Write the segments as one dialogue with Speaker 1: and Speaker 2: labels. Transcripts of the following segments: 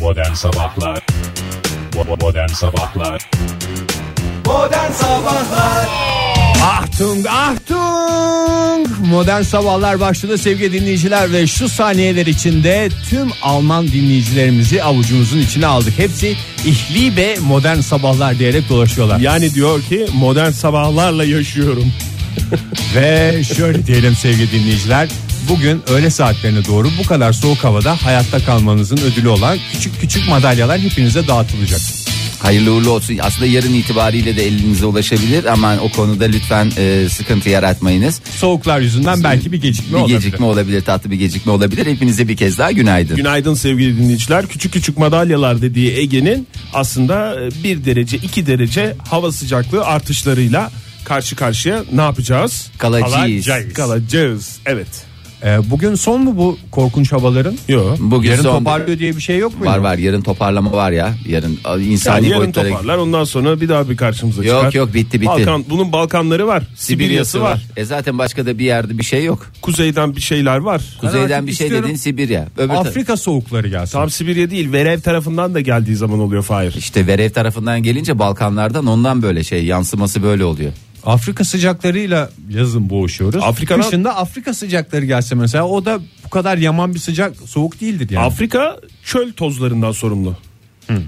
Speaker 1: Modern Sabahlar Bo- Modern Sabahlar
Speaker 2: Modern Sabahlar Ahtung Ahtung Modern Sabahlar başladı sevgili dinleyiciler ve şu saniyeler içinde tüm Alman dinleyicilerimizi avucumuzun içine aldık. Hepsi ihli ve Modern Sabahlar diyerek dolaşıyorlar.
Speaker 3: Yani diyor ki modern sabahlarla yaşıyorum.
Speaker 2: Ve şöyle diyelim sevgili dinleyiciler. Bugün öğle saatlerine doğru bu kadar soğuk havada hayatta kalmanızın ödülü olan küçük küçük madalyalar hepinize dağıtılacak.
Speaker 4: Hayırlı uğurlu olsun. Aslında yarın itibariyle de elinize ulaşabilir ama o konuda lütfen e, sıkıntı yaratmayınız.
Speaker 2: Soğuklar yüzünden belki bir gecikme
Speaker 4: bir
Speaker 2: olabilir.
Speaker 4: gecikme olabilir, tatlı bir gecikme olabilir. Hepinize bir kez daha günaydın.
Speaker 3: Günaydın sevgili dinleyiciler. Küçük küçük madalyalar dediği Ege'nin aslında 1 derece 2 derece hava sıcaklığı artışlarıyla karşı karşıya ne yapacağız?
Speaker 4: Kalacağız.
Speaker 3: Kalacağız. Evet.
Speaker 2: Ee, bugün son mu bu korkunç havaların?
Speaker 3: Yo.
Speaker 4: Bugün
Speaker 2: Yarın
Speaker 4: son-
Speaker 2: toparlıyor diye bir şey yok mu?
Speaker 4: var var yarın toparlama var ya. Yarın a, insani
Speaker 3: Yani yarın
Speaker 4: boyutlara.
Speaker 3: toparlar ondan sonra bir daha bir karşımıza
Speaker 4: Yok,
Speaker 3: çıkar.
Speaker 4: yok, bitti, bitti.
Speaker 3: Balkan, bunun Balkanları var. Sibirya'sı var.
Speaker 4: E zaten başka da bir yerde bir şey yok.
Speaker 3: Kuzeyden bir şeyler var.
Speaker 4: Kuzeyden
Speaker 2: artık
Speaker 4: bir şey
Speaker 2: istiyorum.
Speaker 4: dedin Sibirya. Öbür ta-
Speaker 2: Afrika soğukları gelsin.
Speaker 3: Tam Sibirya değil Verev tarafından da geldiği zaman oluyor Fahir.
Speaker 4: İşte Verev tarafından gelince Balkanlardan ondan böyle şey yansıması böyle oluyor.
Speaker 2: Afrika sıcaklarıyla yazın boğuşuyoruz.
Speaker 3: Afrika'dan-
Speaker 2: Kışında Afrika sıcakları gelse mesela o da bu kadar yaman bir sıcak soğuk değildir yani.
Speaker 3: Afrika çöl tozlarından sorumlu.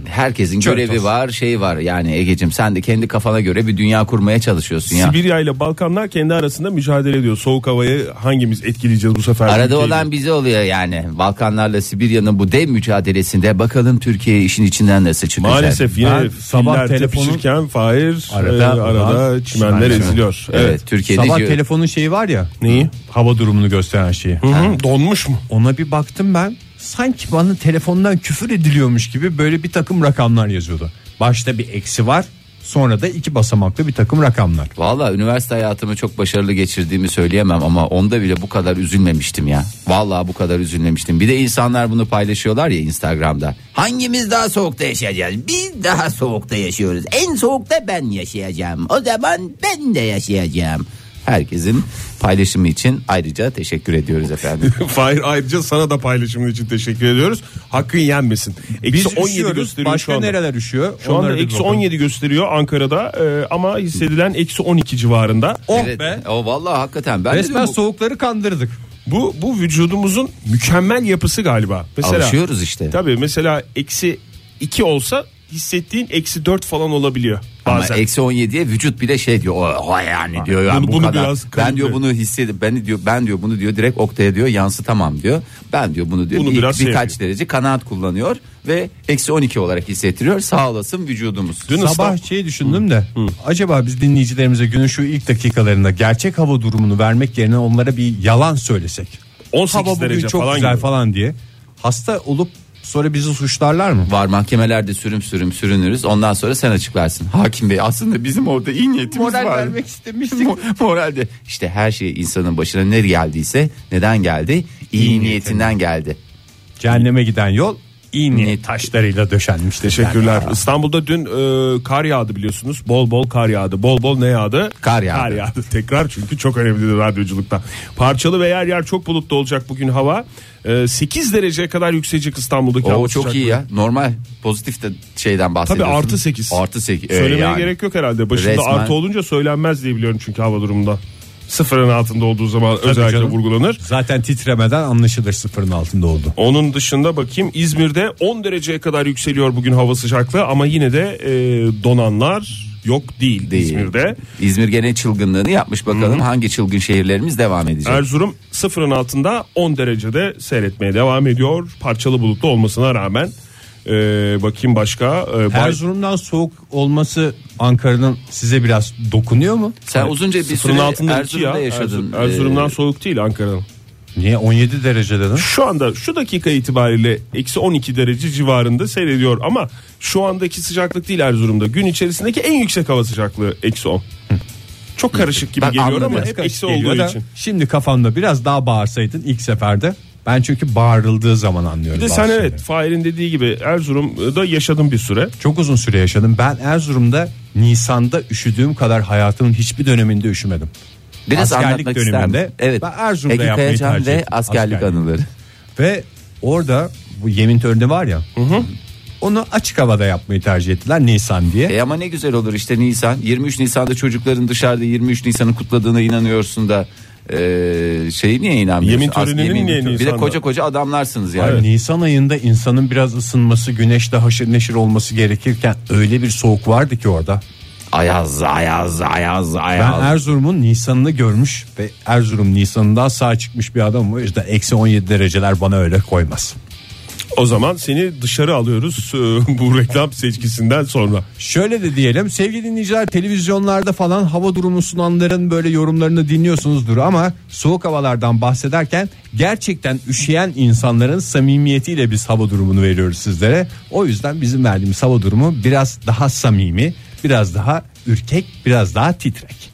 Speaker 4: Herkesin
Speaker 2: Çok
Speaker 4: görevi
Speaker 2: doğru.
Speaker 4: var şey var yani Ege'cim sen de kendi kafana göre bir dünya kurmaya çalışıyorsun ya.
Speaker 3: Sibirya ile Balkanlar kendi arasında mücadele ediyor. Soğuk havayı hangimiz etkileyeceğiz bu sefer?
Speaker 4: Arada
Speaker 3: Ülkeyi
Speaker 4: olan bize oluyor yani. Balkanlarla Sibirya'nın bu dev mücadelesinde bakalım Türkiye işin içinden nasıl çıkacak.
Speaker 3: Maalesef yine
Speaker 2: Ben sabah
Speaker 3: sabah
Speaker 2: telefonun-
Speaker 3: tepişirken Fahir e,
Speaker 2: Arada
Speaker 3: arada, arada
Speaker 2: olan
Speaker 3: çimenler
Speaker 2: çimenler.
Speaker 3: eziliyor.
Speaker 4: Evet,
Speaker 3: Evet.
Speaker 4: Türkiye'de
Speaker 2: Sabah
Speaker 4: diyor-
Speaker 2: telefonun şeyi var ya.
Speaker 3: Neyi?
Speaker 2: Hava durumunu gösteren şeyi.
Speaker 3: Hı hı, donmuş mu?
Speaker 2: Ona bir baktım ben. Sanki bana telefondan küfür ediliyormuş gibi böyle bir takım rakamlar yazıyordu. Başta bir eksi var. Sonra da iki basamaklı bir takım rakamlar.
Speaker 4: Valla üniversite hayatımı çok başarılı geçirdiğimi söyleyemem ama onda bile bu kadar üzülmemiştim ya. Valla bu kadar üzülmemiştim. Bir de insanlar bunu paylaşıyorlar ya Instagram'da. Hangimiz daha soğukta yaşayacağız? Biz daha soğukta yaşıyoruz. En soğukta ben yaşayacağım. O zaman ben de yaşayacağım. Herkesin paylaşımı için ayrıca teşekkür ediyoruz efendim.
Speaker 3: Fahir ayrıca sana da paylaşımın için teşekkür ediyoruz. Hakkın yenmesin.
Speaker 2: Biz
Speaker 3: Eksi 17
Speaker 2: üşüyoruz,
Speaker 3: gösteriyor
Speaker 2: başka
Speaker 3: şu anda.
Speaker 2: nereler üşüyor?
Speaker 3: Şu anda
Speaker 2: Onlara bir
Speaker 3: eksi
Speaker 2: bakalım.
Speaker 3: 17 gösteriyor Ankara'da e, ama hissedilen eksi 12 civarında.
Speaker 2: Oh
Speaker 4: Evet,
Speaker 2: be.
Speaker 4: O valla hakikaten ben de
Speaker 2: Resmen
Speaker 4: diyorum bu-
Speaker 2: soğukları kandırdık.
Speaker 3: Bu bu vücudumuzun mükemmel yapısı galiba. Mesela,
Speaker 4: Alışıyoruz işte.
Speaker 3: Tabii mesela eksi 2 olsa hissettiğin eksi 4 falan olabiliyor
Speaker 4: Ama
Speaker 3: bazen.
Speaker 4: eksi 17'ye vücut bile şey diyor. O, o yani diyor. ya
Speaker 3: Bunu-
Speaker 4: bu
Speaker 3: bunu
Speaker 4: kadar.
Speaker 3: biraz
Speaker 4: ben
Speaker 3: kalibre.
Speaker 4: diyor bunu hissedip ben diyor ben diyor bunu diyor direkt oktaya diyor yansıtamam diyor. Ben diyor bunu diyor
Speaker 3: Bunu
Speaker 4: bir,
Speaker 3: biraz şey
Speaker 4: birkaç derece kanaat kullanıyor ve eksi 12 olarak hissettiriyor. Sağ olasın vücudumuz.
Speaker 3: Dün
Speaker 2: Sabah
Speaker 3: İstanbul-
Speaker 2: şeyi düşündüm de acaba biz dinleyicilerimize günün şu ilk dakikalarında gerçek hava durumunu vermek yerine onlara bir yalan söylesek.
Speaker 3: 18
Speaker 2: hava bugün
Speaker 3: derece
Speaker 2: çok
Speaker 3: falan
Speaker 2: güzel
Speaker 3: gibi.
Speaker 2: falan diye. Hasta olup sonra bizi suçlarlar mı?
Speaker 4: Var mahkemelerde sürüm sürüm sürünürüz. Ondan sonra sen açıklarsın. Hakim Bey aslında bizim orada iyi niyetimiz var.
Speaker 2: istemiştik.
Speaker 4: Mo- Moralde işte her şey insanın başına ne geldiyse neden geldi? İyi, niyetinden geldi.
Speaker 2: Cehenneme giden yol iyi
Speaker 4: Niyet.
Speaker 2: niyet taşlarıyla döşenmiştir.
Speaker 3: Teşekkürler. İstanbul'da dün e, kar yağdı biliyorsunuz. Bol bol kar yağdı. Bol bol ne yağdı?
Speaker 4: Kar yağdı.
Speaker 3: Kar yağdı. Tekrar çünkü çok önemlidir radyoculukta. Parçalı ve yer yer çok bulutlu olacak bugün hava. E, 8 dereceye kadar yükselecek İstanbul'daki hava
Speaker 4: O çok
Speaker 3: sıcaklığı.
Speaker 4: iyi ya. Normal pozitif de şeyden bahsediyorsun.
Speaker 3: artı sekiz.
Speaker 4: Artı 8.
Speaker 3: Söylemeye gerek yok herhalde. Başında
Speaker 4: Resmen.
Speaker 3: artı olunca söylenmez diye biliyorum çünkü hava durumunda. Sıfırın altında olduğu zaman özellikle
Speaker 2: canım.
Speaker 3: vurgulanır.
Speaker 2: Zaten titremeden anlaşılır sıfırın altında oldu.
Speaker 3: Onun dışında bakayım İzmir'de 10 dereceye kadar yükseliyor bugün hava sıcaklığı ama yine de e, donanlar yok değil, İzmir'de.
Speaker 4: İzmir gene çılgınlığını yapmış bakalım hangi çılgın şehirlerimiz devam edecek.
Speaker 3: Erzurum sıfırın altında 10 derecede seyretmeye devam ediyor. Parçalı bulutlu olmasına rağmen. E, bakayım başka. E, Bay-
Speaker 2: Erzurum'dan soğuk olması Ankara'nın size biraz dokunuyor mu?
Speaker 4: Sen uzunca bir
Speaker 3: sıfırın
Speaker 4: süre
Speaker 3: altında iki
Speaker 4: Erzurum'da
Speaker 3: ya.
Speaker 4: yaşadın.
Speaker 3: Erzurum- Erzurum'dan
Speaker 4: Ee,
Speaker 3: soğuk değil Ankara'nın.
Speaker 2: Niye 17 derece dedin?
Speaker 3: Şu anda şu dakika itibariyle eksi 12 derece civarında seyrediyor ama şu andaki sıcaklık değil Erzurum'da. Gün içerisindeki en yüksek hava sıcaklığı eksi 10. Çok karışık gibi
Speaker 4: Ben
Speaker 3: geliyor
Speaker 4: anladım.
Speaker 3: ama hep eksi olduğu için.
Speaker 2: Şimdi kafamda biraz daha bağırsaydın ilk seferde. Ben çünkü bağırıldığı zaman
Speaker 3: Bir
Speaker 2: anlıyorum.
Speaker 3: de
Speaker 2: bazı
Speaker 3: sen
Speaker 2: şeyleri.
Speaker 3: evet Fahir'in dediği gibi Erzurum'da yaşadım bir süre.
Speaker 2: Çok uzun süre yaşadım. Ben Erzurum'da Nisan'da üşüdüğüm kadar hayatımın hiçbir döneminde üşümedim.
Speaker 4: biraz
Speaker 2: askerlik
Speaker 4: anlatmak ister
Speaker 2: döneminde
Speaker 4: misin? Evet.
Speaker 2: ben Erzurum'da
Speaker 4: Ege
Speaker 2: yapmayı
Speaker 4: Kayacan
Speaker 2: tercih
Speaker 4: ve
Speaker 2: ettim.
Speaker 4: askerlik
Speaker 2: Askerlik.
Speaker 4: anıları.
Speaker 2: Ve orada bu yemin töreni var ya.
Speaker 5: Onu açık havada yapmayı tercih ettiler Nisan diye.
Speaker 4: E ama ne güzel olur işte Nisan. 23 Nisan'da çocukların dışarıda 23 Nisan'ı kutladığına inanıyorsun da e, şeyi niye inanmıyorsun?
Speaker 3: Yemin
Speaker 4: Aslında
Speaker 3: töreninin niye
Speaker 4: töreni- Bir de
Speaker 3: Nisan'da?
Speaker 4: koca koca adamlarsınız yani.
Speaker 2: Ay, Nisan ayında insanın biraz ısınması, güneşle haşır neşir olması gerekirken öyle bir soğuk vardı ki orada.
Speaker 4: Ayaz, ayaz, ayaz,
Speaker 2: Ben
Speaker 4: ayaz.
Speaker 2: Erzurum'un Nisan'ını görmüş ve Erzurum Nisan'ından sağ çıkmış bir adam o yüzden eksi 17 dereceler bana öyle koymaz.
Speaker 3: O zaman seni dışarı alıyoruz e, bu reklam seçkisinden sonra.
Speaker 2: Şöyle de diyelim sevgili dinleyiciler televizyonlarda falan hava durumu sunanların böyle yorumlarını dinliyorsunuzdur ama soğuk havalardan bahsederken gerçekten üşüyen insanların samimiyetiyle biz hava durumunu veriyoruz sizlere. O yüzden bizim verdiğimiz hava durumu biraz daha samimi, biraz daha ürkek, biraz daha titrek.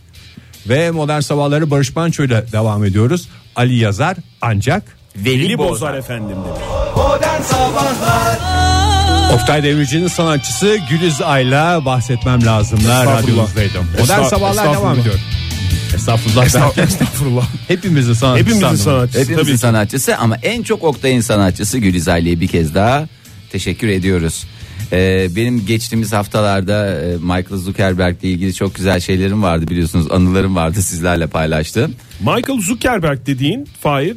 Speaker 2: Ve modern sabahları Barış Manço ile devam ediyoruz. Ali yazar ancak
Speaker 4: Veli Boz.
Speaker 3: Bozar efendim demiş.
Speaker 5: Modern Sabahlar
Speaker 2: Oktay Demirci'nin sanatçısı Güliz Ayla bahsetmem lazımlar
Speaker 3: Estağfurullah.
Speaker 2: radyonuzdaydım. Modern
Speaker 3: Estağ-
Speaker 2: sabahlar
Speaker 3: estağfurullah.
Speaker 2: devam ediyor. Estağfurullah. derken
Speaker 3: Estağfurullah.
Speaker 2: Hepimizin sanatçısı.
Speaker 3: Hepimizin
Speaker 2: anlamında.
Speaker 3: sanatçısı
Speaker 4: Hepimizin
Speaker 3: E, tabii. ki.
Speaker 4: sanatçısı ama en çok Oktay'ın sanatçısı Gülizaylı'ya bir kez daha teşekkür ediyoruz. Ee, benim geçtiğimiz haftalarda e, Michael Zuckerberg'le ilgili çok güzel şeylerim vardı biliyorsunuz anılarım vardı sizlerle paylaştım.
Speaker 3: Michael Zuckerberg dediğin Fahir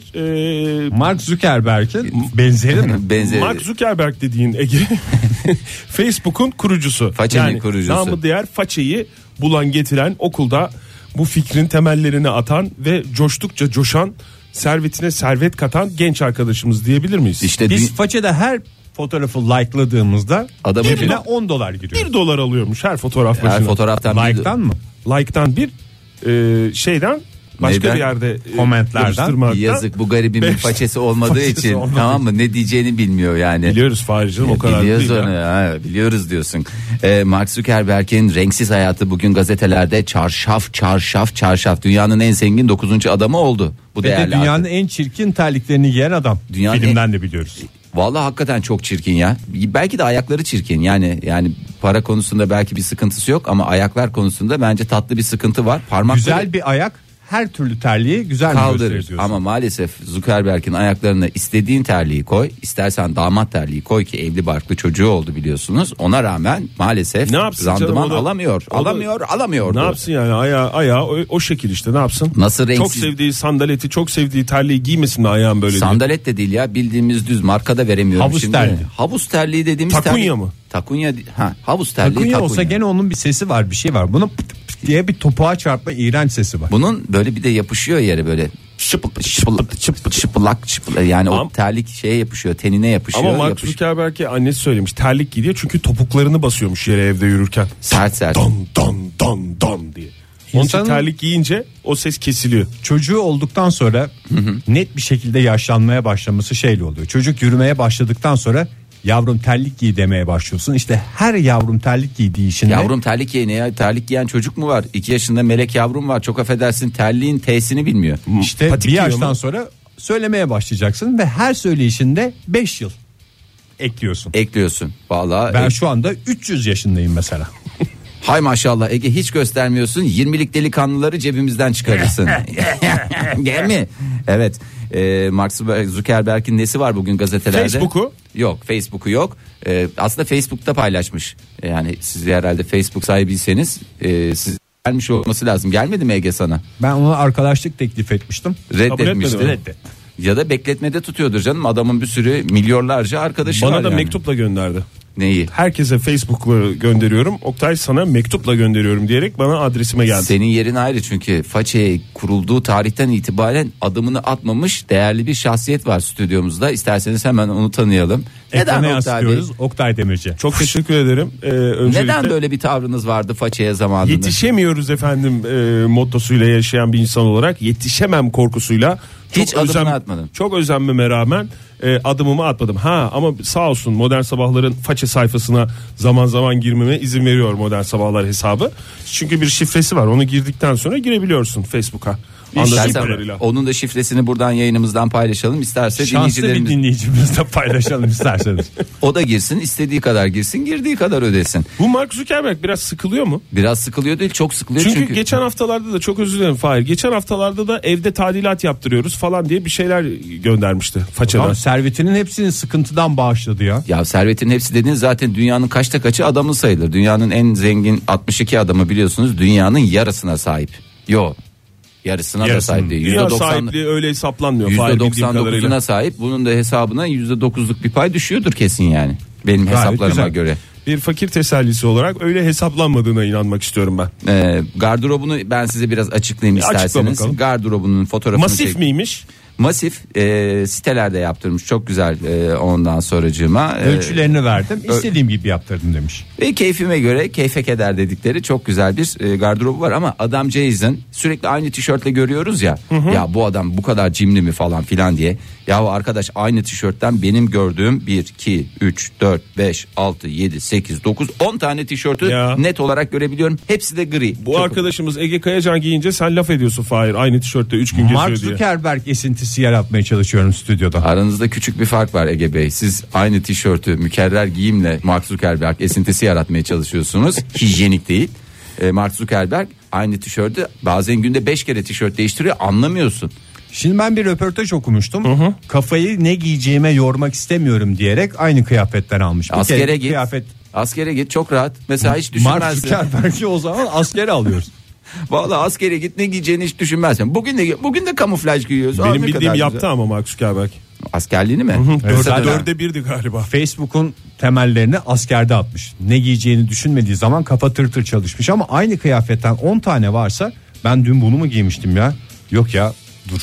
Speaker 3: e,
Speaker 2: Mark Zuckerberg'in benzeri mi?
Speaker 4: Benzeri
Speaker 3: Mark Zuckerberg dediğin Ege Facebook'un kurucusu.
Speaker 4: Façenin kurucusu.
Speaker 3: Namı diğer façeyi bulan getiren okulda bu fikrin temellerini atan ve coştukça coşan servetine servet katan genç arkadaşımız diyebilir miyiz?
Speaker 4: işte dü-
Speaker 2: Biz façede her fotoğrafı like'ladığımızda
Speaker 4: Adamın
Speaker 2: cebine
Speaker 4: bile-
Speaker 2: 10 dolar giriyor.
Speaker 3: 1 dolar alıyormuş her fotoğraf başına.
Speaker 4: her fotoğraftan bir-
Speaker 2: Like'tan mı?
Speaker 3: Like'tan bir e, şeyden başka
Speaker 4: Neyden?
Speaker 3: bir yerde e,
Speaker 2: Komentlerden.
Speaker 3: yapıştırmaktan.
Speaker 4: yazık bu garibin bir
Speaker 3: Beş-
Speaker 4: façesi olmadığı
Speaker 3: façesi
Speaker 4: için
Speaker 3: olmadığı
Speaker 4: tamam mı ne diyeceğini bilmiyor yani.
Speaker 3: Biliyoruz Fahir canım o kadar
Speaker 4: biliyoruz
Speaker 3: değil ya.
Speaker 4: onu ha, biliyoruz diyorsun. Ee, Mark Zuckerberg'in renksiz hayatı bugün gazetelerde çarşaf çarşaf çarşaf dünyanın en zengin 9. adamı oldu. Bu
Speaker 2: Ve de
Speaker 4: değerli
Speaker 2: dünyanın
Speaker 4: artık.
Speaker 2: en çirkin terliklerini giyen adam.
Speaker 4: Dünyanın
Speaker 2: Filmden de biliyoruz.
Speaker 4: Vallahi hakikaten çok çirkin ya. Belki de ayakları çirkin yani yani para konusunda belki bir sıkıntısı yok ama ayaklar konusunda bence tatlı bir sıkıntı var. Parmakları
Speaker 2: Güzel bir ayak her türlü terliği güzel bir gösterir
Speaker 4: kaldırır
Speaker 2: diyorsun.
Speaker 4: ama maalesef Zuckerberg'in ayaklarına istediğin terliği koy istersen damat terliği koy ki evli barklı çocuğu oldu biliyorsunuz ona rağmen maalesef
Speaker 3: Ne yapsın canım,
Speaker 4: randıman
Speaker 3: o da-
Speaker 4: alamıyor
Speaker 3: o da-
Speaker 4: alamıyor alamıyordu.
Speaker 3: Ne yapsın yani ayağı, ayağı o, o şekil işte ne yapsın?
Speaker 4: Nasıl renksiz-
Speaker 3: Çok sevdiği sandaleti çok sevdiği terliği giymesin de ayağın böyle. diye.
Speaker 4: Sandalet de değil ya bildiğimiz düz markada veremiyorum
Speaker 2: Havuz
Speaker 4: şimdi.
Speaker 2: terliği.
Speaker 4: Havuz terliği dediğimiz
Speaker 3: Takunya
Speaker 4: terliği-
Speaker 3: mı?
Speaker 4: Takunya di- ha havuz terliği
Speaker 2: Takunya olsa
Speaker 4: takunya.
Speaker 2: gene onun bir sesi var bir şey var. Bunun pıt pıt diye bir topuğa çarpma iğrenç sesi var.
Speaker 4: Bunun böyle bir de yapışıyor yere böyle şıpıl şıpıl şıpıl şıpılak şıpıl yani o
Speaker 3: Ama-
Speaker 4: terlik şeye yapışıyor tenine yapışıyor.
Speaker 3: Ama Mark
Speaker 4: yapışıyor.
Speaker 3: Zuckerberg'e annesi söylemiş terlik giy diye çünkü topuklarını basıyormuş yere evde yürürken.
Speaker 4: Sert sert.
Speaker 3: Don don don don diye. Onun için
Speaker 2: İnsanın-
Speaker 3: terlik giyince o ses kesiliyor.
Speaker 2: Çocuğu olduktan sonra net bir şekilde yaşlanmaya başlaması şeyle oluyor. Çocuk yürümeye başladıktan sonra yavrum terlik giy demeye başlıyorsun. İşte her yavrum terlik giydiği için de
Speaker 4: Yavrum terlik giyen ya terlik giyen çocuk mu var? 2 yaşında melek yavrum var. Çok affedersin terliğin T'sini bilmiyor.
Speaker 2: işte
Speaker 3: patik
Speaker 2: bir
Speaker 3: giyiyor
Speaker 2: yaştan
Speaker 3: mu?
Speaker 2: sonra söylemeye başlayacaksın ve her söyleyişinde 5 yıl ekliyorsun.
Speaker 4: Ekliyorsun. Vallahi
Speaker 2: Ben
Speaker 4: e,
Speaker 2: şu anda 300 yaşındayım mesela.
Speaker 4: hay maşallah Ege hiç göstermiyorsun. 20'lik delikanlıları cebimizden çıkarırsın. Gel mi? Evet. E, Mark Zuckerberg'in nesi var bugün gazetelerde?
Speaker 3: Facebook'u?
Speaker 4: Yok Facebook'u yok. E, aslında Facebook'ta paylaşmış. Yani siz herhalde Facebook sahibiyseniz e, siz gelmiş olması lazım. Gelmedi mi Ege sana?
Speaker 2: Ben ona arkadaşlık teklif etmiştim.
Speaker 4: Reddetmişti.
Speaker 3: etmedi mi?
Speaker 4: Ya da bekletmede tutuyordur canım. Adamın bir sürü milyonlarca arkadaşı var.
Speaker 3: Bana da
Speaker 4: yani.
Speaker 3: mektupla gönderdi.
Speaker 4: Neyi?
Speaker 3: Herkese Facebook'la gönderiyorum. Oktay sana mektupla gönderiyorum diyerek bana adresime geldi.
Speaker 4: Senin yerin ayrı çünkü façe kurulduğu tarihten itibaren adımını atmamış değerli bir şahsiyet var stüdyomuzda. İsterseniz hemen onu tanıyalım.
Speaker 2: Ekrana
Speaker 4: Neden Oktay Bey?
Speaker 2: yansıtıyoruz Oktay Demirci.
Speaker 3: Çok teşekkür ederim. Ee, öncelikle
Speaker 4: Neden böyle bir tavrınız vardı façeye zamanında?
Speaker 3: Yetişemiyoruz efendim e, mottosuyla yaşayan bir insan olarak yetişemem korkusuyla
Speaker 4: Hiç adımını atmadın.
Speaker 3: Çok özenmeme rağmen e, adımımı atmadım. Ha ama sağ olsun Modern Sabahların façe sayfasına zaman zaman girmeme izin veriyor Modern Sabahlar hesabı. Çünkü bir şifresi var. Onu girdikten sonra girebiliyorsun Facebook'a.
Speaker 4: şey
Speaker 3: Anladığım
Speaker 4: İstersen
Speaker 3: kadarıyla.
Speaker 4: onun da şifresini buradan yayınımızdan paylaşalım. İsterse
Speaker 2: Şanslı bir
Speaker 4: dinleyicilerimiz
Speaker 2: dinleyicimizle paylaşalım isterseniz.
Speaker 4: o da girsin, istediği kadar girsin, girdiği kadar ödesin.
Speaker 3: Bu Mark Zuckerberg biraz sıkılıyor mu?
Speaker 4: Biraz sıkılıyor değil, çok sıkılıyor
Speaker 3: Çünkü,
Speaker 4: çünkü.
Speaker 3: geçen haftalarda da çok özür dilerim Fahir. Geçen haftalarda da evde tadilat yaptırıyoruz falan diye bir şeyler göndermişti façadan.
Speaker 2: Tamam, servetinin hepsini sıkıntıdan bağışladı ya.
Speaker 4: Ya servetin hepsi dediğin zaten dünyanın kaçta kaçı adamı sayılır. Dünyanın en zengin 62 adamı biliyorsunuz dünyanın yarısına sahip. Yo. Yarısına da sahip değil.
Speaker 3: Dünya
Speaker 4: %90
Speaker 3: sahipliği öyle hesaplanmıyor. Fahir bildiğim kadarıyla.
Speaker 4: %99'una sahip. Bunun da hesabına %9'luk bir pay düşüyordur kesin yani. Benim hesaplarıma
Speaker 2: güzel.
Speaker 4: göre.
Speaker 3: Bir fakir tesellisi olarak öyle hesaplanmadığına inanmak istiyorum ben.
Speaker 4: Ee, gardırobunu ben size biraz açıklayayım
Speaker 3: açıkla
Speaker 4: isterseniz.
Speaker 3: bakalım.
Speaker 4: Gardırobunun fotoğrafını
Speaker 3: Masif
Speaker 4: çek-
Speaker 3: miymiş?
Speaker 4: Masif e, sitelerde yaptırmış. Çok güzel e, ondan sonracığıma.
Speaker 3: Ee,
Speaker 4: e,
Speaker 2: Ölçülerini verdim. istediğim gibi yaptırdım demiş.
Speaker 4: Ve keyfime göre keyfe keder dedikleri çok güzel bir e, gardırobu var ama adam Jason sürekli aynı tişörtle görüyoruz ya. Ya bu adam bu kadar cimri mi falan filan diye. Yahu arkadaş aynı tişörtten benim gördüğüm 1 2 3 4 5 6 7 8 9 10 tane tişörtü
Speaker 3: Ya.
Speaker 4: net olarak görebiliyorum. Hepsi de gri.
Speaker 3: Bu
Speaker 4: Çok-
Speaker 3: arkadaşımız Ege Kayacan giyince sen laf ediyorsun Fahir. Aynı tişörtte 3 gün
Speaker 2: Mark
Speaker 3: geziyor diye.
Speaker 2: Zuckerberg esintisi yaratmaya çalışıyorum stüdyoda.
Speaker 4: Aranızda küçük bir fark var Ege Bey. Siz aynı tişörtü mükerrer giyimle Mark Zuckerberg esintisi yaratmaya çalışıyorsunuz. Hijyenik değil. E, Mark Zuckerberg aynı tişörtü bazen günde 5 kere tişört değiştiriyor anlamıyorsun.
Speaker 2: Şimdi ben bir röportaj okumuştum. Kafayı ne giyeceğime yormak istemiyorum diyerek aynı kıyafetten almış. Bir kere
Speaker 4: Askere
Speaker 2: bir
Speaker 4: git.
Speaker 2: Kıyafet
Speaker 4: Askere git çok rahat. Mesela hiç
Speaker 2: Mark
Speaker 4: düşünmezsin.
Speaker 2: Zuckerberg'i o zaman askere alıyoruz.
Speaker 4: Vallahi askere git ne giyeceğini hiç düşünmezsin. Bugün de bugün de kamuflaj giyiyoruz. Aa, ne
Speaker 3: Benim
Speaker 4: kadar
Speaker 3: bildiğim
Speaker 4: güzel.
Speaker 3: yaptı ama Mark Zuckerberg.
Speaker 4: Askerliğini mi?
Speaker 2: Evet,
Speaker 4: Kısa
Speaker 2: zaten-
Speaker 4: dönem.
Speaker 3: Dörde birdi galiba.
Speaker 2: Facebook'un temellerini askerde atmış. Ne giyeceğini düşünmediği zaman kafa tır tır çalışmış ama aynı kıyafetten 10 tane varsa ben dün bunu mu giymiştim ya? Yok ya dur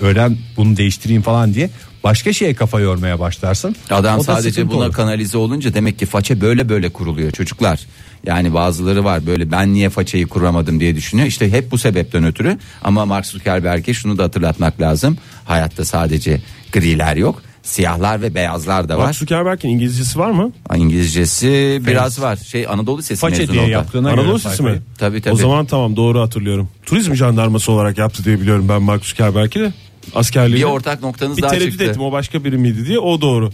Speaker 2: öğlen bunu değiştireyim falan diye başka şeye kafa yormaya başlarsın.
Speaker 4: Adam
Speaker 2: O da
Speaker 4: sadece
Speaker 2: sıkıntı
Speaker 4: buna
Speaker 2: olur.
Speaker 4: kanalize olunca demek ki faça böyle böyle kuruluyor çocuklar. Yani bazıları var böyle ben niye façayı kuramadım diye düşünüyor. İşte hep bu sebepten ötürü ama Mark Zuckerberg'e şunu da hatırlatmak lazım. Hayatta sadece griler yok. Siyahlar ve beyazlar da
Speaker 3: Mark
Speaker 4: var.
Speaker 3: Zuckerberg'in İngilizcesi var mı?
Speaker 4: İngilizcesi biraz var. Şey Anadolu Lisesi
Speaker 2: façe
Speaker 4: mezunu
Speaker 2: diye
Speaker 4: oldu.
Speaker 2: yaptığına
Speaker 3: Anadolu
Speaker 2: göre
Speaker 3: Lisesi
Speaker 2: sayfayı.
Speaker 3: mi?
Speaker 4: Tabii, tabii.
Speaker 3: O zaman tamam doğru hatırlıyorum. Turizm jandarması olarak yaptı diye biliyorum ben Mark Zuckerberg'i de. Askerliği.
Speaker 4: Bir ortak noktanız
Speaker 3: Bir
Speaker 4: daha
Speaker 3: tereddüt
Speaker 4: çıktı.
Speaker 3: ettim o başka biri miydi diye o doğru.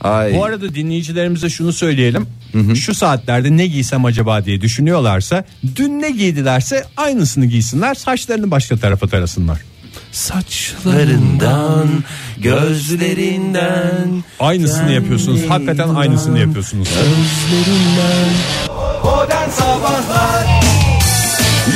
Speaker 4: Ay.
Speaker 2: Bu arada dinleyicilerimize şunu söyleyelim. Şu saatlerde ne giysem acaba diye düşünüyorlarsa dün ne giydilerse aynısını giysinler saçlarını başka tarafa tarasınlar.
Speaker 4: Saçlarından, gözlerinden.
Speaker 2: Aynısını yapıyorsunuz hakikaten aynısını yapıyorsunuz.
Speaker 5: Modern Sabahlar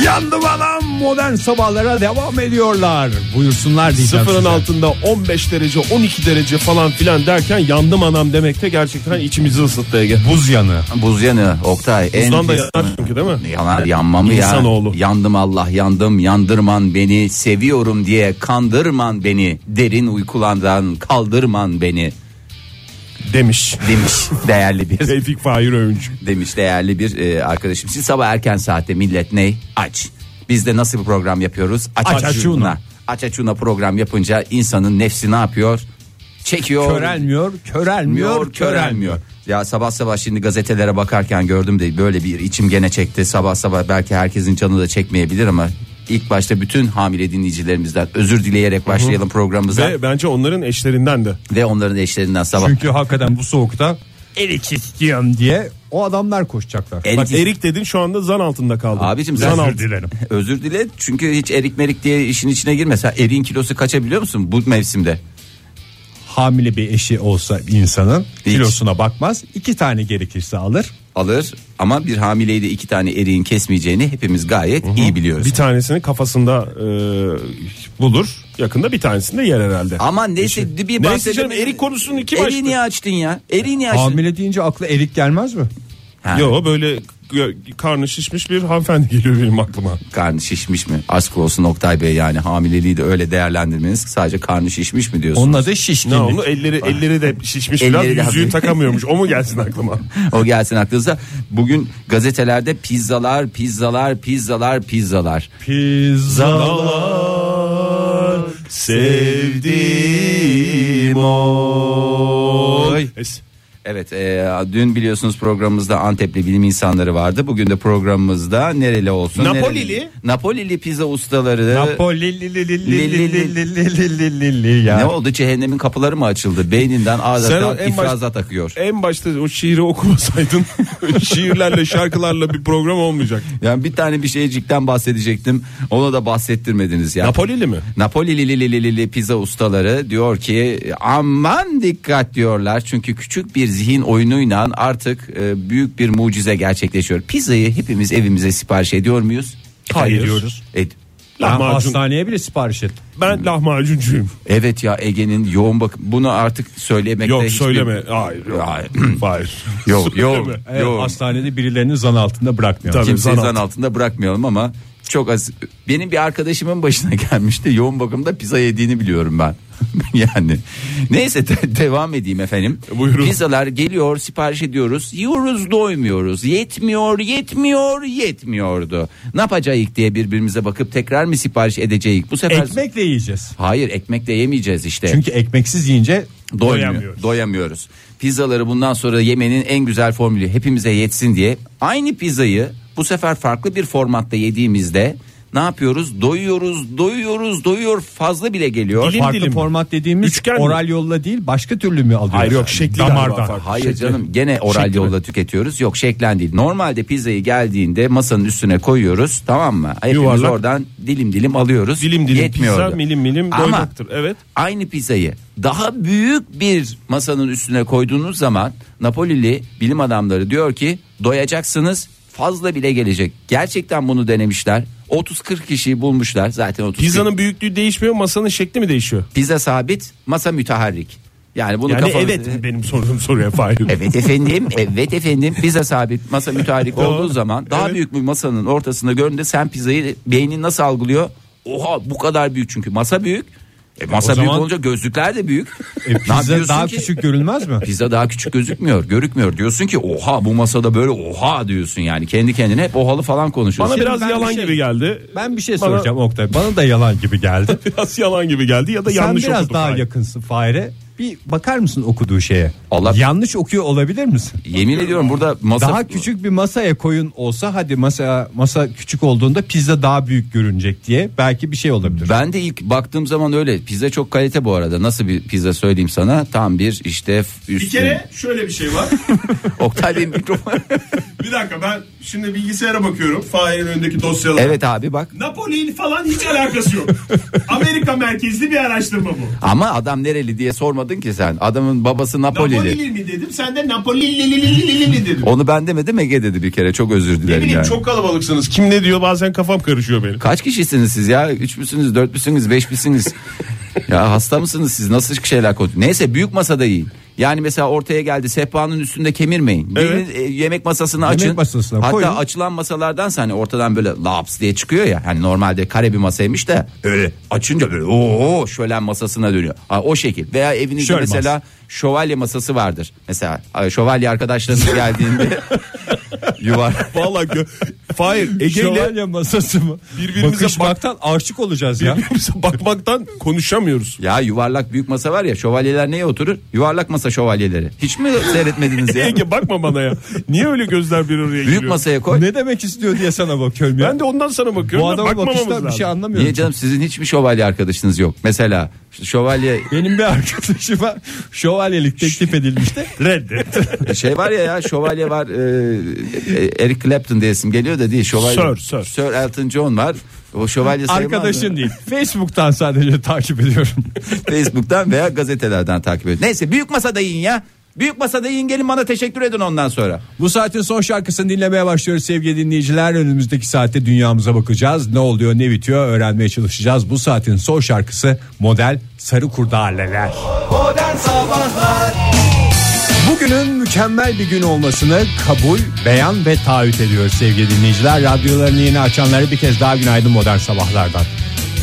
Speaker 2: Yandım adam modern sabahlara devam ediyorlar. Buyursunlar diyeceğim
Speaker 3: Sıfırın
Speaker 2: size.
Speaker 3: altında 15 derece 12 derece falan filan derken yandım anam demek de gerçekten içimizi ısıttı Ege.
Speaker 2: Buz yanı.
Speaker 4: Buz yanı Oktay. en
Speaker 3: Buzdan da
Speaker 4: pis-
Speaker 3: yanar çünkü değil mi?
Speaker 4: Yanar yanmamı
Speaker 3: İnsanoğlu.
Speaker 4: ya. Yandım Allah yandım yandırman beni seviyorum diye kandırman beni derin uykulardan kaldırman beni
Speaker 3: Demiş.
Speaker 4: demiş değerli bir
Speaker 3: Tevfik Fahir Öğüncü.
Speaker 4: demiş değerli bir e, arkadaşım. Siz sabah erken saatte millet ney aç. Biz de nasıl bir program yapıyoruz? Aç
Speaker 2: Aç açuna.
Speaker 4: açuna. Aç açuna program yapınca insanın nefsi ne yapıyor? Çekiyor.
Speaker 2: Körelmiyor, körelmiyor,
Speaker 4: Körelmiyor, körelmiyor. Ya sabah sabah şimdi gazetelere bakarken gördüm de böyle bir içim gene çekti. Sabah sabah belki herkesin canı da çekmeyebilir ama ilk başta bütün hamile dinleyicilerimizden özür dileyerek başlayalım programımıza ve,
Speaker 3: Ve bence onların eşlerinden de.
Speaker 4: onların eşlerinden sabah.
Speaker 2: Çünkü hakikaten bu soğukta erik istiyorum diye o adamlar koşacaklar.
Speaker 4: Erik-
Speaker 3: Bak Erik dedin şu anda zan altında kaldı.
Speaker 4: Abicim
Speaker 3: zan
Speaker 4: sen-
Speaker 3: altı.
Speaker 2: dilerim.
Speaker 4: Özür dile çünkü hiç erik merik diye işin içine girme. Sen eriğin kilosu kaça biliyor musun bu mevsimde?
Speaker 2: Hamile bir eşi olsa insanın
Speaker 4: Hiç.
Speaker 2: kilosuna bakmaz. iki tane gerekirse alır.
Speaker 4: Alır ama bir hamileyi de iki tane eriğin kesmeyeceğini hepimiz gayet iyi biliyoruz.
Speaker 3: Bir tanesini kafasında e, bulur. Yakında bir tanesini de yer herhalde.
Speaker 4: Ama neyse bir
Speaker 3: Neyse
Speaker 4: bahsedelim.
Speaker 3: canım, erik konusunu kim
Speaker 4: Eriği
Speaker 3: açtı?
Speaker 4: niye açtın ya? Eriği niye açtın?
Speaker 2: Hamile deyince akla erik gelmez mi?
Speaker 4: Ha.
Speaker 3: Yo böyle gö- karnı şişmiş bir hanımefendi geliyor benim aklıma.
Speaker 4: karnı şişmiş mi? Aşk olsun Oktay Bey yani hamileliği de öyle değerlendirmeniz sadece karnı şişmiş mi diyorsun?
Speaker 2: Onun adı
Speaker 3: Ne
Speaker 2: şişkinlik.
Speaker 3: oldu? Elleri elleri de şişmiş
Speaker 4: Elleri
Speaker 3: biraz
Speaker 4: de
Speaker 3: yüzüğü
Speaker 4: hafif.
Speaker 3: takamıyormuş. O mu gelsin aklıma?
Speaker 4: O gelsin aklınıza. Bugün gazetelerde pizzalar, pizzalar, pizzalar, pizzalar.
Speaker 3: Pizzalar sevdim oy.
Speaker 4: Evet e, dün biliyorsunuz programımızda Antepli bilim insanları vardı. Bugün de programımızda nereli olsun?
Speaker 3: Napolili.
Speaker 4: nereli- Napolili pizza ustaları.
Speaker 2: Napoli
Speaker 4: ne
Speaker 2: ya.
Speaker 4: oldu cehennemin kapıları mı açıldı? Beyninden
Speaker 3: Sen
Speaker 4: adeta
Speaker 3: en baş-
Speaker 4: ifraza takıyor.
Speaker 3: En başta o şiiri okumasaydın şiirlerle şarkılarla bir program olmayacak.
Speaker 4: Yani bir tane bir şeycikten bahsedecektim. Ona da bahsettirmediniz ya.
Speaker 3: Napolili mi?
Speaker 4: Napolili pizza ustaları diyor ki aman dikkat diyorlar çünkü küçük bir zihin oyunuyla artık e, büyük bir mucize gerçekleşiyor. Pizzayı hepimiz evimize sipariş ediyor muyuz?
Speaker 3: Hayır.
Speaker 4: Ed-
Speaker 2: Ben
Speaker 3: Lahmacun.
Speaker 2: hastaneye bile sipariş ettim.
Speaker 4: Hmm.
Speaker 3: Ben lahmacuncuyum.
Speaker 4: evet ya Ege'nin yoğun bak bunu artık söylemekte
Speaker 3: Yok
Speaker 4: hiçbir-
Speaker 3: söyleme. Hayır. Yok.
Speaker 4: Hayır.
Speaker 3: Hayır.
Speaker 4: Yok yok
Speaker 3: Söyleme.
Speaker 2: Evet,
Speaker 4: yok.
Speaker 2: hastanede birilerini zan altında bırakmıyor.
Speaker 3: Tabii.
Speaker 4: Kimseyi
Speaker 3: zan
Speaker 4: zan altında bırakmayalım ama çok az. Benim bir arkadaşımın başına gelmişti. Yoğun bakımda pizza yediğini biliyorum ben. yani neyse de- devam edeyim efendim.
Speaker 3: Buyurun.
Speaker 4: Pizzalar geliyor sipariş ediyoruz. Yiyoruz doymuyoruz. Yetmiyor yetmiyor yetmiyordu. Ne yapacağız diye birbirimize bakıp tekrar mı sipariş edeceğiz? Bu sefer
Speaker 2: Ekmekle yiyeceğiz.
Speaker 4: Hayır ekmekle yemeyeceğiz işte.
Speaker 2: Çünkü ekmeksiz yiyince
Speaker 4: Doymuyor,
Speaker 2: doyamıyoruz.
Speaker 4: doyamıyoruz. Pizzaları bundan sonra yemenin en güzel formülü hepimize yetsin diye aynı pizzayı bu sefer farklı bir formatta yediğimizde ne yapıyoruz? Doyuyoruz, doyuyoruz, doyuyor fazla bile geliyor.
Speaker 3: Dilim-
Speaker 2: Farklı
Speaker 3: dilim.
Speaker 2: format dediğimiz
Speaker 3: Üçgen mi?
Speaker 2: oral yolla değil başka türlü mü alıyoruz?
Speaker 3: Hayır yok
Speaker 2: Yani
Speaker 3: şekli galiba
Speaker 2: damardan.
Speaker 3: farklı.
Speaker 4: Hayır
Speaker 3: Şekli.
Speaker 4: canım gene oral
Speaker 3: Şekli mi?
Speaker 4: yolla tüketiyoruz. Yok şeklen değil. Normalde pizzayı geldiğinde masanın üstüne koyuyoruz tamam mı? Hepimiz
Speaker 3: Yuvarlak.
Speaker 4: oradan dilim dilim alıyoruz.
Speaker 3: Dilim dilim
Speaker 4: Yetmiyordu.
Speaker 3: pizza milim milim
Speaker 4: Ama
Speaker 3: doymaktır. Evet.
Speaker 4: aynı pizzayı daha büyük bir masanın üstüne koyduğunuz zaman Napolili bilim adamları diyor ki doyacaksınız fazla bile gelecek. Gerçekten bunu denemişler. 30-40 kişiyi bulmuşlar zaten 30
Speaker 3: Pizzanın büyüklüğü değişmiyor masanın şekli mi değişiyor?
Speaker 4: pizza sabit masa müteharrik. Yani bunu
Speaker 3: Yani
Speaker 4: kafanız-
Speaker 3: evet benim sorduğum soruya Fahir.
Speaker 4: Evet efendim, evet efendim. Pizza sabit masa müteharrik olduğu zaman daha
Speaker 3: evet.
Speaker 4: büyük bir masanın ortasında görünce sen pizzayı beynin nasıl algılıyor? Oha bu kadar büyük çünkü masa büyük. E, masa
Speaker 2: O
Speaker 4: büyük
Speaker 2: zaman-
Speaker 4: olunca gözlükler de büyük.
Speaker 2: E,
Speaker 4: Ne
Speaker 2: pizza
Speaker 4: yapıyorsun
Speaker 2: daha
Speaker 4: ki?
Speaker 2: küçük görülmez mi?
Speaker 4: Pizza daha küçük gözükmüyor, görükmüyor. Diyorsun ki oha bu masada böyle oha diyorsun yani. Kendi kendine hep ohalı falan konuşuyorsun.
Speaker 3: Bana biraz
Speaker 2: ben
Speaker 3: yalan
Speaker 2: bir şey-
Speaker 3: gibi geldi.
Speaker 2: Ben bir şey
Speaker 3: Bana-
Speaker 2: soracağım Oktay. Bana da yalan gibi geldi.
Speaker 3: Biraz yalan gibi geldi ya da
Speaker 2: Sen
Speaker 3: yanlış
Speaker 2: biraz
Speaker 3: okudum.
Speaker 2: daha
Speaker 3: Fahir.
Speaker 2: yakınsın Fahir'e. Bir bakar mısın okuduğu şeye?
Speaker 4: Allah-
Speaker 2: Yanlış okuyor olabilir misin?
Speaker 4: Yemin ediyorum burada masa
Speaker 2: Daha küçük bir masaya koyun olsa hadi masa masa küçük olduğunda pizza daha büyük görünecek diye belki bir şey olabilir.
Speaker 4: Ben de ilk baktığım zaman öyle. Pizza çok kalite bu arada. Nasıl bir pizza söyleyeyim sana? Tam bir işte üstü.
Speaker 6: Bir kere şöyle bir şey var.
Speaker 4: Oktay Bey'in mikrofonu.
Speaker 6: bir dakika ben şimdi bilgisayara bakıyorum. Fahir'in önündeki dosyalara.
Speaker 4: evet abi bak.
Speaker 6: Napoli ile falan hiç alakası yok. Amerika merkezli bir araştırma bu.
Speaker 4: Ama adam nereli diye sormadın ki sen. Adamın babası Napolili.
Speaker 6: Napoli'li mi dedim sen de Napoli'li dedim.
Speaker 4: Onu ben demedim Ege dedi bir kere. Çok özür
Speaker 6: Ne
Speaker 4: dilerim
Speaker 6: bileyim
Speaker 4: yani.
Speaker 6: çok kalabalıksınız.
Speaker 3: Kim ne diyor bazen kafam karışıyor benim.
Speaker 4: Kaç kişisiniz siz ya? Üç müsünüz, dört müsünüz, beş misiniz? ya hasta mısınız siz? Nasıl şeyler konuşuyorsunuz? Neyse büyük masada yiyin. Yani mesela ortaya geldi sehpanın üstünde kemirmeyin.
Speaker 3: Evet.
Speaker 4: Birinin, e, yemek masasını açın.
Speaker 2: masasına
Speaker 4: Hatta
Speaker 2: koyun.
Speaker 4: açılan masalardan hani ortadan böyle laps diye çıkıyor ya. Hani normalde kare bir masaymış da öyle açınca böyle ooo şölen masasına dönüyor. Ha, o şekil. Veya evinizde
Speaker 2: Şöyle
Speaker 4: mesela şövalye masası vardır. Mesela e, şövalye arkadaşlarınız geldiğinde yuvar
Speaker 3: Vallahi gö- Fahir Ege ile
Speaker 2: Şövalye masası mı?
Speaker 3: Birbirimize
Speaker 2: Bakışmaktan aşık olacağız ya.
Speaker 3: birbirimize bakmaktan konuşamıyoruz.
Speaker 4: Ya yuvarlak büyük masa var ya şövalyeler neye oturur? Yuvarlak masa şövalyeleri. Hiç mi seyretmediniz ya?
Speaker 3: Ege bakma bana ya. Niye öyle gözler bir oraya
Speaker 4: büyük
Speaker 3: giriyor?
Speaker 4: masaya koy.
Speaker 2: Ne demek istiyor diye sana bakıyorum ya.
Speaker 3: Ben de ondan sana bakıyorum.
Speaker 2: bu
Speaker 3: da
Speaker 2: adama
Speaker 3: bakmamamız
Speaker 2: bakıştan bir
Speaker 3: lazım.
Speaker 2: şey anlamıyorum.
Speaker 4: Niye canım sizin hiçbir şövalye arkadaşınız yok? Mesela işte şövalye
Speaker 2: Benim bir arkadaşıma şövalyelik teklif edilmişti.
Speaker 3: Reddet.
Speaker 4: şey var ya ya şövalye var e, e, Eric Clapton diye isim geliyor da değil şövalye.
Speaker 3: Sir, sir.
Speaker 4: Elton John var. O şövalye sayılmaz mı?
Speaker 2: Arkadaşın değil. Facebook'tan sadece takip ediyorum.
Speaker 4: Facebook'tan veya gazetelerden takip ediyor. Neyse büyük masada yiyin ya. Büyük masada yiyin gelin bana teşekkür edin ondan sonra.
Speaker 2: Bu saatin son şarkısını dinlemeye başlıyoruz sevgili dinleyiciler. Önümüzdeki saatte dünyamıza bakacağız. Ne oluyor ne bitiyor öğrenmeye çalışacağız. Bu saatin son şarkısı model Sarı Kurdaleler.
Speaker 5: Modern Sabahlar
Speaker 2: Bugünün mükemmel bir gün olmasını kabul, beyan ve taahhüt ediyoruz sevgili dinleyiciler. Radyolarını yeni açanları bir kez daha günaydın modern sabahlardan.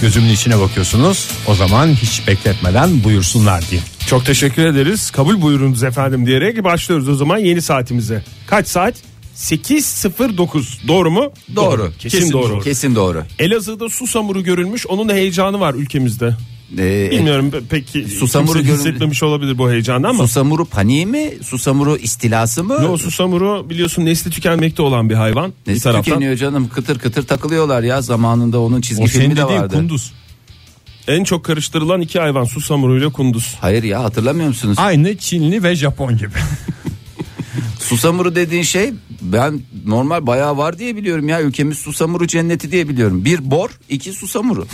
Speaker 2: Gözümün içine bakıyorsunuz. O zaman hiç bekletmeden buyursunlar diye.
Speaker 3: Çok teşekkür ederiz. Kabul buyurunuz efendim diyerek başlıyoruz o zaman yeni saatimize. Kaç saat? 8.09 doğru mu?
Speaker 4: Doğru.
Speaker 3: Kesin, doğru.
Speaker 4: Kesin doğru.
Speaker 3: Elazığ'da su samuru görülmüş. Onun heyecanı var ülkemizde.
Speaker 4: e,
Speaker 3: Bilmiyorum pe- peki
Speaker 4: Susamuru
Speaker 3: kimse
Speaker 4: göründü.
Speaker 3: hissetmemiş olabilir bu heyecanı ama.
Speaker 4: Susamuru paniği mi? Susamuru istilası mı?
Speaker 3: Yo susamuru biliyorsun nesli tükenmekte olan bir hayvan.
Speaker 4: Ne
Speaker 3: bir taraftan.
Speaker 4: tükeniyor canım kıtır kıtır takılıyorlar ya zamanında onun çizgi
Speaker 2: O senin
Speaker 4: filmi de
Speaker 2: dediğin
Speaker 4: vardı.
Speaker 2: kunduz.
Speaker 3: En çok karıştırılan iki hayvan susamuru ile kunduz.
Speaker 4: Hayır ya hatırlamıyor musunuz?
Speaker 2: Aynı Çinli ve Japon gibi.
Speaker 4: Susamuru dediğin şey ben normal bayağı var diye biliyorum ya ülkemiz susamuru cenneti diye biliyorum. Bir bor iki susamuru.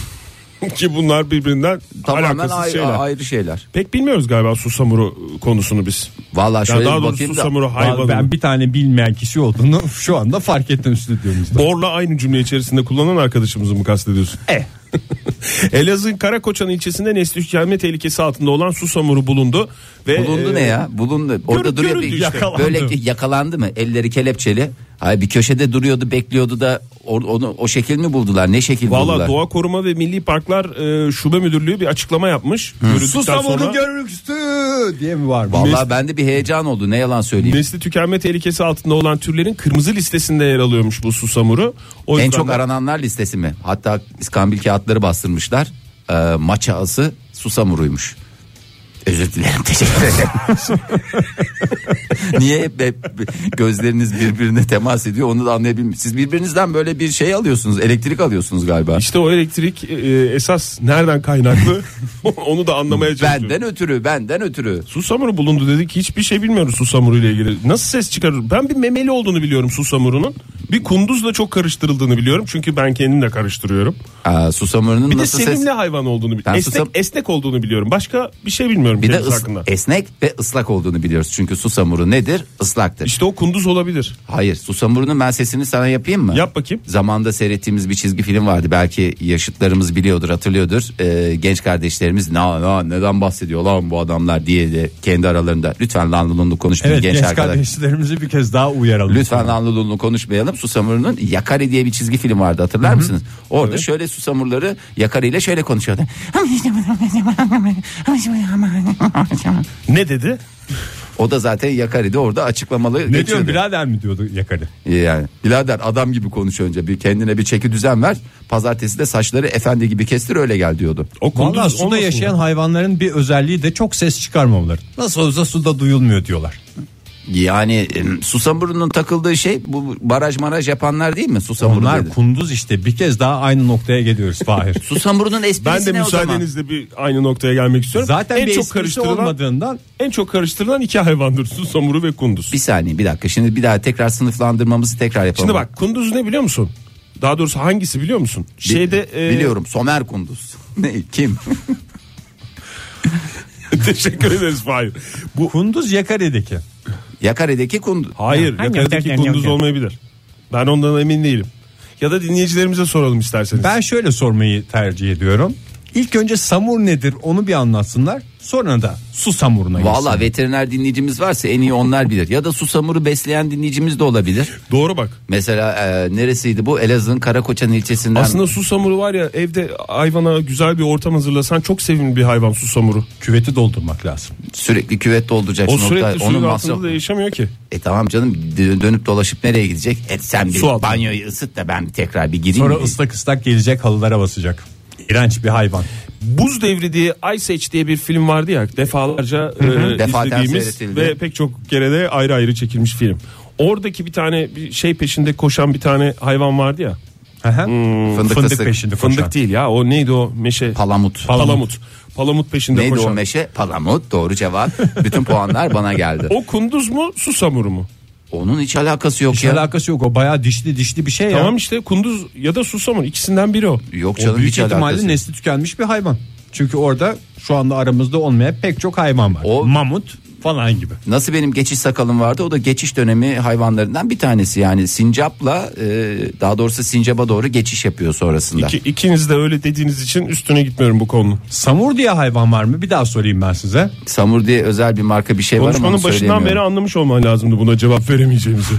Speaker 3: Ki bunlar birbirinden
Speaker 4: Tamamen
Speaker 3: alakasız
Speaker 4: ayrı
Speaker 3: şeyler.
Speaker 4: ayrı şeyler.
Speaker 3: Pek bilmiyoruz galiba susamuru konusunu biz.
Speaker 4: Vallahi
Speaker 3: Ya
Speaker 4: şöyle
Speaker 3: daha
Speaker 4: bir
Speaker 3: doğrusu
Speaker 4: bakayım da.
Speaker 3: susamuru hayvanı.
Speaker 2: Ben bir tane bilmeyen kişi olduğunu şu anda fark ettim stüdyomuzda.
Speaker 3: Borla aynı cümle içerisinde kullanan arkadaşımızı mı kastediyorsun?
Speaker 2: E.
Speaker 3: Elazığ'ın Karakoçan ilçesinde nesli tükenme tehlikesi altında olan susamuru bulundu. Ve
Speaker 4: Bulundu
Speaker 3: e,
Speaker 4: ne ya? Bulundu. Orada duruyor
Speaker 3: görüldü
Speaker 4: bir
Speaker 3: işte. Yakalandı.
Speaker 4: böyle ki- yakalandı mı? Elleri kelepçeli. Hayır bir köşede duruyordu, bekliyordu da or- onu o şekil mi buldular? Ne şekil buldular?
Speaker 3: Valla Doğa Koruma ve Milli Parklar e, Şube Müdürlüğü bir açıklama yapmış. Görüldükten sonra-
Speaker 2: Susamuru görüntüsü diye mi var?
Speaker 4: Vallahi bende bir heyecan oldu. Ne yalan söyleyeyim.
Speaker 3: Nesli tükenme tehlikesi altında olan türlerin kırmızı listesinde yer alıyormuş bu susamuru. O
Speaker 4: en
Speaker 3: yüzden
Speaker 4: çok
Speaker 3: de-
Speaker 4: arananlar listesi mi? Hatta iskambil kağıtları bastırmışlar. Ee, maç ağası susamuruymuş. Özür dilerim teşekkür ederim. Niye hep, hep gözleriniz birbirine temas ediyor onu da anlayabilmiyorum. Siz birbirinizden böyle bir şey alıyorsunuz elektrik alıyorsunuz galiba.
Speaker 3: İşte o elektrik e, esas nereden kaynaklı onu da anlamaya çalışıyorum.
Speaker 4: Benden ötürü benden ötürü.
Speaker 3: Susamuru bulundu dedik hiçbir şey bilmiyoruz susamuru ile ilgili. Nasıl ses çıkarır? Ben bir memeli olduğunu biliyorum susamurunun. Bir kunduzla çok karıştırıldığını biliyorum. Çünkü ben kendim de karıştırıyorum.
Speaker 4: Aa, susamurunun
Speaker 3: Bir
Speaker 4: nasıl
Speaker 3: de sevimli
Speaker 4: ses?
Speaker 3: hayvan olduğunu
Speaker 4: Ben
Speaker 3: biliyorum. Esnek,
Speaker 4: susam-
Speaker 3: esnek olduğunu biliyorum. Başka bir şey bilmiyorum
Speaker 4: Bir de
Speaker 3: kendisi
Speaker 4: ıs- E-
Speaker 3: hakkında.
Speaker 4: esnek ve ıslak olduğunu biliyoruz. Çünkü susamuru nedir? Islaktır.
Speaker 3: İşte o kunduz olabilir.
Speaker 4: Hayır susamurunun ben sesini sana yapayım mı?
Speaker 3: Yap bakayım.
Speaker 4: Zamanda seyrettiğimiz bir çizgi film vardı. Belki yaşıtlarımız biliyordur, hatırlıyordur. Ee, genç kardeşlerimiz na na neden bahsediyor lan bu adamlar diye de kendi aralarında lütfen lanlulunlu konuşmayın
Speaker 2: Evet
Speaker 4: genç,
Speaker 2: genç
Speaker 4: arkadaş.
Speaker 2: kardeşlerimizi bir kez daha uyaralım.
Speaker 4: Lütfen lanlulunlu konuşmayalım. Susamurunun Yakari diye bir çizgi film vardı hatırlar mısınız? Orada şöyle susamurları Yakari ile şöyle konuşuyordu.
Speaker 3: Ne dedi?
Speaker 4: O da zaten Yakari'de orada açıklamalı
Speaker 2: Ne
Speaker 4: geçiyordu.
Speaker 2: diyorsun birader mi diyordu yakarı?
Speaker 4: Yani birader adam gibi konuş önce bir kendine bir çeki düzen ver. Pazartesi de saçları efendi gibi kestir öyle gel diyordu.
Speaker 3: O kunduz
Speaker 2: Valla suda
Speaker 3: olmasın
Speaker 2: yaşayan
Speaker 3: mı?
Speaker 2: hayvanların bir özelliği de çok ses çıkarmamaları. Nasıl olsa suda duyulmuyor diyorlar.
Speaker 4: Yani em, Susamur'un takıldığı şey bu baraj maraj yapanlar değil mi? Susamur
Speaker 2: Bunlar
Speaker 4: dedi.
Speaker 2: kunduz işte bir kez daha aynı noktaya geliyoruz Fahir.
Speaker 4: Susamur'un
Speaker 3: Ben
Speaker 4: esprisi
Speaker 3: de
Speaker 4: ne o zaman?
Speaker 3: müsaadenizle bir aynı noktaya gelmek istiyorum.
Speaker 2: Zaten
Speaker 3: en
Speaker 2: bir
Speaker 3: çok
Speaker 2: esprisi
Speaker 3: karıştırılan
Speaker 2: olmadığından
Speaker 3: en çok karıştırılan iki hayvandır. Susamuru ve kunduz.
Speaker 4: Bir saniye bir dakika şimdi bir daha tekrar sınıflandırmamızı tekrar yapalım.
Speaker 3: Şimdi bak kunduz ne biliyor musun? Daha doğrusu hangisi biliyor musun?
Speaker 4: Bi-
Speaker 3: Şeyde e,
Speaker 4: Biliyorum Somer Kunduz. ne kim?
Speaker 3: teşekkür ederiz Fahir. Bu
Speaker 2: kunduz yakaredeki.
Speaker 4: Yakare'deki Kunduz.
Speaker 3: hayır yakaladaki kunduz olmayabilir. Ben ondan emin değilim. Ya da dinleyicilerimize soralım isterseniz.
Speaker 2: Ben şöyle sormayı tercih ediyorum. İlk önce samur nedir onu bir anlatsınlar. Sonra da su samuruna
Speaker 4: Valla
Speaker 2: geçsinler.
Speaker 4: veteriner dinleyicimiz varsa en iyi onlar bilir. Ya da Susamur'u besleyen dinleyicimiz de olabilir.
Speaker 3: Doğru bak.
Speaker 4: Mesela e, neresiydi bu? Elazığ'ın Karakoçan ilçesinden.
Speaker 3: Aslında susamuru var ya evde hayvana güzel bir ortam hazırlasan çok sevimli bir hayvan susamuru.
Speaker 2: Küveti doldurmak lazım.
Speaker 4: sürekli küvet dolduracaksın.
Speaker 3: O
Speaker 4: Oktay.
Speaker 3: sürekli suyun
Speaker 4: masraf-
Speaker 3: altında da yaşamıyor ki.
Speaker 4: E tamam canım dö- dönüp dolaşıp nereye gidecek? E sen bir
Speaker 3: Su altında.
Speaker 4: banyoyu ısıt da ben tekrar bir gireyim. E,
Speaker 2: Sonra
Speaker 4: Bir-
Speaker 2: ıslak ıslak gelecek halılara basacak. İğrenç bir hayvan.
Speaker 3: Buz Devri diye Ice Age diye bir film vardı ya defalarca e,
Speaker 4: Defaten
Speaker 3: izlediğimiz
Speaker 4: seyretildi.
Speaker 3: ve pek çok kere de ayrı ayrı çekilmiş film. Oradaki bir tane bir şey peşinde koşan bir tane hayvan vardı ya.
Speaker 2: Hı hı.
Speaker 4: Hmm, Fındık
Speaker 2: fındık
Speaker 4: fıstık.
Speaker 2: peşinde koşan.
Speaker 3: Fındık değil ya o neydi o meşe?
Speaker 4: Palamut.
Speaker 3: Palamut. Palamut, peşinde
Speaker 4: Neydi
Speaker 3: koşan.
Speaker 4: o
Speaker 3: O,
Speaker 4: meşe? Palamut doğru cevap. Bütün puanlar bana geldi.
Speaker 3: kunduz mu susamuru mu?
Speaker 4: Onun hiç alakası yok
Speaker 2: Hiç
Speaker 4: ya.
Speaker 2: alakası yok o bayağı dişli dişli bir şey ya.
Speaker 3: Tamam işte kunduz ya da susamur ikisinden biri o.
Speaker 4: Yok
Speaker 2: O
Speaker 4: canım
Speaker 2: büyük
Speaker 4: hiç alakası
Speaker 2: ihtimalle
Speaker 4: yok.
Speaker 2: nesli tükenmiş bir hayvan. Çünkü orada şu anda aramızda olmayan pek çok hayvan var.
Speaker 4: O-
Speaker 2: Mamut falan gibi.
Speaker 4: Nasıl benim geçiş sakalım vardı o da geçiş dönemi hayvanlarından bir tanesi yani sincapla e, daha doğrusu sincaba doğru geçiş yapıyor sonrasında.
Speaker 3: İki, ikiniz de öyle dediğiniz için üstüne gitmiyorum bu konunun.
Speaker 2: Samur diye hayvan var mı? Bir daha sorayım ben size.
Speaker 4: Samur diye özel bir marka bir şey var ama onu
Speaker 3: Konuşmanın başından beri
Speaker 4: söyleyemiyorum.
Speaker 3: anlamış olman lazımdı buna cevap veremeyeceğimizi.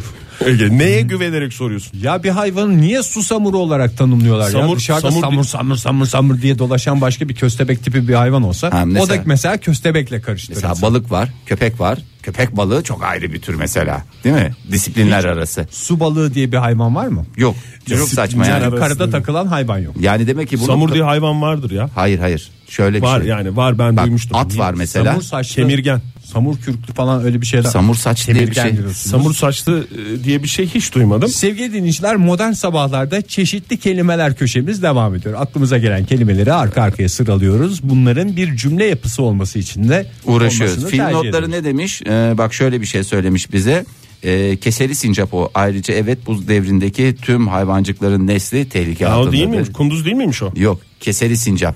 Speaker 3: Ege neye güvenerek soruyorsun?
Speaker 2: Ya bir hayvanı niye su samuru olarak tanımlıyorlar ya?
Speaker 3: Samur,
Speaker 2: Dışarıda
Speaker 3: samur
Speaker 2: samur, samur,
Speaker 3: di-
Speaker 2: samur, samur, diye dolaşan başka bir köstebek tipi bir hayvan olsa
Speaker 4: Ha, mesela-
Speaker 2: o da mesela köstebekle karıştırılır.
Speaker 4: Mesela balık var, köpek var. Köpek balığı çok ayrı bir tür mesela. Değil mi? Disiplinler arası.
Speaker 2: Su balığı diye bir hayvan var mı?
Speaker 4: Yok. Çok saçma yani.
Speaker 2: Yani karada takılan hayvan yok.
Speaker 4: Yani demek ki bunu
Speaker 3: Samur diye hayvan vardır ya.
Speaker 4: Hayır hayır. Şöyle bir
Speaker 3: Var
Speaker 4: şey.
Speaker 3: yani var ben
Speaker 4: Bak,
Speaker 3: duymuştum.
Speaker 4: at var mesela.
Speaker 2: Samur saçlı.
Speaker 3: Kemirgen.
Speaker 2: Samur kürklü falan öyle bir şeyler.
Speaker 4: Samur saç diye bir
Speaker 2: Kemirgen
Speaker 4: şey.
Speaker 2: diyorsunuz.
Speaker 3: Samur saçlı e, diye bir şey hiç duymadım.
Speaker 2: Sevgili dinleyiciler modern sabahlarda çeşitli kelimeler köşemiz devam ediyor. Aklımıza gelen kelimeleri arka arkaya sıralıyoruz. Bunların bir cümle yapısı olması için de
Speaker 4: uğraşıyoruz.
Speaker 2: olmasını
Speaker 4: Film
Speaker 2: tercih
Speaker 4: notları
Speaker 2: ediyoruz.
Speaker 4: ne demiş? Ee, bak şöyle bir şey söylemiş bize. Ee, keseli sincap o. Ayrıca evet buz devrindeki tüm hayvancıkların nesli tehlike
Speaker 3: Ya
Speaker 4: altında.
Speaker 3: o değil miymiş? Kunduz değil miymiş o? Şey,
Speaker 4: Yok, keseli sincap.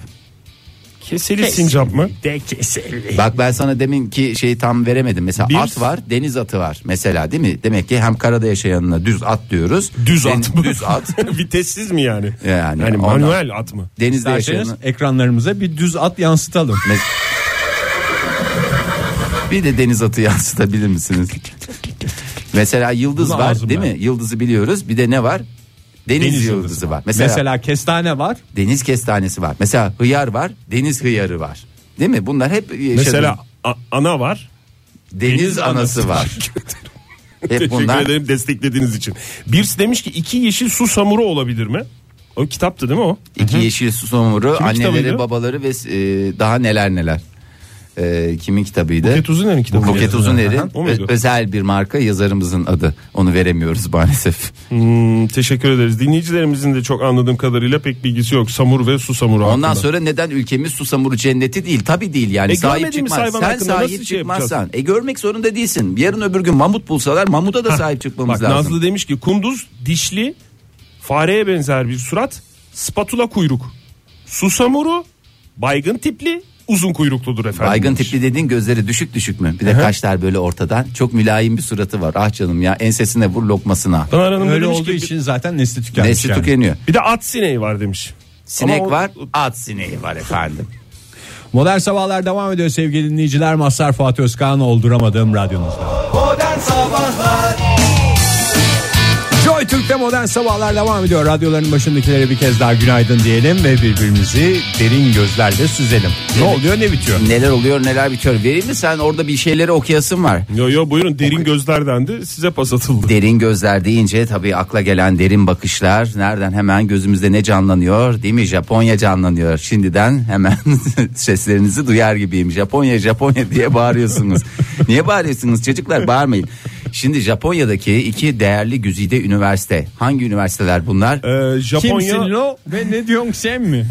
Speaker 3: Keseli sincap mı?
Speaker 4: Bak ben sana demin ki şeyi tam veremedim. Mesela
Speaker 3: Bir-
Speaker 4: at var, deniz atı var mesela değil mi? Demek ki hem karada yaşayanına düz at diyoruz.
Speaker 3: Düz
Speaker 4: Den-
Speaker 3: at mı?
Speaker 4: Düz at.
Speaker 3: Vitessiz mi yani?
Speaker 4: Yani
Speaker 3: yani
Speaker 4: ondan-
Speaker 3: manuel at mı?
Speaker 4: Denizde
Speaker 2: İsterseniz
Speaker 4: yaşayanı.
Speaker 2: ekranlarımıza bir düz at yansıtalım.
Speaker 4: Bir de deniz atı yansıtabilir misiniz? Mesela yıldız
Speaker 2: Bunu
Speaker 4: var
Speaker 2: ağzım
Speaker 4: değil mi? Yıldızı biliyoruz. Bir de ne var? Deniz,
Speaker 2: Deniz
Speaker 4: yıldızı,
Speaker 2: yıldızı
Speaker 4: var. Mesela,
Speaker 2: Mesela kestane var.
Speaker 4: deniz kestanesi var. Mesela hıyar var, deniz hıyarı var. Değil mi? Bunlar hep yaşadığım-
Speaker 3: Mesela a- ana var.
Speaker 4: deniz, anası var. hep
Speaker 3: Teşekkür
Speaker 4: bunlar.
Speaker 3: ederim desteklediğiniz için. Birisi demiş ki iki yeşil su samuru olabilir mi? O kitaptı değil mi o?
Speaker 4: İki yeşil susumuru,
Speaker 3: Kimin
Speaker 4: anneleri,
Speaker 3: kitabıydı?
Speaker 4: babaları ve e, daha neler neler. E, kimin kitabıydı?
Speaker 3: Buket Uzuner'in kitabı.
Speaker 4: Buket Uzuner'in
Speaker 3: O muydu?
Speaker 4: ö- özel bir marka yazarımızın adı. Onu veremiyoruz maalesef.
Speaker 3: Hmm, teşekkür ederiz. Dinleyicilerimizin de çok anladığım kadarıyla pek bilgisi yok. Samur ve su samuru
Speaker 4: Ondan
Speaker 3: hakkında.
Speaker 4: sonra neden ülkemiz susamuru cenneti değil? Tabi değil yani.
Speaker 3: E,
Speaker 4: sahip
Speaker 3: görmediğimiz
Speaker 4: çıkmaz.
Speaker 3: hayvan
Speaker 4: Sen
Speaker 3: hakkında nasıl
Speaker 4: sahip
Speaker 3: şey
Speaker 4: çıkmazsan. E görmek zorunda değilsin. Yarın öbür gün mamut bulsalar mamuta da sahip çıkmamız
Speaker 3: Bak
Speaker 4: lazım.
Speaker 3: Nazlı demiş ki kunduz dişli fareye benzer bir surat spatula kuyruk. Susamuru baygın tipli uzun kuyrukludur efendim.
Speaker 4: Baygın
Speaker 3: demiş.
Speaker 4: tipli dediğin gözleri düşük düşük mü? Bir de kaşlar böyle ortadan. Çok mülayim bir suratı var. Ah canım ya ensesine vur lokmasına.
Speaker 3: Pınar Hanım da
Speaker 2: Öyle
Speaker 3: demiş
Speaker 2: olduğu
Speaker 3: ki,
Speaker 2: için zaten nesli tükenmiş.
Speaker 4: Nesli
Speaker 2: yani.
Speaker 4: tükeniyor.
Speaker 3: Bir de at sineği var demiş.
Speaker 4: Sinek
Speaker 3: Ama o-
Speaker 4: var, at sineği var efendim.
Speaker 2: Modern sabahlar devam ediyor sevgili dinleyiciler. Mazhar Fatih Özkan olduramadığım radyonuzda.
Speaker 5: Modern Sabahlar
Speaker 2: Joy Türk'te modern sabahlar devam ediyor. Radyoların başındakilere bir kez daha günaydın diyelim ve birbirimizi derin gözlerle süzelim. Ne oluyor ne bitiyor?
Speaker 4: Neler oluyor neler bitiyor. Vereyim mi sen orada bir şeyleri okuyasın var.
Speaker 3: Yo yo buyurun derin gözler dendi size pas atıldı.
Speaker 4: Derin gözler deyince tabii akla gelen derin bakışlar nereden hemen gözümüzde ne canlanıyor değil mi Japonya canlanıyor şimdiden hemen seslerinizi duyar gibiyim Japonya Japonya diye bağırıyorsunuz niye bağırıyorsunuz çocuklar bağırmayın şimdi Japonya'daki iki değerli güzide üniversite hangi üniversiteler bunlar
Speaker 3: Ee,
Speaker 2: Kimsin
Speaker 3: Japonya
Speaker 2: lo ve ne diyorsun sen mi?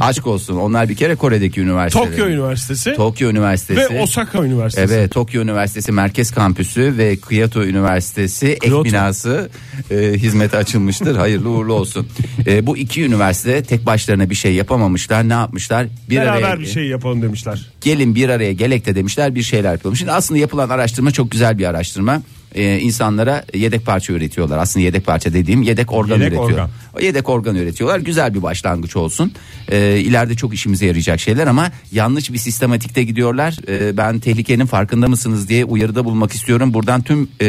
Speaker 4: aşk olsun onlar bir kere Kore'deki üniversiteler
Speaker 3: Tokyo Üniversitesi
Speaker 4: Tokyo Üniversitesi
Speaker 3: ve Osaka Üniversitesi.
Speaker 4: Evet Tokyo Üniversitesi Merkez Kampüsü ve Kyoto Üniversitesi ek
Speaker 3: Kyoto.
Speaker 4: binası e, hizmete açılmıştır. Hayırlı uğurlu olsun. E, bu iki üniversite tek başlarına bir şey yapamamışlar. Ne yapmışlar? Bir
Speaker 3: Beraber
Speaker 4: araya
Speaker 3: bir şey yapalım demişler.
Speaker 4: gelin bir araya gelek de demişler bir şeyler yapalım. Şimdi aslında yapılan araştırma çok güzel bir araştırma. Ee, insanlara yedek parça üretiyorlar. Aslında yedek parça dediğim yedek organ
Speaker 2: Yedek
Speaker 4: üretiyor.
Speaker 2: organ.
Speaker 4: O Yedek organ üretiyorlar. Güzel bir başlangıç olsun. Ee, ileride çok işimize yarayacak şeyler ama yanlış bir sistematikte gidiyorlar. Ee, ben tehlikenin farkında mısınız diye uyarıda bulmak istiyorum. Buradan tüm e,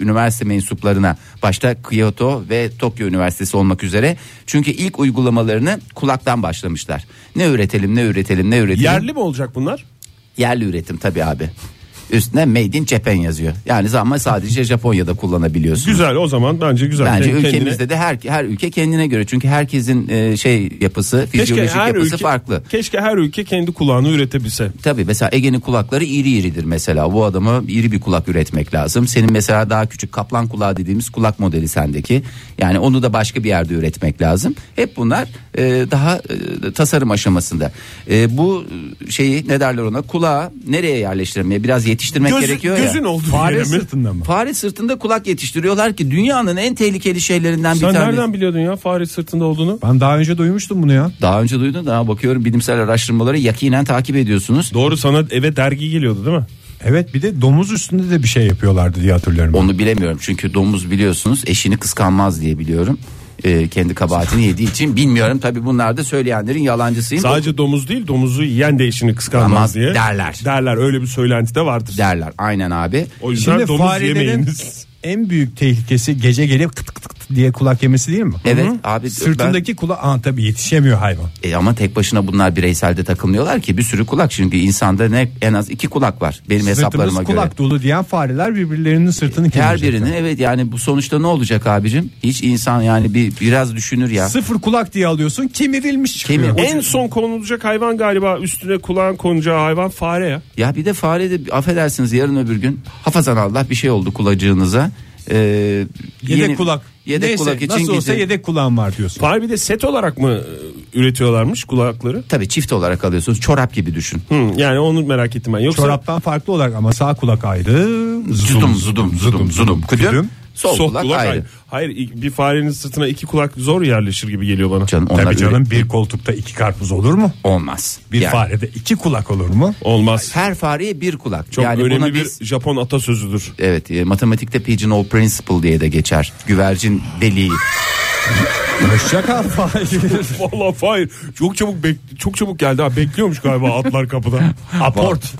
Speaker 4: üniversite mensuplarına başta Kyoto ve Tokyo Üniversitesi olmak üzere. Çünkü ilk uygulamalarını kulaktan başlamışlar. Ne üretelim, ne üretelim, ne üretelim.
Speaker 3: Yerli mi olacak bunlar?
Speaker 4: Yerli üretim tabii abi. Üstüne Made in Japan yazıyor. Yani ama sadece Japonya'da kullanabiliyorsun.
Speaker 3: Güzel o zaman bence güzel.
Speaker 4: Bence
Speaker 3: Kendi- kendine-
Speaker 4: ülkemizde de her her ülke kendine göre. Çünkü herkesin e, şey yapısı, fizyolojik yapısı farklı.
Speaker 3: Keşke her ülke kendi kulağını üretebilse.
Speaker 4: Tabii mesela Ege'nin kulakları iri iridir mesela. Bu adama iri bir kulak üretmek lazım. Senin mesela daha küçük kaplan kulağı dediğimiz kulak modeli sendeki. Yani onu da başka bir yerde üretmek lazım. Hep bunlar e, daha e, tasarım aşamasında. E, bu şeyi ne derler ona? Kulağı nereye yerleştirmeye biraz yetiştirmek
Speaker 3: Gözü-
Speaker 4: gerekiyor ya.
Speaker 3: gözün olduğu
Speaker 2: Fare
Speaker 3: yere mi?
Speaker 2: sırtında mı?
Speaker 4: Fare sırtında kulak yetiştiriyorlar ki dünyanın en tehlikeli şeylerinden
Speaker 3: Sen
Speaker 4: bir tanesi.
Speaker 3: nereden biliyordun ya fare sırtında olduğunu?
Speaker 2: Ben daha önce duymuştum bunu ya.
Speaker 4: Daha önce duydun da ha, bakıyorum bilimsel araştırmaları yakinen takip ediyorsunuz.
Speaker 3: Doğru sana eve dergi geliyordu değil mi?
Speaker 2: Evet bir de domuz üstünde de bir şey yapıyorlardı diye hatırlıyorum.
Speaker 4: Onu bilemiyorum çünkü domuz biliyorsunuz eşini kıskanmaz diye biliyorum. Ee, kendi kabahatini yediği için bilmiyorum tabi bunlar da söyleyenlerin yalancısıyım.
Speaker 3: Sadece domuz değil domuzu yiyen de eşini
Speaker 4: Ama
Speaker 3: kıskanmaz diye.
Speaker 4: derler.
Speaker 3: Derler öyle bir söylenti de vardır.
Speaker 4: derler aynen abi.
Speaker 3: O yüzden
Speaker 2: Şimdi
Speaker 3: domuz
Speaker 2: farelerin
Speaker 3: yemeyiniz.
Speaker 2: en büyük tehlikesi gece gelip kıt kıt kıt diye kulak yemesi değil mi?
Speaker 4: Evet,
Speaker 2: Hı hı.
Speaker 4: abi,
Speaker 2: Sırtındaki kulak Aa, tabii yetişemiyor hayvan.
Speaker 4: E ama tek başına bunlar bireyselde takılmıyorlar ki bir sürü kulak çünkü insanda ne en az iki kulak var benim hesaplarıma
Speaker 2: Sırtımız
Speaker 4: göre.
Speaker 2: kulak dolu diyen fareler birbirlerinin sırtını
Speaker 4: Her
Speaker 2: kemirecek.
Speaker 4: birini evet yani bu sonuçta ne olacak abicim? Hiç insan yani bir biraz düşünür ya.
Speaker 2: Sıfır kulak diye alıyorsun kemirilmiş çıkıyor.
Speaker 4: Kemir-
Speaker 3: En son konulacak hayvan galiba üstüne kulağın konacağı hayvan fare ya.
Speaker 4: Ya bir de fare de affedersiniz yarın öbür gün hafazan Allah bir şey oldu kulacığınıza. Ee,
Speaker 2: Yedek
Speaker 4: yeni-
Speaker 2: kulak.
Speaker 4: Yedek
Speaker 2: Neyse,
Speaker 4: kulak için
Speaker 2: nasıl olsa
Speaker 4: gidecek.
Speaker 2: yedek kulağın var diyorsun.
Speaker 3: Fare bir de set olarak mı e, üretiyorlarmış kulakları?
Speaker 4: Tabii çift olarak alıyorsunuz çorap gibi düşün.
Speaker 3: Hı, yani onu merak ettim ben. Yoksa
Speaker 2: Çoraptan farklı olarak ama sağ kulak ayrı.
Speaker 4: Zudum zudum zudum zudum küdüm. Sol,
Speaker 3: Sol
Speaker 4: kulak, ayrı.
Speaker 3: Hayır i- bir farenin sırtına iki kulak zor yerleşir gibi geliyor bana.
Speaker 4: Canım onlar
Speaker 2: Tabii
Speaker 4: öyle-
Speaker 2: canım bir koltukta iki karpuz olur mu?
Speaker 4: olmaz.
Speaker 2: Bir
Speaker 4: Yani
Speaker 2: farede iki kulak olur mu?
Speaker 3: Olmaz.
Speaker 4: Her fareye bir kulak.
Speaker 3: Çok
Speaker 4: yani buna
Speaker 3: önemli bir
Speaker 4: biz-
Speaker 3: Japon atasözüdür.
Speaker 4: Evet e, matematikte pigeonhole principle diye de geçer. Güvercin deliği.
Speaker 2: Hoşça kal Fahir.
Speaker 3: Vallahi Fahir çok çabuk bek- çok çabuk geldi ha bekliyormuş galiba atlar kapıda.
Speaker 2: Aport.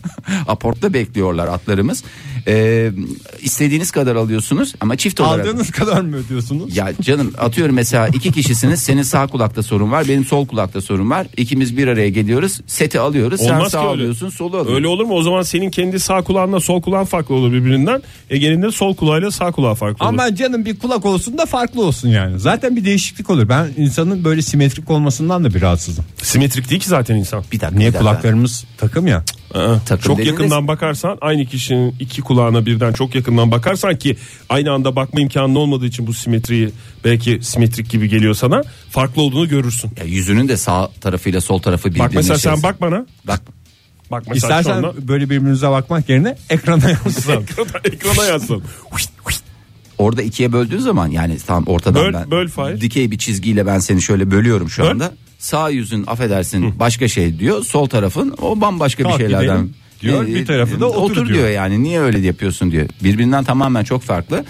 Speaker 4: Aportta bekliyorlar atlarımız. Ee, istediğiniz kadar alıyorsunuz ama çift olarak.
Speaker 2: Aldığınız kadar mı ödüyorsunuz?
Speaker 4: Ya canım atıyorum mesela iki kişisiniz senin sağ kulakta sorun var benim sol kulakta sorun var. İkimiz bir araya geliyoruz seti alıyoruz sen
Speaker 3: Olmaz
Speaker 4: sağ
Speaker 3: ki öyle.
Speaker 4: alıyorsun solu alıyorsun.
Speaker 3: Öyle olur mu? O zaman senin kendi sağ kulağınla sol kulağın farklı olur birbirinden. Ege'nin de sol kulağıyla sağ kulağı farklı olur.
Speaker 2: Ama canım bir kulak olsun da farklı olsun yani. Zaten bir değişiklik olur. Ben insanın böyle simetrik olmasından da bir rahatsızım.
Speaker 3: Simetrik değil ki zaten insan.
Speaker 4: Bir dakika
Speaker 2: Niye
Speaker 4: bir dakika.
Speaker 2: kulaklarımız takım ya?
Speaker 3: Aa,
Speaker 4: Takım
Speaker 3: çok
Speaker 4: dediğiniz-
Speaker 3: yakından bakarsan aynı kişinin iki kulağına birden çok yakından bakarsan ki aynı anda bakma imkanı olmadığı için bu simetriyi belki simetrik gibi geliyor sana farklı olduğunu görürsün.
Speaker 4: Ya yüzünün de sağ tarafıyla sol tarafı birbirine
Speaker 3: Bak mesela
Speaker 4: şey-
Speaker 3: sen bak bana.
Speaker 4: Bak
Speaker 3: Bak mesela
Speaker 2: İstersen
Speaker 3: şu anda
Speaker 2: böyle birbirimize bakmak yerine ekrana yansıtalım.
Speaker 3: ekrana, ekrana yazsın.
Speaker 4: orada ikiye böldüğün zaman yani tam ortadan
Speaker 3: Böl-
Speaker 4: ben
Speaker 3: böl Fahir.
Speaker 4: dikey bir çizgiyle ben seni şöyle bölüyorum şu
Speaker 3: Böl.
Speaker 4: anda. Sağ yüzün affedersin başka şey diyor. Sol tarafın o bambaşka
Speaker 2: Kalk
Speaker 4: bir şeylerden. e,
Speaker 2: gidelim diyor, bir tarafı da otur
Speaker 4: diyor.
Speaker 2: diyor.
Speaker 4: yani niye öyle yapıyorsun diyor. Birbirinden tamamen çok farklı.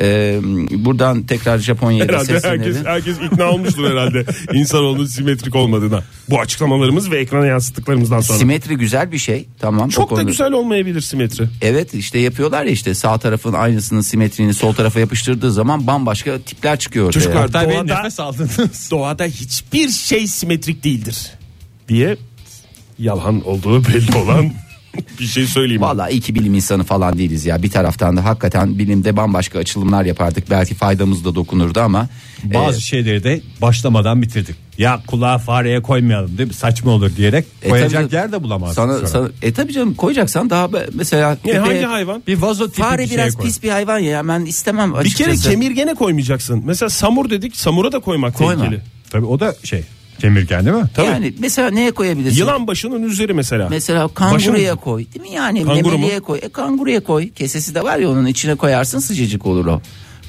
Speaker 4: Ee, buradan tekrar Japonya'ya da
Speaker 3: herhalde herkes,
Speaker 4: seslenelim.
Speaker 3: herkes ikna olmuştur herhalde insanoğlunun simetrik olmadığına. Bu açıklamalarımız ve ekrana yansıttıklarımızdan sonra.
Speaker 4: Simetri güzel bir şey tamam. o
Speaker 3: çok da
Speaker 4: konuda-
Speaker 3: güzel olmayabilir simetri.
Speaker 4: Evet işte yapıyorlar ya işte sağ tarafın aynısının simetriğini sol tarafa yapıştırdığı zaman bambaşka tipler çıkıyor. ortaya.
Speaker 3: Çocuklar,
Speaker 2: Tabii
Speaker 3: Doğada-
Speaker 2: nefes aldınız.
Speaker 3: doğada hiçbir şey simetrik değildir diye yalan olduğu belli olan bir şey söyleyeyim.
Speaker 4: Vallahi iki bilim insanı falan değiliz ya. Bir taraftan da hakikaten bilimde bambaşka açılımlar yapardık. Belki faydamız da dokunurdu ama
Speaker 2: Bazı
Speaker 4: e,
Speaker 2: şeyleri de başlamadan bitirdik. Ya kulağı fareye koymayalım değil mi? Saçma olur diyerek
Speaker 4: e,
Speaker 2: koyacak
Speaker 4: tabii canım,
Speaker 2: yer de bulamazsın
Speaker 4: Sana,
Speaker 2: sonra.
Speaker 4: sana- e tabii canım koyacaksan daha be- mesela
Speaker 3: Ne, hangi
Speaker 4: köpeğe-
Speaker 3: hayvan?
Speaker 2: bir vazo tipi
Speaker 4: Fare
Speaker 2: bir şey
Speaker 4: biraz
Speaker 2: koy.
Speaker 4: pis bir hayvan ya. Ben istemem
Speaker 3: Bir
Speaker 4: açıkçası.
Speaker 3: kere kemirgene koymayacaksın. Mesela samur dedik samura da koymak
Speaker 4: Koyma.
Speaker 3: tehlikeli.
Speaker 2: Tabii o da şey kemirgen değil mi?
Speaker 4: Yani mesela neye koyabilirsin?
Speaker 3: Yılan başının üzeri mesela.
Speaker 4: Mesela kanguruya koy değil mi yani
Speaker 3: Kanguru mu?
Speaker 4: memeliye koy e, kanguruya koy kesesi de var ya onun içine koyarsın sıcacık olur o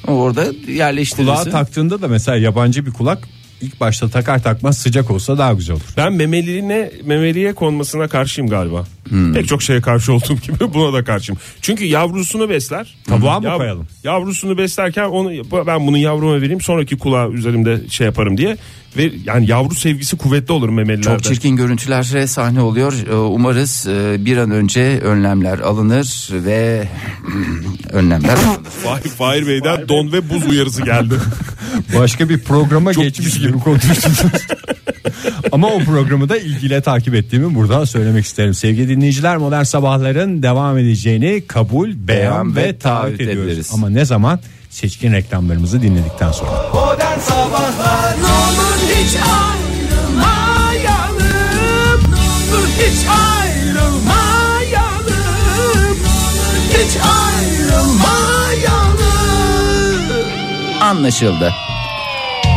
Speaker 4: orada yerleştirirsin
Speaker 2: Kulağa taktığında da mesela yabancı bir kulak ilk başta takar takmaz sıcak olsa daha güzel olur.
Speaker 3: Ben memeliğine memeliye konmasına karşıyım galiba.
Speaker 4: Hmm.
Speaker 3: Pek çok şeye karşı olduğum gibi buna da karşıyım. Çünkü yavrusunu besler.
Speaker 2: Tavuğa mı
Speaker 3: Yav-
Speaker 2: koyalım?
Speaker 3: Yavrusunu beslerken onu ben bunu yavruma vereyim sonraki kulağı üzerimde şey yaparım diye. Ve yani yavru sevgisi kuvvetli olur memelilerde.
Speaker 4: Çok çirkin görüntülere sahne oluyor. Ee, Umarız e, bir an önce önlemler alınır ve önlemler alınır.
Speaker 3: Fahir, Fahir Bey'den don ve buz uyarısı geldi.
Speaker 2: Başka bir programa geçmiş gibi konuştunuz. Ama o programı da ilgiyle takip ettiğimi buradan söylemek isterim. Sevgili dinleyiciler modern sabahların devam edeceğini kabul, beyan,
Speaker 4: Beyan
Speaker 2: ve,
Speaker 4: ve taahhüt
Speaker 2: taahhüt ediyoruz.
Speaker 4: ederiz.
Speaker 2: Ama ne zaman? Seçkin reklamlarımızı dinledikten sonra.
Speaker 7: Modern Sabahlar
Speaker 8: Ne olur hiç ayrılmayalım Dur hiç ayrılmayalım Hiç ayrılmayalım
Speaker 4: Anlaşıldı.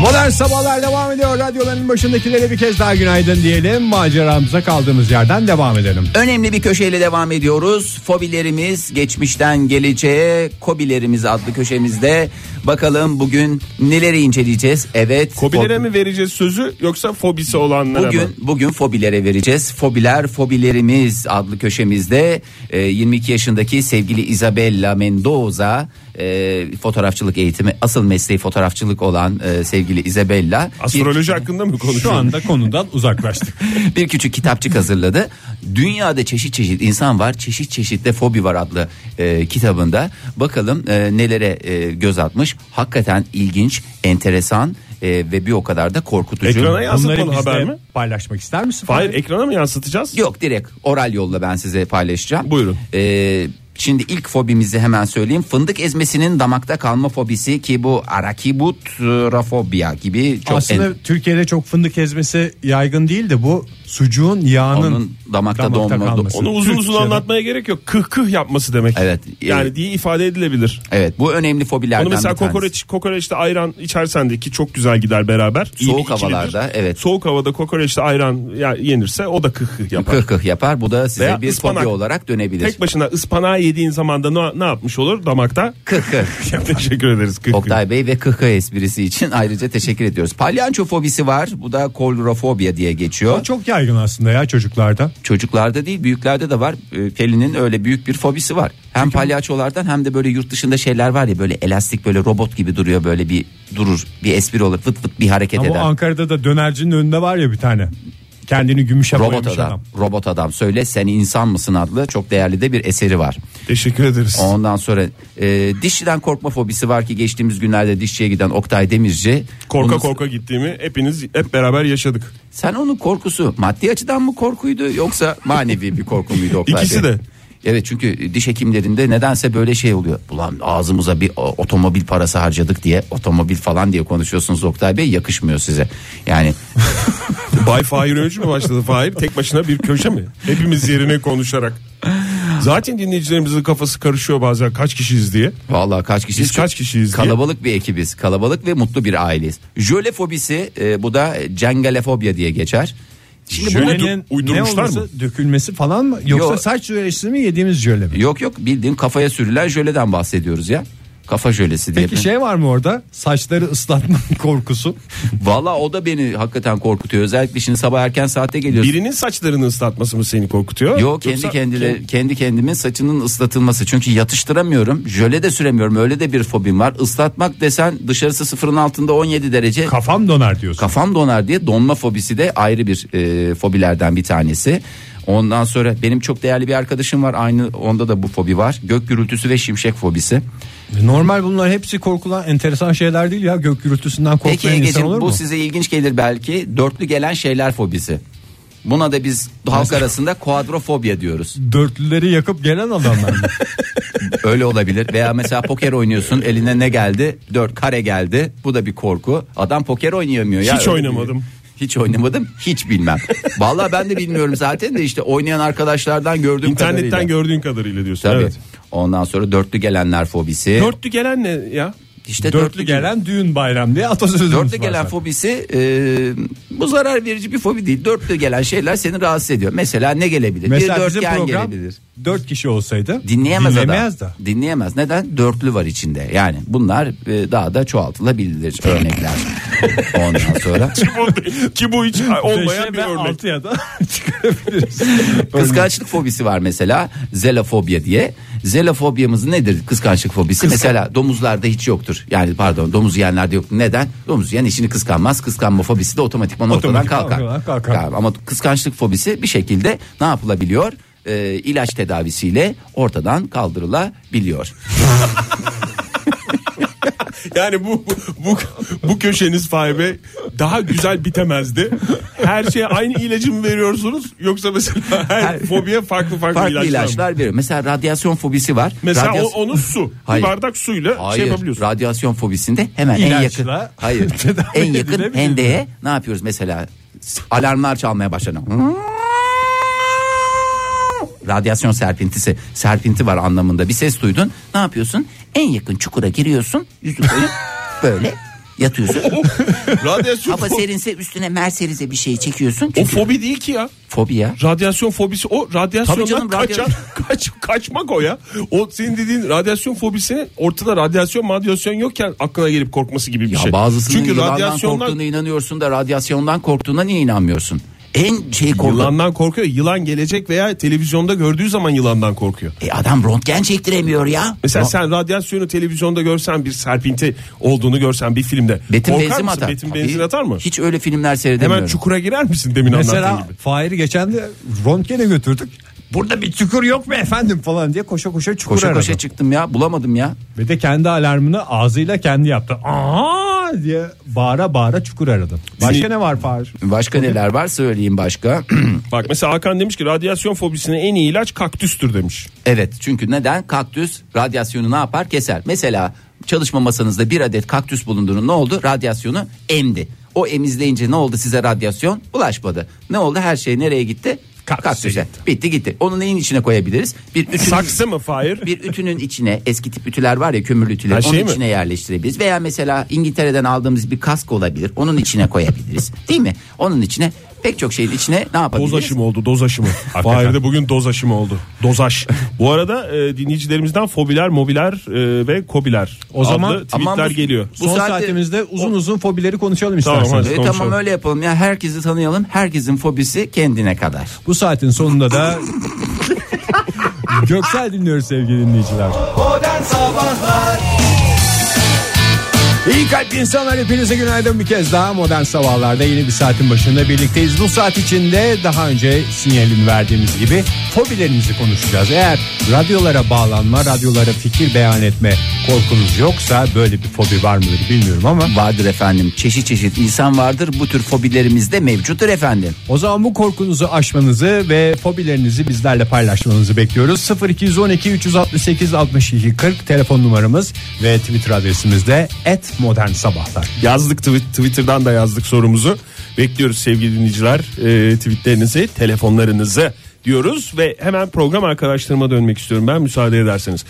Speaker 2: Modern sabahlar devam ediyor. Radyoların başındakilere bir kez daha günaydın diyelim. Maceramıza kaldığımız yerden devam edelim.
Speaker 4: Önemli bir köşeyle devam ediyoruz. Fobilerimiz geçmişten geleceğe, kobilerimiz adlı köşemizde. Bakalım bugün neleri inceleyeceğiz? Evet.
Speaker 3: Kobilere
Speaker 4: fobi-
Speaker 3: mi vereceğiz sözü yoksa fobisi olanlara mı?
Speaker 4: Bugün bugün fobilere vereceğiz. Fobiler fobilerimiz adlı köşemizde e, 22 yaşındaki sevgili Isabella Mendoza e, fotoğrafçılık eğitimi asıl mesleği fotoğrafçılık olan e, sevgili sevgili Isabella bir,
Speaker 3: Astroloji hakkında mı konuşuyoruz?
Speaker 2: Şu anda konudan uzaklaştık.
Speaker 4: bir küçük kitapçık hazırladı. Dünyada çeşit çeşit insan var, çeşit çeşit de fobi var adlı e, kitabında. Bakalım e, nelere e, göz atmış. Hakikaten ilginç, enteresan e, ve bir o kadar da korkutucu.
Speaker 3: Ekrana yansıtmalı
Speaker 2: Bunları
Speaker 3: haber
Speaker 2: bizle
Speaker 3: mi?
Speaker 2: paylaşmak ister misin?
Speaker 3: Hayır ekrana mı yansıtacağız?
Speaker 4: Yok direkt oral yolla ben size paylaşacağım.
Speaker 3: Buyurun.
Speaker 4: Ee, şimdi ilk fobimizi hemen söyleyeyim. Fındık ezmesinin damakta kalma fobisi ki bu arakibutrafobia gibi çok
Speaker 2: Aslında
Speaker 4: en-
Speaker 2: Türkiye'de çok fındık ezmesi yaygın değil de bu sucuğun yağının
Speaker 4: Onun damakta donma-
Speaker 2: kalması.
Speaker 3: Onu uzun uzun
Speaker 2: Türkçe'de-
Speaker 3: anlatmaya gerek yok. Kıh kıh yapması demek.
Speaker 4: Evet.
Speaker 3: Yani diye ifade edilebilir.
Speaker 4: Evet bu önemli fobilerden
Speaker 3: Onu mesela
Speaker 4: bir tanesi.
Speaker 3: kokoreç, kokoreçte ayran içersen de ki çok güzel gider beraber. İyi
Speaker 4: Soğuk
Speaker 3: bir ikilidir.
Speaker 4: havalarda, evet.
Speaker 3: Soğuk havada kokoreçte ayran ya- yenirse o da kıh kıh yapar.
Speaker 4: Kıh kıh yapar. Bu da size
Speaker 3: Veya
Speaker 4: bir
Speaker 3: ıspanak.
Speaker 4: fobi olarak dönebilir.
Speaker 3: Tek başına ıspanağı yediğin zaman da ne, ne yapmış olur damakta?
Speaker 4: Kıh kıh.
Speaker 3: Teşekkür ederiz. Kıh kıh.
Speaker 4: Oktay Bey ve kıhkıh esprisi için ayrıca teşekkür ediyoruz. Palyanço fobisi var. Bu da kolorofobia diye geçiyor.
Speaker 2: O çok yaygın aslında ya çocuklarda.
Speaker 4: Çocuklarda değil büyüklerde de var. Ee, Pelin'in öyle büyük bir fobisi var. Hem palyaçolardan hem de böyle yurt dışında şeyler var ya böyle elastik böyle robot gibi duruyor böyle bir durur bir espri olur fıt fıt bir hareket
Speaker 2: Ama
Speaker 4: eder.
Speaker 2: Ankara'da da dönercinin önünde var ya bir tane. Kendini gümüşe
Speaker 4: Robot
Speaker 2: boyamış
Speaker 4: adam,
Speaker 2: adam.
Speaker 4: robot adam söyle sen insan mısın adlı çok değerli de bir eseri var.
Speaker 3: Teşekkür ederiz.
Speaker 4: Ondan sonra e, dişçiden korkma fobisi var ki geçtiğimiz günlerde dişçiye giden Oktay Demirci.
Speaker 3: Korka
Speaker 4: Bunu-
Speaker 3: korka gittiğimi hepiniz hep beraber yaşadık.
Speaker 4: Sen onun korkusu maddi açıdan mı korkuydu yoksa manevi bir korku muydu Oktay Bey?
Speaker 3: İkisi de.
Speaker 4: Evet çünkü diş hekimlerinde nedense böyle şey oluyor. Ulan ağzımıza bir o- otomobil parası harcadık diye otomobil falan diye konuşuyorsunuz Oktay Bey yakışmıyor size. Yani
Speaker 3: Bay Fahir Öncü mü başladı Fahir? Tek başına bir köşe mi? Hepimiz yerine konuşarak. Zaten dinleyicilerimizin kafası karışıyor bazen kaç kişiyiz diye.
Speaker 4: vallahi kaç kişiyiz?
Speaker 3: Biz kaç kişiyiz diye.
Speaker 4: Kalabalık bir ekibiz. Kalabalık ve mutlu bir aileyiz. Jöle fobisi e, bu da cengalefobia diye geçer. Şimdi bunu-
Speaker 2: Jölenin ne
Speaker 3: uydurmuşlar
Speaker 2: olması
Speaker 3: mı?
Speaker 2: dökülmesi falan mı? Yoksa
Speaker 4: Yo-
Speaker 2: saç jölesi mi yediğimiz jöle mi?
Speaker 4: Yok yok bildiğin kafaya sürülen jöleden bahsediyoruz ya. Kafa jölesi diye.
Speaker 2: Peki şey var mı orada? Saçları ıslatma korkusu.
Speaker 4: Valla o da beni hakikaten korkutuyor. Özellikle şimdi sabah erken saatte geliyorsun.
Speaker 3: Birinin saçlarını ıslatması mı seni korkutuyor?
Speaker 4: Yok kendi
Speaker 3: Yoksa-
Speaker 4: kendine kendi kendimin saçının ıslatılması. Çünkü yatıştıramıyorum. Jöle de süremiyorum. Öyle de bir fobim var. Islatmak desen dışarısı sıfırın altında 17 derece.
Speaker 2: Kafam donar diyorsun.
Speaker 4: Kafam donar diye donma fobisi de ayrı bir e, fobilerden bir tanesi. Ondan sonra benim çok değerli bir arkadaşım var. Aynı onda da bu fobi var. Gök gürültüsü ve şimşek fobisi.
Speaker 2: Normal bunlar hepsi korkulan enteresan şeyler değil ya. Gök gürültüsünden korkmayan
Speaker 4: Peki
Speaker 2: insan
Speaker 4: Ege'cim
Speaker 2: olur
Speaker 4: bu
Speaker 2: mu?
Speaker 4: size ilginç gelir belki. Dörtlü gelen şeyler fobisi. Buna da biz halk arasında kuadrofobia diyoruz.
Speaker 2: Dörtlüleri yakıp gelen adamlar mı?
Speaker 4: Öyle olabilir. Veya mesela poker oynuyorsun eline ne geldi? Dört kare geldi. Bu da bir korku. Adam poker oynayamıyor. ya.
Speaker 3: Hiç
Speaker 4: Öyle
Speaker 3: oynamadım.
Speaker 4: bir- Hiç oynamadım hiç bilmem. Vallahi ben de bilmiyorum zaten de işte oynayan arkadaşlardan gördüğüm
Speaker 3: İnternetten
Speaker 4: kadarıyla.
Speaker 3: gördüğün kadarıyla diyorsun.
Speaker 4: Tabii.
Speaker 3: Evet.
Speaker 4: Ondan sonra dörtlü gelenler fobisi.
Speaker 3: Dörtlü gelen ne ya?
Speaker 4: işte
Speaker 2: Dörtlü gelen düğün bayram diye atasözümüz
Speaker 4: Dörtlü
Speaker 2: var
Speaker 4: gelen
Speaker 2: zaten.
Speaker 4: fobisi e, bu zarar verici bir fobi değil. Dörtlü gelen şeyler seni rahatsız ediyor. Mesela ne gelebilir? bir
Speaker 2: Mesela bizim
Speaker 4: dörtgen
Speaker 2: program
Speaker 4: gelebilir.
Speaker 2: dört kişi olsaydı
Speaker 4: Dinleyemez,
Speaker 2: dinlemez
Speaker 4: adam.
Speaker 2: de.
Speaker 4: Dinleyemez. Neden? Dörtlü var içinde. Yani bunlar e, daha da çoğaltılabilir örnekler. Ondan sonra
Speaker 3: Ki bu hiç olmayan bir
Speaker 2: Beşe ve
Speaker 3: örnek.
Speaker 2: altıya da çıkarabiliriz.
Speaker 4: kıskançlık fobisi var mesela. Zelofobia diye. Zelofobiyamız nedir kıskançlık fobisi? Mesela domuzlarda hiç yoktur. Yani pardon domuz yiyenlerde yok. Neden? Domuz yiyen işini kıskanmaz. Kıskanma fobisi de otomatikman ortadan
Speaker 2: Otomatik
Speaker 4: kalkar.
Speaker 2: ortadan kalkar.
Speaker 4: Yani Ama kıskançlık fobisi bir şekilde ne yapılabiliyor? E, ilaç tedavisiyle ortadan kaldırılabiliyor.
Speaker 3: Yani bu bu bu köşeniz Fahir Bey daha güzel bitemezdi. Her şeye aynı ilacı mı veriyorsunuz yoksa mesela her fobiye farklı farklı,
Speaker 4: Farklı
Speaker 3: ilaçlar, mı?
Speaker 4: ilaçlar veriyor. Mesela radyasyon fobisi var.
Speaker 3: Mesela
Speaker 4: Radyas-
Speaker 3: o, onu su.
Speaker 4: Hayır.
Speaker 3: Bir bardak suyla şey
Speaker 4: Hayır,
Speaker 3: yapabiliyorsun.
Speaker 4: radyasyon fobisinde hemen en
Speaker 2: İlaçla
Speaker 4: yakın. Hayır.
Speaker 2: tedavi
Speaker 4: en yakın
Speaker 2: edilebilir
Speaker 4: hendeye ne yapıyoruz mesela? S- Alarmlar çalmaya başlanıyor. Radyasyon serpintisi, serpinti var anlamında. Bir ses duydun. Ne yapıyorsun? En yakın çukura giriyorsun, yüzü koyup böyle yatıyorsun.
Speaker 3: radyasyon
Speaker 4: Hava
Speaker 3: fo-
Speaker 4: serinse üstüne merserize bir şey çekiyorsun.
Speaker 3: o
Speaker 4: Çünkü
Speaker 3: fobi değil ki ya.
Speaker 4: fobi ya.
Speaker 3: Radyasyon fobisi o radyasyondan
Speaker 4: Tabii canım, radya-
Speaker 3: kaçan, kaç, kaçmak o ya. O senin dediğin radyasyon fobisi ortada radyasyon madyasyon yokken aklına gelip korkması gibi bir
Speaker 4: Ya
Speaker 3: şey.
Speaker 4: bazısının
Speaker 3: Çünkü
Speaker 4: yılandan
Speaker 3: radyasyondan
Speaker 4: korktuğuna inanıyorsun da radyasyondan korktuğuna niye inanmıyorsun? en şey korku.
Speaker 3: Yılandan korkuyor. Yılan gelecek veya televizyonda gördüğü zaman yılandan korkuyor.
Speaker 4: E adam röntgen çektiremiyor ya.
Speaker 3: Mesela
Speaker 4: Ro-
Speaker 3: sen radyasyonu televizyonda görsen bir serpinti olduğunu görsen bir filmde.
Speaker 4: Betim
Speaker 3: korkar
Speaker 4: benzin
Speaker 3: mısın?
Speaker 4: atar.
Speaker 3: Betim benzin atar mı?
Speaker 4: Hiç öyle filmler seyredemiyorum.
Speaker 3: Hemen çukura girer misin demin anlattığın
Speaker 2: Mesela
Speaker 3: gibi?
Speaker 2: Fahir'i geçen de röntgene götürdük. Burada bir çukur yok mu efendim falan diye koşa koşa çukur
Speaker 4: koşa
Speaker 2: aradı.
Speaker 4: koşa çıktım ya bulamadım ya.
Speaker 2: Ve de kendi alarmını ağzıyla kendi yaptı. Aa diye bağıra bağıra çukur aradı. Başka ne var Fahir?
Speaker 4: Başka neler var söyleyeyim başka.
Speaker 3: Bak mesela Hakan demiş ki radyasyon fobisine en iyi ilaç kaktüstür demiş.
Speaker 4: evet çünkü neden? Kaktüs radyasyonu ne yapar? Keser. Mesela çalışma masanızda bir adet kaktüs bulunduğunu ne oldu? Radyasyonu emdi. O emizleyince ne oldu size radyasyon? Ulaşmadı. Ne oldu? Her şey nereye gitti?
Speaker 2: Kaktüse
Speaker 4: Kaktüse. Bitti gitti. Onu neyin içine koyabiliriz? Bir ütünün,
Speaker 3: Saksı mı Fahir?
Speaker 4: bir ütünün içine eski tip ütüler var ya kömürlü ütüler.
Speaker 3: Ha, şey
Speaker 4: onun
Speaker 3: mi?
Speaker 4: içine yerleştirebiliriz. Veya mesela İngiltere'den aldığımız bir kask olabilir. Onun içine koyabiliriz. Değil mi? Onun içine pek çok şeyin içine ne yapabiliriz?
Speaker 3: Doz aşımı oldu doz aşımı. Fahir de bugün doz aşımı oldu. Dozaş. Bu arada e, dinleyicilerimizden fobiler, mobiler e, ve kobiler o
Speaker 2: zaman-
Speaker 3: adlı tweetler
Speaker 4: Aman bu-
Speaker 3: geliyor.
Speaker 4: Bu
Speaker 2: Son
Speaker 4: saatte-
Speaker 2: saatimizde uzun uzun fobileri konuşalım
Speaker 3: Tamam,
Speaker 2: isterseniz.
Speaker 3: hadi.
Speaker 4: E,
Speaker 3: konuşalım.
Speaker 4: tamam öyle yapalım ya herkesi tanıyalım herkesin fobisi kendine kadar.
Speaker 2: Bu saatin sonunda da Göksel dinliyoruz sevgili dinleyiciler.
Speaker 7: Modern Sabahlar
Speaker 2: İyi kalp insanlar hepinize günaydın bir kez daha modern sabahlarda yeni bir saatin başında birlikteyiz. Bu saat içinde daha önce sinyalini verdiğimiz gibi fobilerimizi konuşacağız. Eğer radyolara bağlanma, radyolara fikir beyan etme korkunuz yoksa böyle bir fobi var mıdır bilmiyorum ama
Speaker 4: Vardır efendim çeşit çeşit insan vardır bu tür fobilerimiz de mevcuttur efendim.
Speaker 2: O zaman bu korkunuzu aşmanızı ve fobilerinizi bizlerle paylaşmanızı bekliyoruz. 0212 368 62 40 telefon numaramız ve Twitter adresimiz de @modernsabahlar.
Speaker 3: Yazdık twi- Twitter'dan da yazdık sorumuzu. Bekliyoruz sevgili dinleyiciler e, tweetlerinizi, telefonlarınızı diyoruz ve hemen program arkadaşlarıma dönmek istiyorum ben müsaade ederseniz.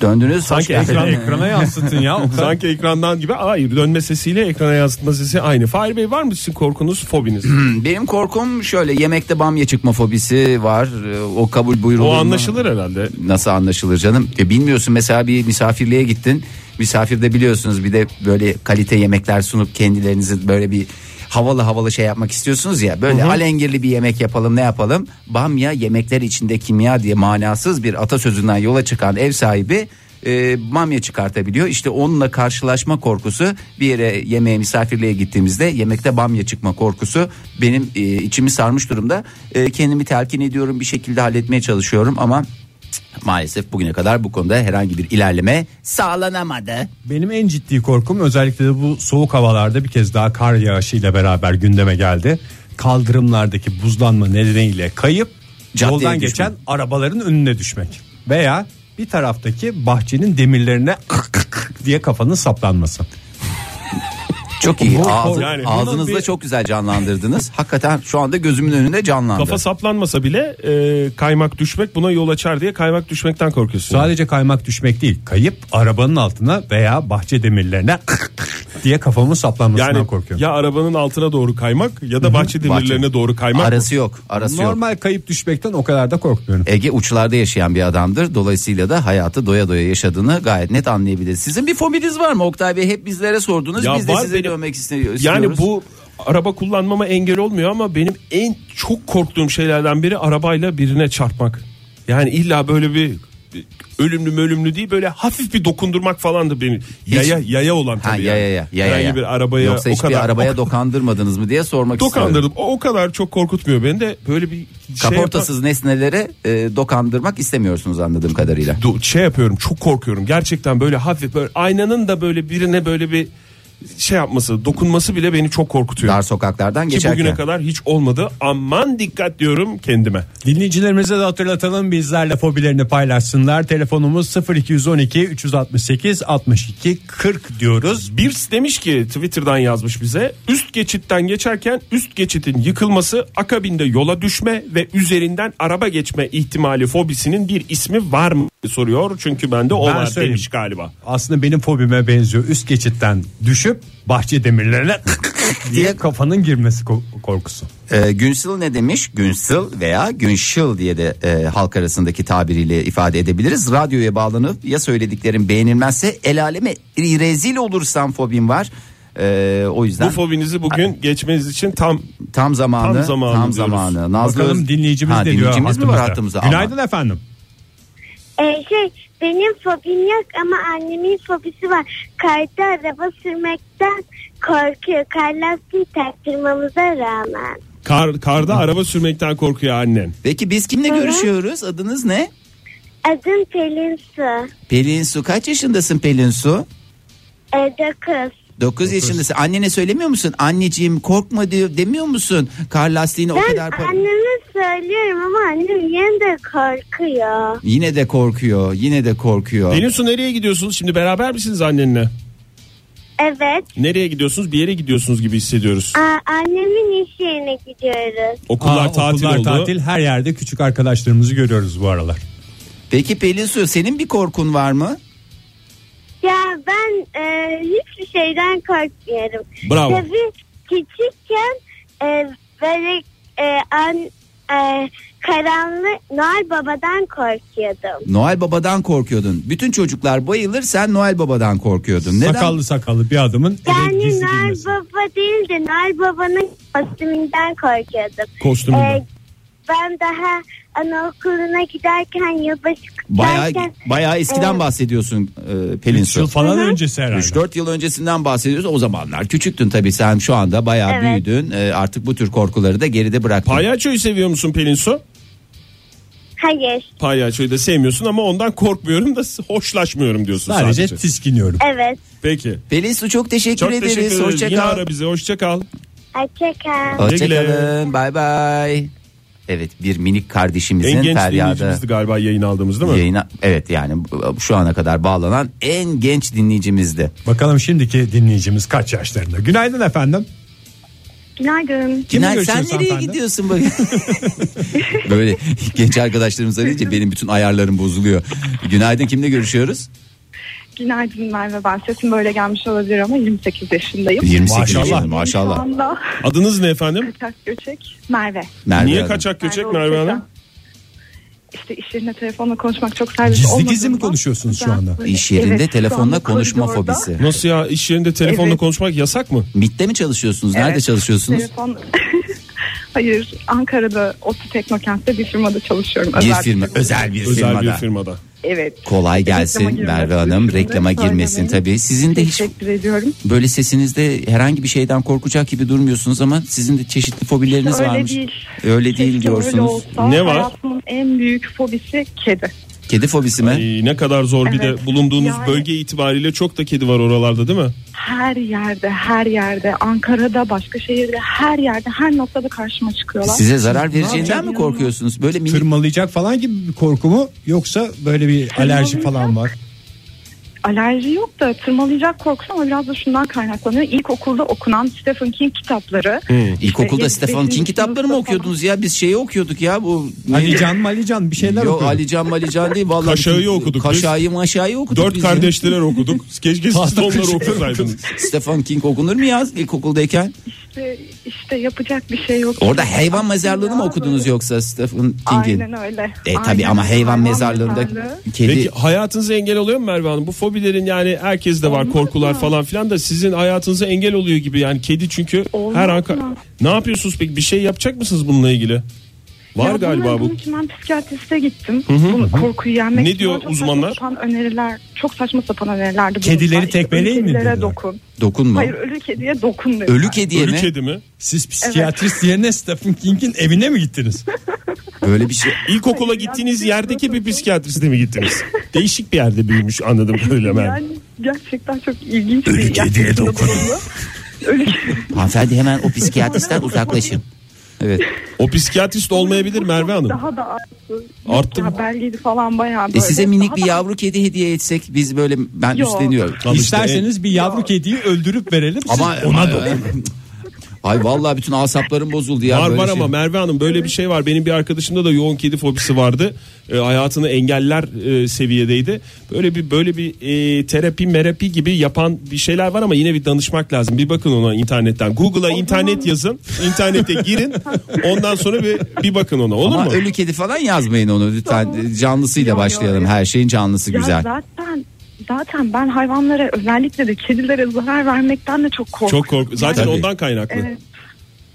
Speaker 4: Döndünüz hoş
Speaker 3: Sanki
Speaker 4: geldiniz.
Speaker 3: ekran,
Speaker 2: Ekrana yansıtın ya.
Speaker 3: sanki ekrandan gibi hayır dönme sesiyle ekrana yansıtma sesi aynı. Fahir Bey var mı sizin korkunuz, fobiniz?
Speaker 2: Hmm.
Speaker 4: Benim korkum şöyle yemekte bamya çıkma fobisi var Ee, o kabul buyurulur
Speaker 3: o
Speaker 4: mu?
Speaker 3: anlaşılır herhalde.
Speaker 4: Nasıl anlaşılır canım? E, bilmiyorsun mesela bir misafirliğe gittin. Misafirde biliyorsunuz bir de böyle kalite yemekler sunup kendilerinizi böyle bir havalı havalı şey yapmak istiyorsunuz ya. Böyle alengirli bir yemek yapalım ne yapalım? Bamya yemekler içinde kimya diye manasız bir atasözünden yola çıkan ev sahibi e, bamya çıkartabiliyor. İşte onunla karşılaşma korkusu bir yere yemeğe misafirliğe gittiğimizde yemekte bamya çıkma korkusu benim e, içimi sarmış durumda. E, kendimi telkin ediyorum bir şekilde halletmeye çalışıyorum ama cık, maalesef bugüne kadar bu konuda herhangi bir ilerleme sağlanamadı.
Speaker 2: Benim en ciddi korkum özellikle de bu soğuk havalarda bir kez daha kar yağışıyla beraber gündeme geldi. Kaldırımlardaki buzlanma nedeniyle kayıp
Speaker 4: Caddeye
Speaker 2: yoldan
Speaker 4: düşmek.
Speaker 2: geçen arabaların önüne düşmek veya bir taraftaki bahçenin demirlerine diye kafanın saplanması.
Speaker 4: Çok iyi.
Speaker 2: Bu-
Speaker 4: Ağzı,
Speaker 3: yani bunun
Speaker 4: ağzınızda
Speaker 3: bir-
Speaker 4: çok güzel canlandırdınız. Hakikaten şu anda gözümün önünde canlandı.
Speaker 3: Kafa saplanmasa bile e, kaymak düşmek buna yol açar diye kaymak düşmekten korkuyorsun.
Speaker 2: Sadece kaymak düşmek değil kayıp arabanın altına veya bahçe demirlerine diye kafamın saplanmasından
Speaker 3: yani
Speaker 2: korkuyorum.
Speaker 3: ya arabanın altına doğru kaymak ya da bahçe demirlerine doğru kaymak.
Speaker 4: Arası yok. Arası yok.
Speaker 2: Normal kayıp düşmekten o kadar da korkmuyorum.
Speaker 4: Ege uçlarda yaşayan bir adamdır. Dolayısıyla da hayatı doya doya yaşadığını gayet net anlayabilir. Sizin bir fobiniz var mı Oktay Bey? Hep bizlere sordunuz.
Speaker 3: Ya
Speaker 4: Biz de
Speaker 3: var
Speaker 4: size
Speaker 3: benim-
Speaker 4: dövmek istiyoruz.
Speaker 3: Yani bu araba kullanmama engel olmuyor ama benim en çok korktuğum şeylerden biri arabayla birine çarpmak. Yani illa böyle bir ölümlü ölümlü değil böyle hafif bir dokundurmak falandı beni. Yaya yaya olan
Speaker 4: ha,
Speaker 3: tabii.
Speaker 4: ya,
Speaker 3: yani.
Speaker 4: ya, ya, ya, ya,
Speaker 3: Herhangi
Speaker 4: ya.
Speaker 3: bir arabaya
Speaker 4: Yoksa
Speaker 3: o
Speaker 4: hiçbir
Speaker 3: kadar
Speaker 4: arabaya
Speaker 3: o-
Speaker 4: dokandırmadınız mı diye sormak istiyorum.
Speaker 3: dokandırdım. O, o kadar çok korkutmuyor beni de böyle bir şey yapan-
Speaker 4: Kaportasız nesnelere e, dokandırmak istemiyorsunuz anladığım kadarıyla.
Speaker 3: Du- şey yapıyorum çok korkuyorum gerçekten böyle hafif böyle aynanın da böyle birine böyle bir şey yapması dokunması bile beni çok korkutuyor.
Speaker 4: Dar sokaklardan
Speaker 3: Ki
Speaker 4: geçerken.
Speaker 3: bugüne kadar hiç olmadı. Aman dikkat diyorum kendime.
Speaker 2: Dinleyicilerimize de hatırlatalım bizlerle fobilerini paylaşsınlar. Telefonumuz 0212 368 62 40 diyoruz.
Speaker 3: Birs demiş ki Twitter'dan yazmış bize. Üst geçitten geçerken üst geçitin yıkılması, akabinde yola düşme ve üzerinden araba geçme ihtimali fobisinin bir ismi var mı diye soruyor. Çünkü bende o
Speaker 2: Ben
Speaker 3: var
Speaker 2: söyleyeyim.
Speaker 3: demiş galiba.
Speaker 2: Aslında benim fobime benziyor. Üst geçitten düşüp bahçe demirlerine diye kafanın girmesi ko- korkusu.
Speaker 4: E, Günsıl ne demiş? Günsıl veya Günşıl diye de e, halk arasındaki tabiriyle ifade edebiliriz. Radyoya bağlanıp ya söylediklerim beğenilmezse el aleme rezil olursam fobim var. E, Ee, o yüzden
Speaker 3: Bu fobinizi bugün geçmeniz için tam
Speaker 4: tam zamanı
Speaker 3: tam
Speaker 4: tam
Speaker 3: zamanı
Speaker 4: zamanı,
Speaker 3: diyoruz.
Speaker 4: Nazlı
Speaker 2: Bakalım
Speaker 4: Öz-
Speaker 2: dinleyicimiz
Speaker 4: Ha,
Speaker 2: ne diyor
Speaker 4: dinleyicimiz mi var hattımızda?
Speaker 2: hattımızda? Günaydın efendim.
Speaker 9: Ee, şey benim fobim yok ama annemin fobisi var. Karda araba sürmekten korkuyor. Kar lastiği taktırmamıza rağmen.
Speaker 3: kar, karda araba sürmekten korkuyor annen.
Speaker 4: Peki biz kimle görüşüyoruz? Adınız ne?
Speaker 9: Adım Pelin Su.
Speaker 4: Pelin Su. Kaç yaşındasın Pelin Su?
Speaker 9: Ee, dokuz.
Speaker 4: 9 yaşındasın. Annene söylemiyor musun? Anneciğim korkma diyor demiyor musun? Kar lastiğini o
Speaker 9: Ben
Speaker 4: kadar para-
Speaker 9: anneme söylüyorum ama annem yine de korkuyor.
Speaker 4: Yine de korkuyor. Yine de korkuyor.
Speaker 3: Pelin Su nereye gidiyorsunuz? Şimdi beraber misiniz annenle?
Speaker 9: Evet.
Speaker 3: Nereye gidiyorsunuz? Bir yere gidiyorsunuz gibi hissediyoruz.
Speaker 9: Aa, annemin iş yerine gidiyoruz.
Speaker 3: Okullar
Speaker 2: Aa,
Speaker 3: tatil
Speaker 2: okullar
Speaker 3: oldu.
Speaker 2: tatil her yerde küçük arkadaşlarımızı görüyoruz bu aralar.
Speaker 4: Peki Pelin Su senin bir korkun var mı?
Speaker 9: Ya ben e, hiçbir şeyden korkmuyorum.
Speaker 3: Bravo.
Speaker 9: Tabii küçükken e, böyle e, an, e, karanlık Noel Baba'dan korkuyordum.
Speaker 4: Noel Baba'dan korkuyordun. Bütün çocuklar bayılır sen Noel Baba'dan korkuyordun. Neden?
Speaker 2: Sakallı sakallı bir adamın eve
Speaker 9: Yani
Speaker 2: gizli
Speaker 9: Noel
Speaker 2: girmesi.
Speaker 9: Baba değil de Noel Baba'nın kostümünden korkuyordum.
Speaker 3: Kostümünden.
Speaker 9: E, ben daha anaokuluna giderken yılbaşı
Speaker 4: Bayağı,
Speaker 9: kutlarken
Speaker 4: bayağı eskiden bahsediyorsun e, Pelin
Speaker 2: Üç yıl
Speaker 4: Su.
Speaker 2: falan öncesi herhalde.
Speaker 4: 3-4 yıl öncesinden bahsediyoruz. O zamanlar küçüktün tabii sen şu anda bayağı
Speaker 9: Evet.
Speaker 4: büyüdün. E, artık bu tür korkuları da geride bıraktın.
Speaker 3: Palyaçoyu seviyor musun Pelin Su?
Speaker 9: hayır
Speaker 3: Palyaçoyu da sevmiyorsun ama ondan korkmuyorum da hoşlaşmıyorum diyorsun sadece.
Speaker 2: Sadece tiskiniyorum.
Speaker 9: evet
Speaker 3: Peki.
Speaker 4: Pelin Su çok teşekkür
Speaker 3: Çok
Speaker 4: ederiz.
Speaker 3: teşekkür ederiz.
Speaker 4: Hoşça
Speaker 3: Yine
Speaker 4: kal.
Speaker 3: ara bizi. Hoşça kal.
Speaker 9: açıkçası.
Speaker 4: Hoşça
Speaker 3: Güle güle.
Speaker 4: kalın. Bay bay. Evet bir minik
Speaker 3: en
Speaker 4: kardeşimizin
Speaker 3: genç
Speaker 4: feryadı.
Speaker 3: dinleyicimizdi galiba yayın aldığımız değil mi?
Speaker 4: Yayına, evet yani bu- şu ana kadar bağlanan en genç dinleyicimizdi.
Speaker 2: Bakalım şimdiki dinleyicimiz kaç yaşlarında. Günaydın efendim.
Speaker 9: Günaydın.
Speaker 2: Kimle
Speaker 4: Günaydın. sen
Speaker 2: görüşüyoruz
Speaker 4: nereye
Speaker 2: hanımefendi?
Speaker 4: gidiyorsun bugün? Böyle genç arkadaşlarımız arayınca benim bütün ayarlarım bozuluyor. Günaydın kimle görüşüyoruz?
Speaker 10: Günaydın Merve ben sesim böyle gelmiş olabilir ama 28 yaşındayım.
Speaker 4: 28
Speaker 2: Maşallah.
Speaker 4: yaşındayım,
Speaker 10: Şu
Speaker 4: maşallah.
Speaker 10: anda
Speaker 3: Adınız ne efendim?
Speaker 10: kaçak göçek Merve.
Speaker 4: Merve
Speaker 3: Niye
Speaker 4: Hanım.
Speaker 3: kaçak göçek
Speaker 10: Merve
Speaker 3: Merve
Speaker 10: Ortaç'a.
Speaker 3: Hanım?
Speaker 10: İşte iş yerinde telefonla konuşmak çok serbest
Speaker 2: Gizli
Speaker 10: olmadığından.
Speaker 2: gizli mi konuşuyorsunuz şu
Speaker 10: Ben
Speaker 2: anda?
Speaker 10: böyle-
Speaker 4: İş yerinde
Speaker 10: Evet, şu
Speaker 4: telefonla
Speaker 10: anda
Speaker 4: konuşma
Speaker 10: koridorda
Speaker 4: fobisi.
Speaker 3: Nasıl ya iş yerinde telefonla
Speaker 10: Evet.
Speaker 3: konuşmak yasak mı?
Speaker 4: MIT'te mi çalışıyorsunuz? Nerede
Speaker 10: Evet.
Speaker 4: çalışıyorsunuz?
Speaker 10: Telefon... Hayır Ankara'da Otu Teknokent'te bir firmada çalışıyorum.
Speaker 4: Bir
Speaker 10: bir
Speaker 4: firma,
Speaker 10: firma.
Speaker 4: özel bir
Speaker 3: Özel
Speaker 4: firmada.
Speaker 3: bir firmada.
Speaker 10: Evet.
Speaker 4: Kolay
Speaker 10: Reklama
Speaker 4: gelsin
Speaker 10: girmek
Speaker 4: Merve Hanım.
Speaker 10: durumunda
Speaker 4: Reklama girmesin
Speaker 10: söylemeyin.
Speaker 4: tabii. Sizin de hiç
Speaker 10: Teşekkür ediyorum.
Speaker 4: böyle sesinizde herhangi bir şeyden korkacak gibi durmuyorsunuz ama sizin de çeşitli fobileriniz
Speaker 10: Öyle
Speaker 4: varmış.
Speaker 10: değil.
Speaker 4: Öyle değil
Speaker 10: Keşke
Speaker 4: diyorsunuz.
Speaker 10: öyle olsa.
Speaker 3: Ne var?
Speaker 10: Hayatımın en büyük fobisi kedi.
Speaker 4: Kedi fobisi mi?
Speaker 3: Ay, ne kadar zor bir
Speaker 10: Evet.
Speaker 3: de bulunduğunuz
Speaker 10: Yani-
Speaker 3: bölge itibariyle çok da kedi var oralarda değil mi?
Speaker 10: Her yerde, her yerde, Ankara'da, başka şehirde, her yerde, her noktada karşıma çıkıyorlar.
Speaker 4: Size zarar vereceğinden
Speaker 10: yapacağım?
Speaker 4: mi korkuyorsunuz? Böyle minik
Speaker 2: Tırmalayacak falan gibi bir korku mu yoksa böyle bir alerji falan var?
Speaker 10: Alerji yok da tırmalayacak korkusu ama biraz da şundan kaynaklanıyor. İlkokulda okunan Stephen King kitapları.
Speaker 4: İlkokulda
Speaker 10: Evet,
Speaker 4: Stephen
Speaker 10: beşinci
Speaker 4: King kitaplarını mı
Speaker 10: sınıfta
Speaker 4: okuyordunuz ya? Biz şeyi okuyorduk ya bu
Speaker 2: Ali Can Ali Can bir şeyler
Speaker 4: Yok
Speaker 2: okuyor.
Speaker 4: Ali Can Mali Can değil vallahi.
Speaker 3: Kaşağı'yı
Speaker 4: bütün-
Speaker 3: okuduk biz.
Speaker 4: Kaşağı'yı maşağı'yı okuduk
Speaker 3: Dört
Speaker 4: biz ya.
Speaker 3: kardeşler okuduk. Keşke siz de onları okusaydınız.
Speaker 4: Stephen King okunur mu ya ilkokuldayken?
Speaker 10: İşte, işte yapacak bir şey yok.
Speaker 4: Orada hayvan mezarlığını mı
Speaker 10: Ya,
Speaker 4: okudunuz
Speaker 10: böyle-
Speaker 4: yoksa Stephen King'in?
Speaker 10: Aynen öyle.
Speaker 4: E tabi
Speaker 10: Aynen.
Speaker 4: ama hayvan mezarlığında
Speaker 10: mezarlığı.
Speaker 4: kedi
Speaker 3: Peki hayatınıza engel oluyor mu Merve Hanım? Bu fobilerin yani herkeste var
Speaker 10: Olmaz
Speaker 3: korkular
Speaker 10: mı?
Speaker 3: falan filan da sizin hayatınıza engel oluyor gibi. Yani kedi çünkü
Speaker 10: Olmaz
Speaker 3: her an...
Speaker 10: mı?
Speaker 3: Ne yapıyorsunuz peki? Bir şey yapacak mısınız bununla ilgili? Var
Speaker 10: Ya
Speaker 3: galiba
Speaker 10: bunlar-
Speaker 3: bu.
Speaker 10: bunun için ben psikiyatriste gittim. Bunu korkuyu yenmek
Speaker 3: Ne
Speaker 10: için
Speaker 3: diyor
Speaker 10: bana çok
Speaker 3: uzmanlar?
Speaker 10: Saçma sapan öneriler, çok saçma sapan önerilerdi.
Speaker 2: Kedileri
Speaker 10: bulundular. İşte
Speaker 2: tekmeleyin
Speaker 10: ölü
Speaker 2: mi
Speaker 10: kedilere
Speaker 2: dediler?
Speaker 10: dokun.
Speaker 4: dokunma.
Speaker 10: Hayır ölü kediye dokun dediler.
Speaker 4: Ölü kediye
Speaker 3: Ölü
Speaker 4: mi?
Speaker 3: kedi mi?
Speaker 2: Siz psikiyatrist yerine Stephen King'in evine mi gittiniz?
Speaker 4: Böyle bir şey.
Speaker 3: İlkokula
Speaker 10: Hayır,
Speaker 3: gittiğiniz
Speaker 10: yani-
Speaker 3: yerdeki bir psikiyatriste mi gittiniz? Değişik bir yerde büyümüş anladım öyle ben.
Speaker 10: Yani gerçekten çok ilginç bir Ölü kediye dokun. Ölü kedi.
Speaker 4: Hanımefendi hemen o psikiyatristen uzaklaşın. Evet.
Speaker 3: O psikiyatrist olmayabilir Merve Hanım.
Speaker 10: Daha da arttı.
Speaker 3: Arttı mı?
Speaker 10: Ya belgeli falan bayağı böyle.
Speaker 4: E size minik
Speaker 10: Daha
Speaker 4: bir
Speaker 10: da-
Speaker 4: yavru kedi hediye etsek biz böyle ben
Speaker 10: Yok.
Speaker 4: üstleniyorum.
Speaker 3: Al işte,
Speaker 2: İsterseniz
Speaker 10: e,
Speaker 2: bir yavru kediyi öldürüp verelim. Siz
Speaker 4: Ama
Speaker 2: ona
Speaker 3: e,
Speaker 4: ama-
Speaker 2: da.
Speaker 4: Ay vallahi bütün asaplarım bozuldu ya.
Speaker 3: Var
Speaker 4: böyle
Speaker 3: var
Speaker 4: şey.
Speaker 3: ama Merve Hanım böyle bir şey var. Benim bir arkadaşımda da yoğun kedi fobisi vardı. E, hayatını engeller e, seviyedeydi. Böyle bir böyle bir e, terapi merapi gibi yapan bir şeyler var ama yine bir danışmak lazım. Bir bakın ona internetten. Google'a internet yazın. internete girin. Ondan sonra bir bir bakın ona. Olur
Speaker 4: Ama
Speaker 3: mu?
Speaker 4: ölü kedi falan yazmayın onu lütfen.
Speaker 10: Tamam.
Speaker 4: Canlısıyla
Speaker 10: Yok,
Speaker 4: başlayalım.
Speaker 10: yok.
Speaker 4: Her şeyin canlısı
Speaker 10: Ya
Speaker 4: güzel.
Speaker 10: zaten zaten ben hayvanlara özellikle de kedilere zarar vermekten de çok
Speaker 3: Çok
Speaker 10: korkuyorum.
Speaker 3: kork. Zaten
Speaker 4: Tabii.
Speaker 3: ondan kaynaklı.
Speaker 10: Evet.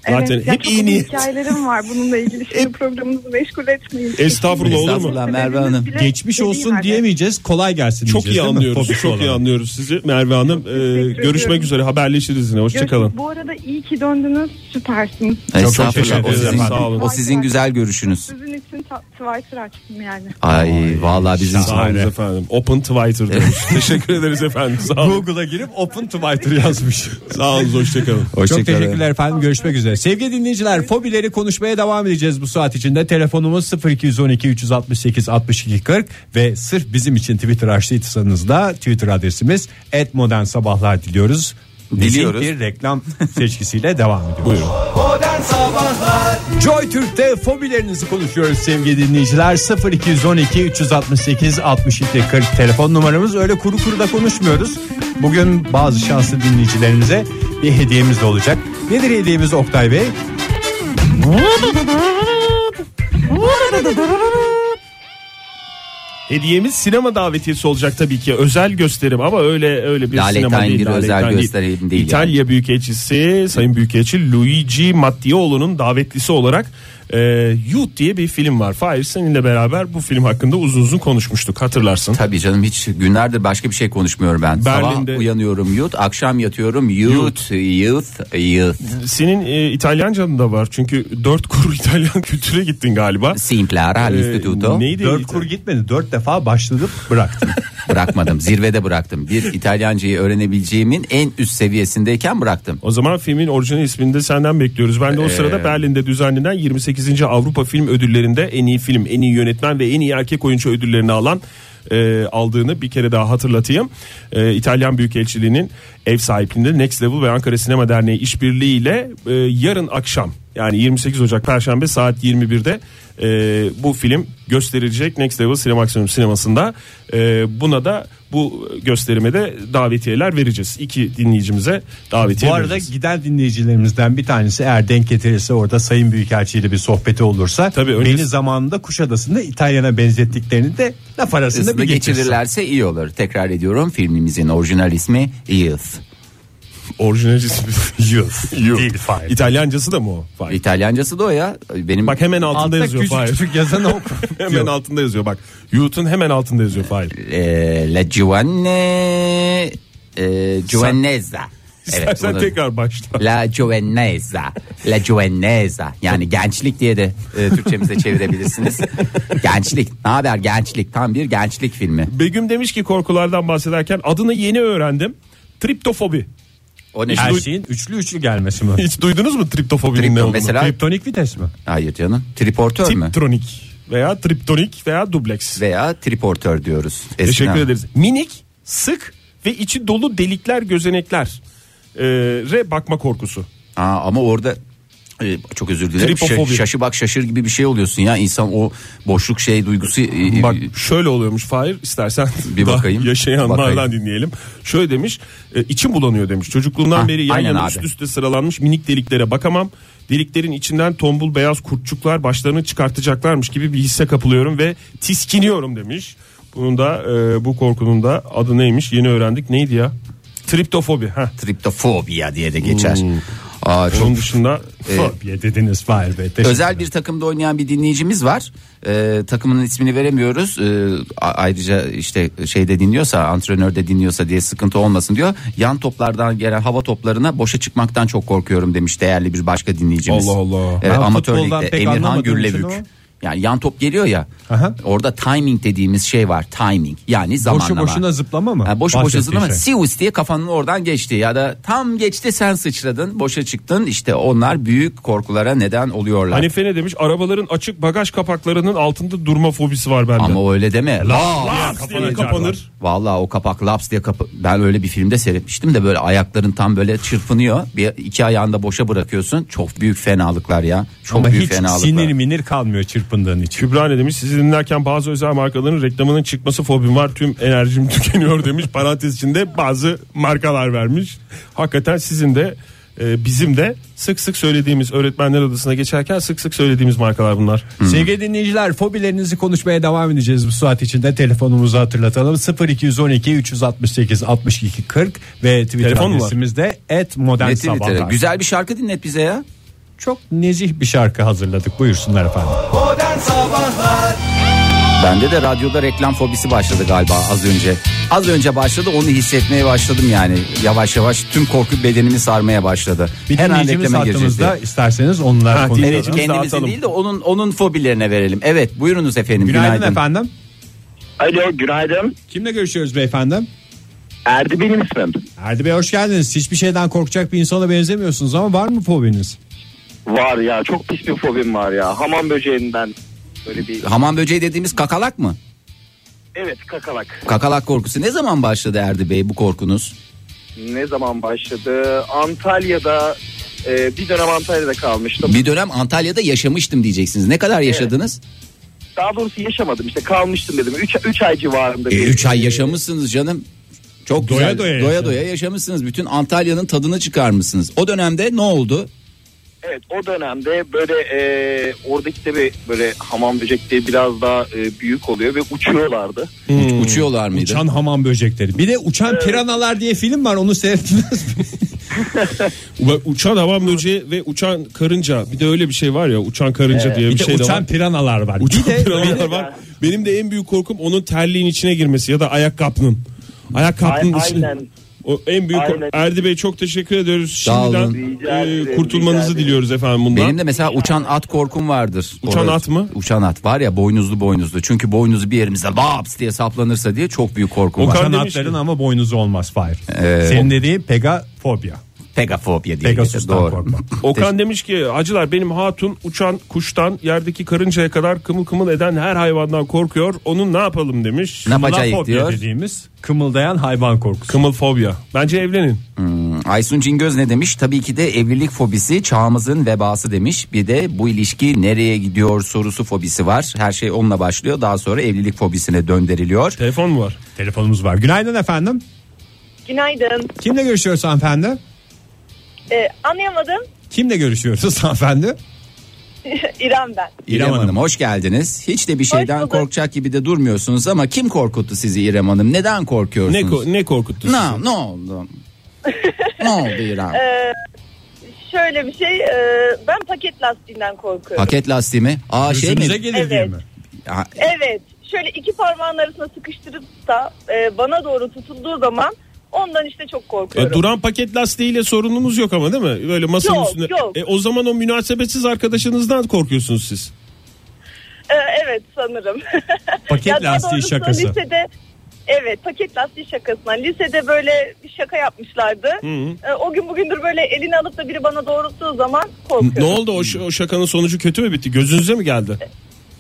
Speaker 3: Zaten
Speaker 10: evet, ya
Speaker 3: hep
Speaker 10: çok
Speaker 3: iyi
Speaker 10: uzun
Speaker 3: niyet.
Speaker 10: hikayelerim var bununla ilgili. Şimdi programınızı meşgul etmeyin.
Speaker 3: Estağfurullah olur mu?
Speaker 4: Estağfurullah Merve Hanım.
Speaker 10: Bile
Speaker 2: Geçmiş
Speaker 10: dediğim
Speaker 2: olsun
Speaker 10: halde-
Speaker 2: diyemeyeceğiz. Kolay gelsin
Speaker 3: Çok iyi
Speaker 2: diyeceğiz, değil mi?
Speaker 3: anlıyoruz.
Speaker 2: Fobisi
Speaker 3: Çok iyi
Speaker 2: olan.
Speaker 3: anlıyoruz sizi Merve Hanım. Ee,
Speaker 10: ediyorum.
Speaker 3: görüşmek üzere haberleşiriz yine. Hoşçakalın.
Speaker 10: Bu arada iyi ki döndünüz. Süpersiniz.
Speaker 4: Estağfurullah.
Speaker 3: teşekkür
Speaker 4: O sizin,
Speaker 3: ederim. Sağ olun.
Speaker 4: o sizin güzel görüşünüz.
Speaker 10: Sizin için ta- Twitter açtım yani.
Speaker 4: Ay vallahi bizim
Speaker 3: Sağ olun efendim. Open Twitter demiş. Teşekkür ederiz efendim. Sağ olun.
Speaker 2: Google'a girip Open Twitter yazmış.
Speaker 3: Sağ olun. Hoşçakalın.
Speaker 2: Çok
Speaker 4: Hoşçakalın.
Speaker 2: teşekkürler efendim. Görüşmek üzere. Sevgili dinleyiciler, fobileri konuşmaya devam edeceğiz bu saat içinde. Telefonumuz 0212 368 62 40 ve sırf bizim için Twitter açtıysanız da Twitter adresimiz @modernsabahlar diliyoruz.
Speaker 4: Diliyoruz.
Speaker 2: Bir reklam seçkisiyle devam ediyoruz.
Speaker 7: Modern Sabahlar
Speaker 2: Joy Türk'te fobilerinizi konuşuyoruz sevgili dinleyiciler. 0212 368 62 40 telefon numaramız. Öyle kuru kuru da konuşmuyoruz. Bugün bazı şanslı dinleyicilerimize bir hediyemiz de olacak. Nedir hediyemiz Oktay Bey?
Speaker 3: Hediyemiz sinema davetiyesi olacak tabii ki. Özel gösterim ama öyle öyle bir
Speaker 4: Lale
Speaker 3: sinema
Speaker 4: Tayin
Speaker 3: değil.
Speaker 4: bir
Speaker 3: Lale
Speaker 4: özel
Speaker 3: Tayin
Speaker 4: gösterim değil
Speaker 3: İtalya Büyükelçisi Sayın Büyükelçi Luigi Mattiolo'nun davetlisi olarak e, Youth diye bir film var. Fahir seninle beraber bu film hakkında uzun uzun konuşmuştuk hatırlarsın.
Speaker 4: Tabii canım hiç günlerdir başka bir şey konuşmuyorum ben.
Speaker 3: Berlin'de-
Speaker 4: Sabah uyanıyorum youth, akşam yatıyorum youth, youth, youth.
Speaker 3: Senin e, İtalyancan da var çünkü dört kuru İtalyan kültüre gittin galiba.
Speaker 4: Simpler al
Speaker 3: E,
Speaker 4: istituto.
Speaker 3: neydi?
Speaker 2: Dört kur gitmedi. Dört defa başladık bıraktım.
Speaker 4: Bırakmadım zirvede bıraktım. Bir İtalyancayı öğrenebileceğimin en üst seviyesindeyken bıraktım.
Speaker 3: O zaman filmin orijinal ismini de senden bekliyoruz. Ben de o sırada Berlin'de düzenlenen 28. Avrupa Film Ödülleri'nde en iyi film, en iyi yönetmen ve en iyi erkek oyuncu ödüllerini alan e, aldığını bir kere daha hatırlatayım. E, İtalyan Büyükelçiliği'nin ev sahipliğinde Next Level ve Ankara Sinema Derneği işbirliğiyle e, yarın akşam yani 28 Ocak Perşembe saat 21'de e, bu film gösterilecek Next Level Sinemaksimum sinemasında. E, buna da bu gösterime de davetiyeler vereceğiz. İki dinleyicimize davetiye
Speaker 2: Bu arada
Speaker 3: vereceğiz.
Speaker 2: giden dinleyicilerimizden bir tanesi eğer denk getirirse orada Sayın Büyükelçi ile bir sohbeti olursa
Speaker 3: Tabii önce-
Speaker 2: beni zamanında Kuşadası'nda İtalyana benzettiklerini de laf arasında bir
Speaker 4: Aslında
Speaker 2: geçirirler.
Speaker 4: geçirirlerse iyi olur. Tekrar ediyorum filmimizin orijinal ismi Youth.
Speaker 3: Orijinal ismi Yok.
Speaker 2: Değil, Fahir.
Speaker 3: İtalyancası da mı o?
Speaker 4: E,
Speaker 3: Fahir.
Speaker 4: İtalyancası da o ya. Benim
Speaker 3: Bak hemen altında
Speaker 2: Altta
Speaker 3: yazıyor
Speaker 2: küçük
Speaker 3: Fahir.
Speaker 2: küçük yazan o.
Speaker 3: hemen altında yazıyor bak. Youth'un hemen altında yazıyor Fahir.
Speaker 4: e, La Giovanne e, Giovannezza. Evet,
Speaker 3: İstersen
Speaker 4: bunu-
Speaker 3: tekrar başla.
Speaker 4: La Giovannezza. La Giovannezza. Yani gençlik diye de e, Türkçemize çevirebilirsiniz. gençlik. Ne haber gençlik? Tam bir gençlik filmi.
Speaker 3: Begüm demiş ki korkulardan bahsederken adını yeni öğrendim. Triptofobi.
Speaker 4: O ne?
Speaker 2: Her şey- şeyin üçlü üçlü gelmesi mi?
Speaker 3: Hiç duydunuz mu triptofobinin
Speaker 4: Tripto-
Speaker 3: ne olduğunu?
Speaker 4: mesela-
Speaker 2: Kriptonik vites mi?
Speaker 4: Hayır canım. Triportör mü?
Speaker 3: Triptronik veya triptonik veya dubleks.
Speaker 4: Veya triportör diyoruz. Eskiden.
Speaker 3: Teşekkür ederiz. Minik, sık ve içi dolu delikler, gözenekler. Ee, re bakma korkusu.
Speaker 4: Aa, ama orada e, çok özür dilerim. Şa-
Speaker 3: Tripofobi.
Speaker 4: şaşı bak şaşır gibi bir şey oluyorsun ya. İnsan o boşluk şey duygusu e, e,
Speaker 3: Bak şöyle oluyormuş Fahir istersen
Speaker 4: Bir
Speaker 3: daha
Speaker 4: bakayım.
Speaker 3: yaşayanlardan
Speaker 4: Bakayım.
Speaker 3: dinleyelim. Şöyle demiş e, içim bulanıyor demiş çocukluğumdan
Speaker 4: Ha,
Speaker 3: beri yan
Speaker 4: Ah, aynen
Speaker 3: yana
Speaker 4: abi.
Speaker 3: üst üste sıralanmış minik deliklere bakamam. Deliklerin içinden tombul beyaz kurtçuklar başlarını çıkartacaklarmış gibi bir hisse kapılıyorum ve tiskiniyorum demiş. Bunun da e, bu korkunun da adı neymiş yeni öğrendik neydi ya? Triptofobi. Heh.
Speaker 4: triptofobia diye de geçer. Aa, çok
Speaker 3: Onun dışında
Speaker 4: E,
Speaker 2: Fobiye dediniz Fahir Bey. Teşekkür
Speaker 4: Özel bir takımda oynayan bir dinleyicimiz var. Ee, takımının ismini veremiyoruz. Ee, a- ayrıca işte şeyde dinliyorsa, antrenör de dinliyorsa diye sıkıntı olmasın diyor. Yan toplardan gelen hava toplarına boşa çıkmaktan çok korkuyorum demiş değerli bir başka dinleyicimiz.
Speaker 3: Allah Allah.
Speaker 4: Evet,
Speaker 2: Ben
Speaker 4: amatör
Speaker 2: futboldan
Speaker 4: ligde
Speaker 2: pek
Speaker 4: Emirhan
Speaker 2: anlamadığım için
Speaker 4: Gürlevük.
Speaker 2: ama.
Speaker 4: Yani yan top geliyor ya.
Speaker 2: Aha.
Speaker 4: Orada timing dediğimiz şey var. Timing yani zamanlama.
Speaker 2: boşuna zıplama mı?
Speaker 4: Ha, boşu boşuna
Speaker 2: Bahsettiği
Speaker 4: zıplama.
Speaker 2: şey.
Speaker 4: Sius diye kafanın oradan geçti ya da tam geçti sen sıçradın boşa çıktın işte onlar büyük korkulara neden oluyorlar.
Speaker 3: Hanife ne Hani demiş? Arabaların açık bagaj kapaklarının altında durma fobisi var bende.
Speaker 4: Ama öyle deme. La.
Speaker 3: Laps diye kapanır.
Speaker 4: Vallahi o kapak laps diye kapı. Ben öyle bir filmde seyretmiştim de böyle ayakların tam böyle çırpınıyor. Bir iki ayağını da boşa bırakıyorsun. Çok büyük fenalıklar ya. Çok
Speaker 2: Ama
Speaker 4: büyük
Speaker 2: hiç
Speaker 4: fenalıklar.
Speaker 2: sinir minir kalmıyor çırpındığın için.
Speaker 3: Kübra ne demiş? Sizi dinlerken bazı özel markaların reklamının çıkması fobim var. Tüm enerjim tükeniyor demiş. Parantez içinde bazı markalar vermiş. Hakikaten sizin de e, bizim de sık sık söylediğimiz öğretmenler odasına geçerken sık sık söylediğimiz markalar bunlar.
Speaker 4: Hmm.
Speaker 2: Sevgili dinleyiciler fobilerinizi konuşmaya devam edeceğiz bu saat içinde. Telefonumuzu hatırlatalım 0212 368 62 40 ve Twitter
Speaker 3: Telefon mu var?
Speaker 2: adresimiz de et modern
Speaker 4: Ne Twitter'ı?
Speaker 2: sabahlar.
Speaker 4: Güzel bir şarkı dinlet bize ya.
Speaker 2: Çok nezih bir şarkı hazırladık buyursunlar efendim.
Speaker 7: Modern Sabahlar
Speaker 4: Bende de radyoda reklam fobisi başladı galiba az önce. Az önce başladı onu hissetmeye başladım yani. Yavaş yavaş tüm korku bedenimi sarmaya başladı.
Speaker 2: Bir
Speaker 4: Her an
Speaker 2: dinleyicimiz
Speaker 4: reklama girecek.
Speaker 2: hattımızda
Speaker 4: diye.
Speaker 2: isterseniz onlar
Speaker 3: Ha,
Speaker 2: konuşalım.
Speaker 4: Evet,
Speaker 3: Dinleyicimizi
Speaker 4: kendimizi
Speaker 3: dağıtalım.
Speaker 4: değil de onun onun fobilerine verelim. Evet buyurunuz efendim.
Speaker 2: Günaydın,
Speaker 4: Günaydın,
Speaker 2: efendim.
Speaker 11: Alo günaydın.
Speaker 2: Kimle görüşüyoruz beyefendi?
Speaker 11: Erdi benim ismim.
Speaker 2: Erdi Bey hoş geldiniz. Hiçbir şeyden korkacak bir insana benzemiyorsunuz ama var mı fobiniz?
Speaker 11: Var ya çok pis bir fobim var ya. Hamam böceğinden böyle bir...
Speaker 4: Hamam böceği dediğimiz kakalak mı?
Speaker 11: Evet kakalak.
Speaker 4: Kakalak korkusu ne zaman başladı Erdi Bey bu korkunuz?
Speaker 11: Ne zaman başladı? Antalya'da e, bir dönem Antalya'da kalmıştım.
Speaker 4: Bir dönem Antalya'da yaşamıştım diyeceksiniz. Ne kadar yaşadınız?
Speaker 11: Daha doğrusu yaşamadım işte kalmıştım dedim. 3 ay civarında.
Speaker 4: 3
Speaker 11: bir-
Speaker 4: ay yaşamışsınız canım. Çok
Speaker 2: Doya
Speaker 4: güzel.
Speaker 2: doya
Speaker 4: doya
Speaker 2: yaşadım.
Speaker 4: doya yaşamışsınız. Bütün Antalya'nın tadını çıkarmışsınız. O dönemde ne oldu?
Speaker 11: Evet o dönemde böyle e, oradaki tabi böyle hamam böcekleri biraz daha e, büyük oluyor ve uçuyorlardı.
Speaker 4: Uç- Uçuyorlar mıydı?
Speaker 2: Hmm. Uçan hamam böcekleri. Bir de uçan piranalar diye film var onu seyrettiniz mi?
Speaker 3: Ve Uçan hamam böceği ve uçan karınca bir de öyle bir şey var ya uçan karınca diye bir,
Speaker 2: Bir de
Speaker 3: şey de
Speaker 2: uçan
Speaker 3: var.
Speaker 2: piranalar var.
Speaker 3: Uçan
Speaker 2: bir de
Speaker 3: piranalar var. Benim de en büyük korkum onun terliğin içine girmesi ya da ayakkabının. Ayakkabının
Speaker 11: Ay-
Speaker 3: içine.
Speaker 11: aynen.
Speaker 3: O en büyük
Speaker 11: Aynen.
Speaker 3: Erdi Bey çok teşekkür ediyoruz.
Speaker 4: Sağ olun.
Speaker 3: Şimdiden
Speaker 11: Rica
Speaker 3: e,
Speaker 11: ederim, rica
Speaker 3: kurtulmanızı
Speaker 11: ederim.
Speaker 3: diliyoruz efendim bundan.
Speaker 4: Benim de mesela uçan at korkum vardır.
Speaker 3: Uçan
Speaker 4: Orada-
Speaker 3: at mı?
Speaker 4: Uçan at var ya boynuzlu boynuzlu. Çünkü boynuzu bir yerimize laps diye saplanırsa diye çok büyük korkum
Speaker 3: O
Speaker 4: var.
Speaker 3: kadar-
Speaker 2: Uçan
Speaker 3: demiş
Speaker 2: atların
Speaker 3: ki-
Speaker 2: ama boynuzu olmaz Fahir. Senin dediğin pegafobia.
Speaker 4: Pegafobia diye. geçer.
Speaker 2: Pegasus'tan
Speaker 4: Doğru.
Speaker 2: korkma.
Speaker 3: Okan demiş ki acılar benim hatun uçan kuştan yerdeki karıncaya kadar kımıl kımıl eden her hayvandan korkuyor. Onun ne yapalım demiş.
Speaker 4: Ne yapacağız
Speaker 2: Kımılafobia
Speaker 4: diyor.
Speaker 2: dediğimiz kımıldayan hayvan korkusu.
Speaker 3: Kımıl fobya. Bence evlenin.
Speaker 4: Hmm, Aysun Cingöz ne demiş? Tabii ki de evlilik fobisi çağımızın vebası demiş. Bir de bu ilişki nereye gidiyor sorusu fobisi var. Her şey onunla başlıyor. Daha sonra evlilik fobisine döndürülüyor.
Speaker 3: Telefon mu var?
Speaker 2: Telefonumuz var. Günaydın efendim.
Speaker 12: Günaydın.
Speaker 2: Kimle görüşüyoruz hanımefendi?
Speaker 12: Ee, anlayamadım.
Speaker 2: Kimle görüşüyoruz hanımefendi?
Speaker 12: İrem ben.
Speaker 4: İrem Hanım. hoş geldiniz. Hiç de bir şeyden
Speaker 12: bulduk.
Speaker 4: korkacak gibi de durmuyorsunuz ama kim korkuttu sizi İrem Hanım? Neden korkuyorsunuz?
Speaker 3: Ne, ko- ne korkuttu sizi?
Speaker 4: Ne, ne oldu? ne oldu İrem?
Speaker 12: Şöyle bir şey, e, ben paket lastiğinden korkuyorum.
Speaker 4: Paket lastiği mi? Aa şey mi?
Speaker 2: Gözünüze gelir diye
Speaker 12: Evet.
Speaker 2: mi?
Speaker 4: Ha,
Speaker 12: Evet, şöyle iki parmağın arasına sıkıştırıp da e, bana doğru tutulduğu zaman ondan işte çok korkuyorum.
Speaker 3: E, duran paket lastiğiyle sorunumuz yok ama değil mi? Böyle masanın
Speaker 12: Yok,
Speaker 3: üstünde.
Speaker 12: yok.
Speaker 3: E, o zaman o münasebetsiz arkadaşınızdan korkuyorsunuz siz.
Speaker 12: E, evet sanırım.
Speaker 2: Paket
Speaker 12: Ya daha
Speaker 2: lastiği
Speaker 12: doğrusu
Speaker 2: şakası.
Speaker 12: Lisede, evet, paket lastiği şakasından. Lisede böyle bir şaka yapmışlardı. E, o gün bugündür böyle elini alıp da biri bana doğrulttuğu zaman korkuyorum.
Speaker 3: Ne oldu o, ş- o şakanın sonucu kötü mü bitti? Gözünüze mi geldi?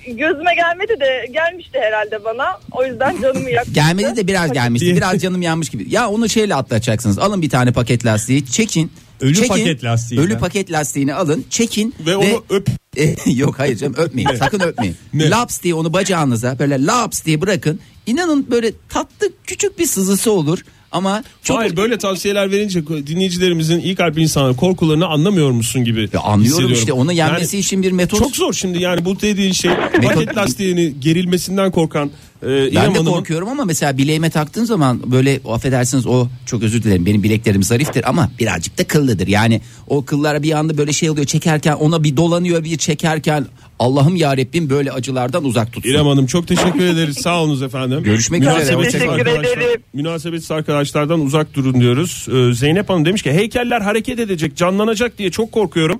Speaker 12: Gözüme gelmedi de gelmişti herhalde bana. O yüzden canımı yaktı.
Speaker 4: Gelmedi de biraz gelmişti. Biraz canım yanmış gibi. Ya onu şeyle atlatacaksınız. Alın bir tane paket lastiği, çekin.
Speaker 2: Ölü
Speaker 4: çekin.
Speaker 2: paket lastiği.
Speaker 4: Ölü paket lastiğini alın, çekin
Speaker 3: Ve onu öp.
Speaker 4: E, yok hayır canım öpmeyin. sakın öpmeyin.
Speaker 3: Ne?
Speaker 4: Laps diye onu bacağınıza böyle laps diye bırakın. İnanın böyle tatlı küçük bir sızısı olur ama çok
Speaker 3: Hayır böyle tavsiyeler verince dinleyicilerimizin iyi kalpli insanlar korkularını anlamıyor musun gibi.
Speaker 4: Ya anlıyorum
Speaker 3: hissediyorum.
Speaker 4: işte onu yenmesi
Speaker 3: Yani
Speaker 4: için bir metot.
Speaker 3: Çok zor şimdi yani bu dediğin şey paket lastiğini gerilmesinden korkan e, İrem
Speaker 4: Ben de
Speaker 3: Hanım'ın-
Speaker 4: korkuyorum ama mesela bileğime taktığın zaman böyle o affedersiniz o çok özür dilerim benim bileklerim zariftir ama birazcık da kıllıdır. Yani o kıllara bir anda böyle şey oluyor çekerken ona bir dolanıyor bir çekerken Allah'ım ya Rabbim böyle acılardan uzak tutsun.
Speaker 3: İrem Hanım çok teşekkür ederiz. Sağ olunuz efendim.
Speaker 4: Görüşmek üzere.
Speaker 3: Münasebetsiz
Speaker 4: Teşekkür
Speaker 3: arkadaşlar-
Speaker 12: ederim.
Speaker 3: Münasebetsiz arkadaşlardan uzak durun diyoruz. Ee, Zeynep Hanım demiş ki heykeller hareket edecek, canlanacak diye çok korkuyorum.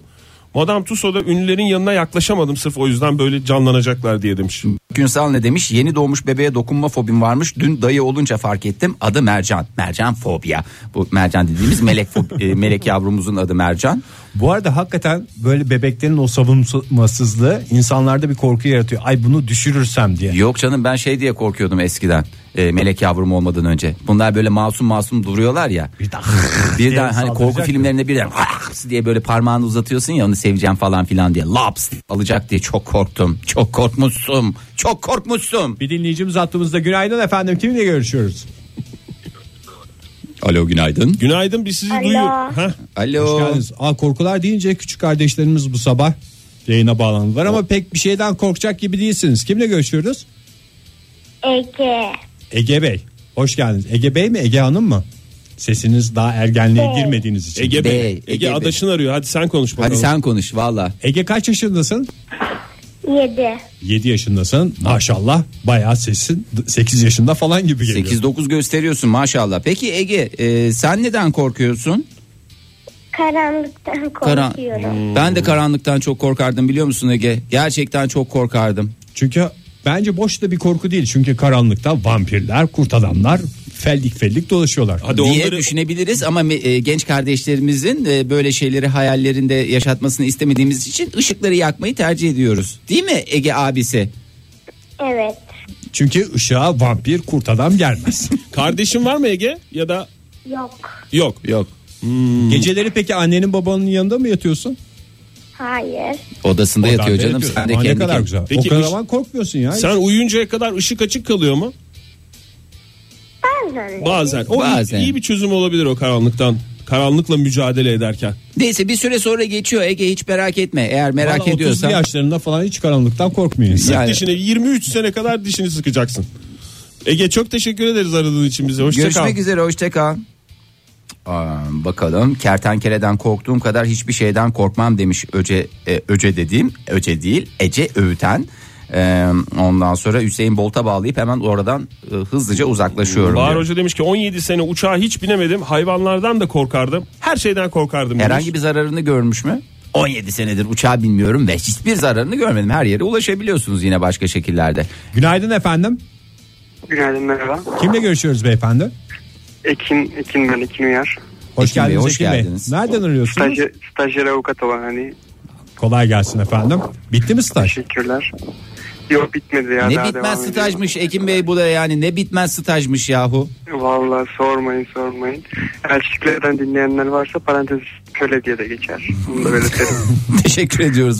Speaker 3: Madame Tussauds'da ünlülerin yanına yaklaşamadım sırf o yüzden böyle canlanacaklar diye demiş.
Speaker 4: Hmm. Günsal ne demiş? Yeni doğmuş bebeğe dokunma fobim varmış. Dün dayı olunca fark ettim. Adı Mercan. Mercan fobia. Bu Mercan dediğimiz melek fob- e, melek yavrumuzun adı Mercan.
Speaker 2: Bu arada hakikaten böyle bebeklerin o savunmasızlığı insanlarda bir korku yaratıyor. Ay bunu düşürürsem diye.
Speaker 4: Yok canım ben şey diye korkuyordum eskiden. E, melek yavrum olmadan önce. Bunlar böyle masum masum duruyorlar ya.
Speaker 2: Birden
Speaker 4: Birden hani
Speaker 2: saldıracak
Speaker 4: korku
Speaker 2: mı?
Speaker 4: filmlerinde birden "Laps" diye böyle parmağını uzatıyorsun ya onu seveceğim falan filan diye. Laps diye alacak diye çok korktum. Çok korkmuşsun. Çok korkmuşsun.
Speaker 2: Bir dinleyicimiz attığımızda günaydın efendim kimle görüşüyoruz?
Speaker 13: Alo günaydın.
Speaker 3: Günaydın biz sizi
Speaker 9: Alo. duyuyoruz. Heh.
Speaker 13: Alo.
Speaker 2: Hoş geldiniz. Aa, korkular deyince küçük kardeşlerimiz bu sabah yayına bağlandılar ama pek bir şeyden korkacak gibi değilsiniz. Kimle görüşüyoruz?
Speaker 9: E Ege.
Speaker 2: Ege Bey. Hoş geldiniz. Ege Bey mi Ege Hanım mı? Sesiniz daha ergenliğe
Speaker 3: Bey.
Speaker 2: girmediğiniz için.
Speaker 3: Ege Bey. Ege, adaşın arıyor. Hadi sen konuş bakalım.
Speaker 2: Hadi sen
Speaker 4: konuş valla.
Speaker 2: Ege kaç yaşındasın?
Speaker 9: 7.
Speaker 2: 7 yaşındasın. Maşallah bayağı sesin 8 yaşında falan gibi geliyor.
Speaker 4: 8-9 gösteriyorsun maşallah. Peki Ege e, sen neden korkuyorsun?
Speaker 9: Karanlıktan
Speaker 4: Karan-
Speaker 9: korkuyorum.
Speaker 4: Ben de karanlıktan çok korkardım biliyor musun Ege? Gerçekten çok korkardım.
Speaker 2: Çünkü bence boş da bir korku değil. Çünkü karanlıkta vampirler, kurt adamlar fellik fellik dolaşıyorlar.
Speaker 4: diye düşünebiliriz ama me- e, genç kardeşlerimizin e, böyle şeyleri hayallerinde yaşatmasını istemediğimiz için ışıkları yakmayı tercih ediyoruz. Değil mi Ege abisi?
Speaker 9: Evet.
Speaker 2: Çünkü ışığa vampir kurt adam gelmez.
Speaker 3: Kardeşin var mı Ege? Ya da
Speaker 9: Yok.
Speaker 3: yok.
Speaker 4: Yok. Hmm.
Speaker 2: Geceleri peki annenin babanın yanında mı yatıyorsun?
Speaker 9: Hayır.
Speaker 4: Odasında
Speaker 2: Odanda
Speaker 4: yatıyor canım.
Speaker 2: yatıyorsun.
Speaker 4: Sen de
Speaker 2: Aa, ne
Speaker 4: kendi
Speaker 2: kadar
Speaker 4: kendine.
Speaker 2: güzel.
Speaker 3: Peki
Speaker 2: o kadar
Speaker 3: ış-
Speaker 2: zaman korkmuyorsun ya.
Speaker 3: Sen uyuyuncaya kadar ışık açık kalıyor mu?
Speaker 9: Bazen.
Speaker 3: Bazen. O
Speaker 4: Bazen.
Speaker 3: iyi bir çözüm olabilir o karanlıktan. Karanlıkla mücadele ederken.
Speaker 4: Neyse bir süre sonra geçiyor Ege hiç merak etme. Eğer
Speaker 2: Valla
Speaker 4: merak
Speaker 2: 30'lu
Speaker 4: ediyorsan.
Speaker 2: yaşlarında falan hiç karanlıktan korkmuyor insan.
Speaker 3: Sık
Speaker 4: Yani-
Speaker 3: dişine 23 sene kadar dişini sıkacaksın. Ege çok teşekkür ederiz aradığın için bize. Hoşça kal.
Speaker 4: Görüşmek üzere hoşça kal. Aa, bakalım kertenkeleden korktuğum kadar hiçbir şeyden korkmam demiş Öce e, Öce dediğim Öce değil Ece Öğüten. Ee, ondan sonra Hüseyin Bolt'a bağlayıp hemen oradan e, hızlıca uzaklaşıyorum.
Speaker 3: Bahar
Speaker 4: diyor.
Speaker 3: Hoca demiş ki 17 sene uçağa hiç binemedim. Hayvanlardan da korkardım. Her şeyden korkardım. demiş.
Speaker 4: Herhangi bir zararını görmüş mü? 17 senedir uçağa binmiyorum ve hiçbir zararını görmedim. Her yere ulaşabiliyorsunuz yine başka şekillerde.
Speaker 2: Günaydın efendim.
Speaker 14: Günaydın merhaba.
Speaker 2: Kimle görüşüyoruz beyefendi?
Speaker 14: Ekin, Ekin ben Ekin Uyar.
Speaker 2: Hoş
Speaker 4: Ekin Bey,
Speaker 2: geldiniz.
Speaker 4: hoş
Speaker 2: Ekin Bey.
Speaker 4: geldiniz.
Speaker 2: Nereden arıyorsunuz?
Speaker 14: Stajyer, stajyer avukat olan hani
Speaker 2: Kolay gelsin efendim. Bitti mi staj?
Speaker 14: teşekkürler. Yok bitmedi ya.
Speaker 4: ne
Speaker 14: daha
Speaker 4: bitmez
Speaker 14: devam ediyor.
Speaker 4: stajmış Ekim Bey bu da yani ne bitmez stajmış yahu.
Speaker 14: Vallahi sormayın sormayın. Elçiliklerden dinleyenler varsa parantez köle diye de geçer. Bunu da belirtelim.
Speaker 4: Teşekkür ediyoruz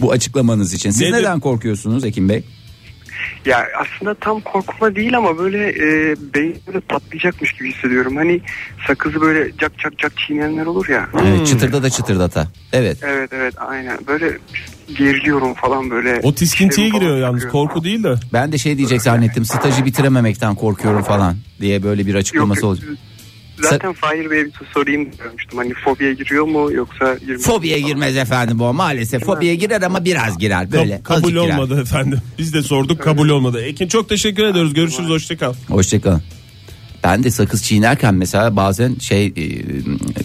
Speaker 4: bu açıklamanız için. Siz
Speaker 14: Nedir?
Speaker 4: neden korkuyorsunuz Ekim Bey?
Speaker 14: Ya aslında tam korkma değil ama böyle e, beynimde patlayacakmış gibi hissediyorum. Hani sakızı böyle cak cak cak çiğneyenler olur ya.
Speaker 4: Evet, çıtırda da çıtırdata. Evet.
Speaker 14: Evet evet aynen böyle geriliyorum falan böyle.
Speaker 3: O tiskintiye
Speaker 14: Dişlerim
Speaker 3: giriyor
Speaker 14: falan
Speaker 3: yalnız
Speaker 14: çıkıyor.
Speaker 3: korku değil de.
Speaker 4: Ben de şey diyecek zannettim. Stajı bitirememekten korkuyorum falan diye böyle bir açıklaması olacak.
Speaker 14: Zaten Fahir Bey'e bir sorayım diyormuştum. Hani fobiye giriyor mu yoksa girmiyor mu?
Speaker 4: Fobiye girmez efendim o maalesef. Fobiye girer ama biraz girer böyle.
Speaker 3: Kab- kabul
Speaker 4: azıcık girer.
Speaker 3: olmadı efendim. Biz de sorduk kabul olmadı. Ekin çok teşekkür ediyoruz. Görüşürüz hoşça kal.
Speaker 4: Hoşçakalın. Ben de sakız çiğnerken mesela bazen şey e,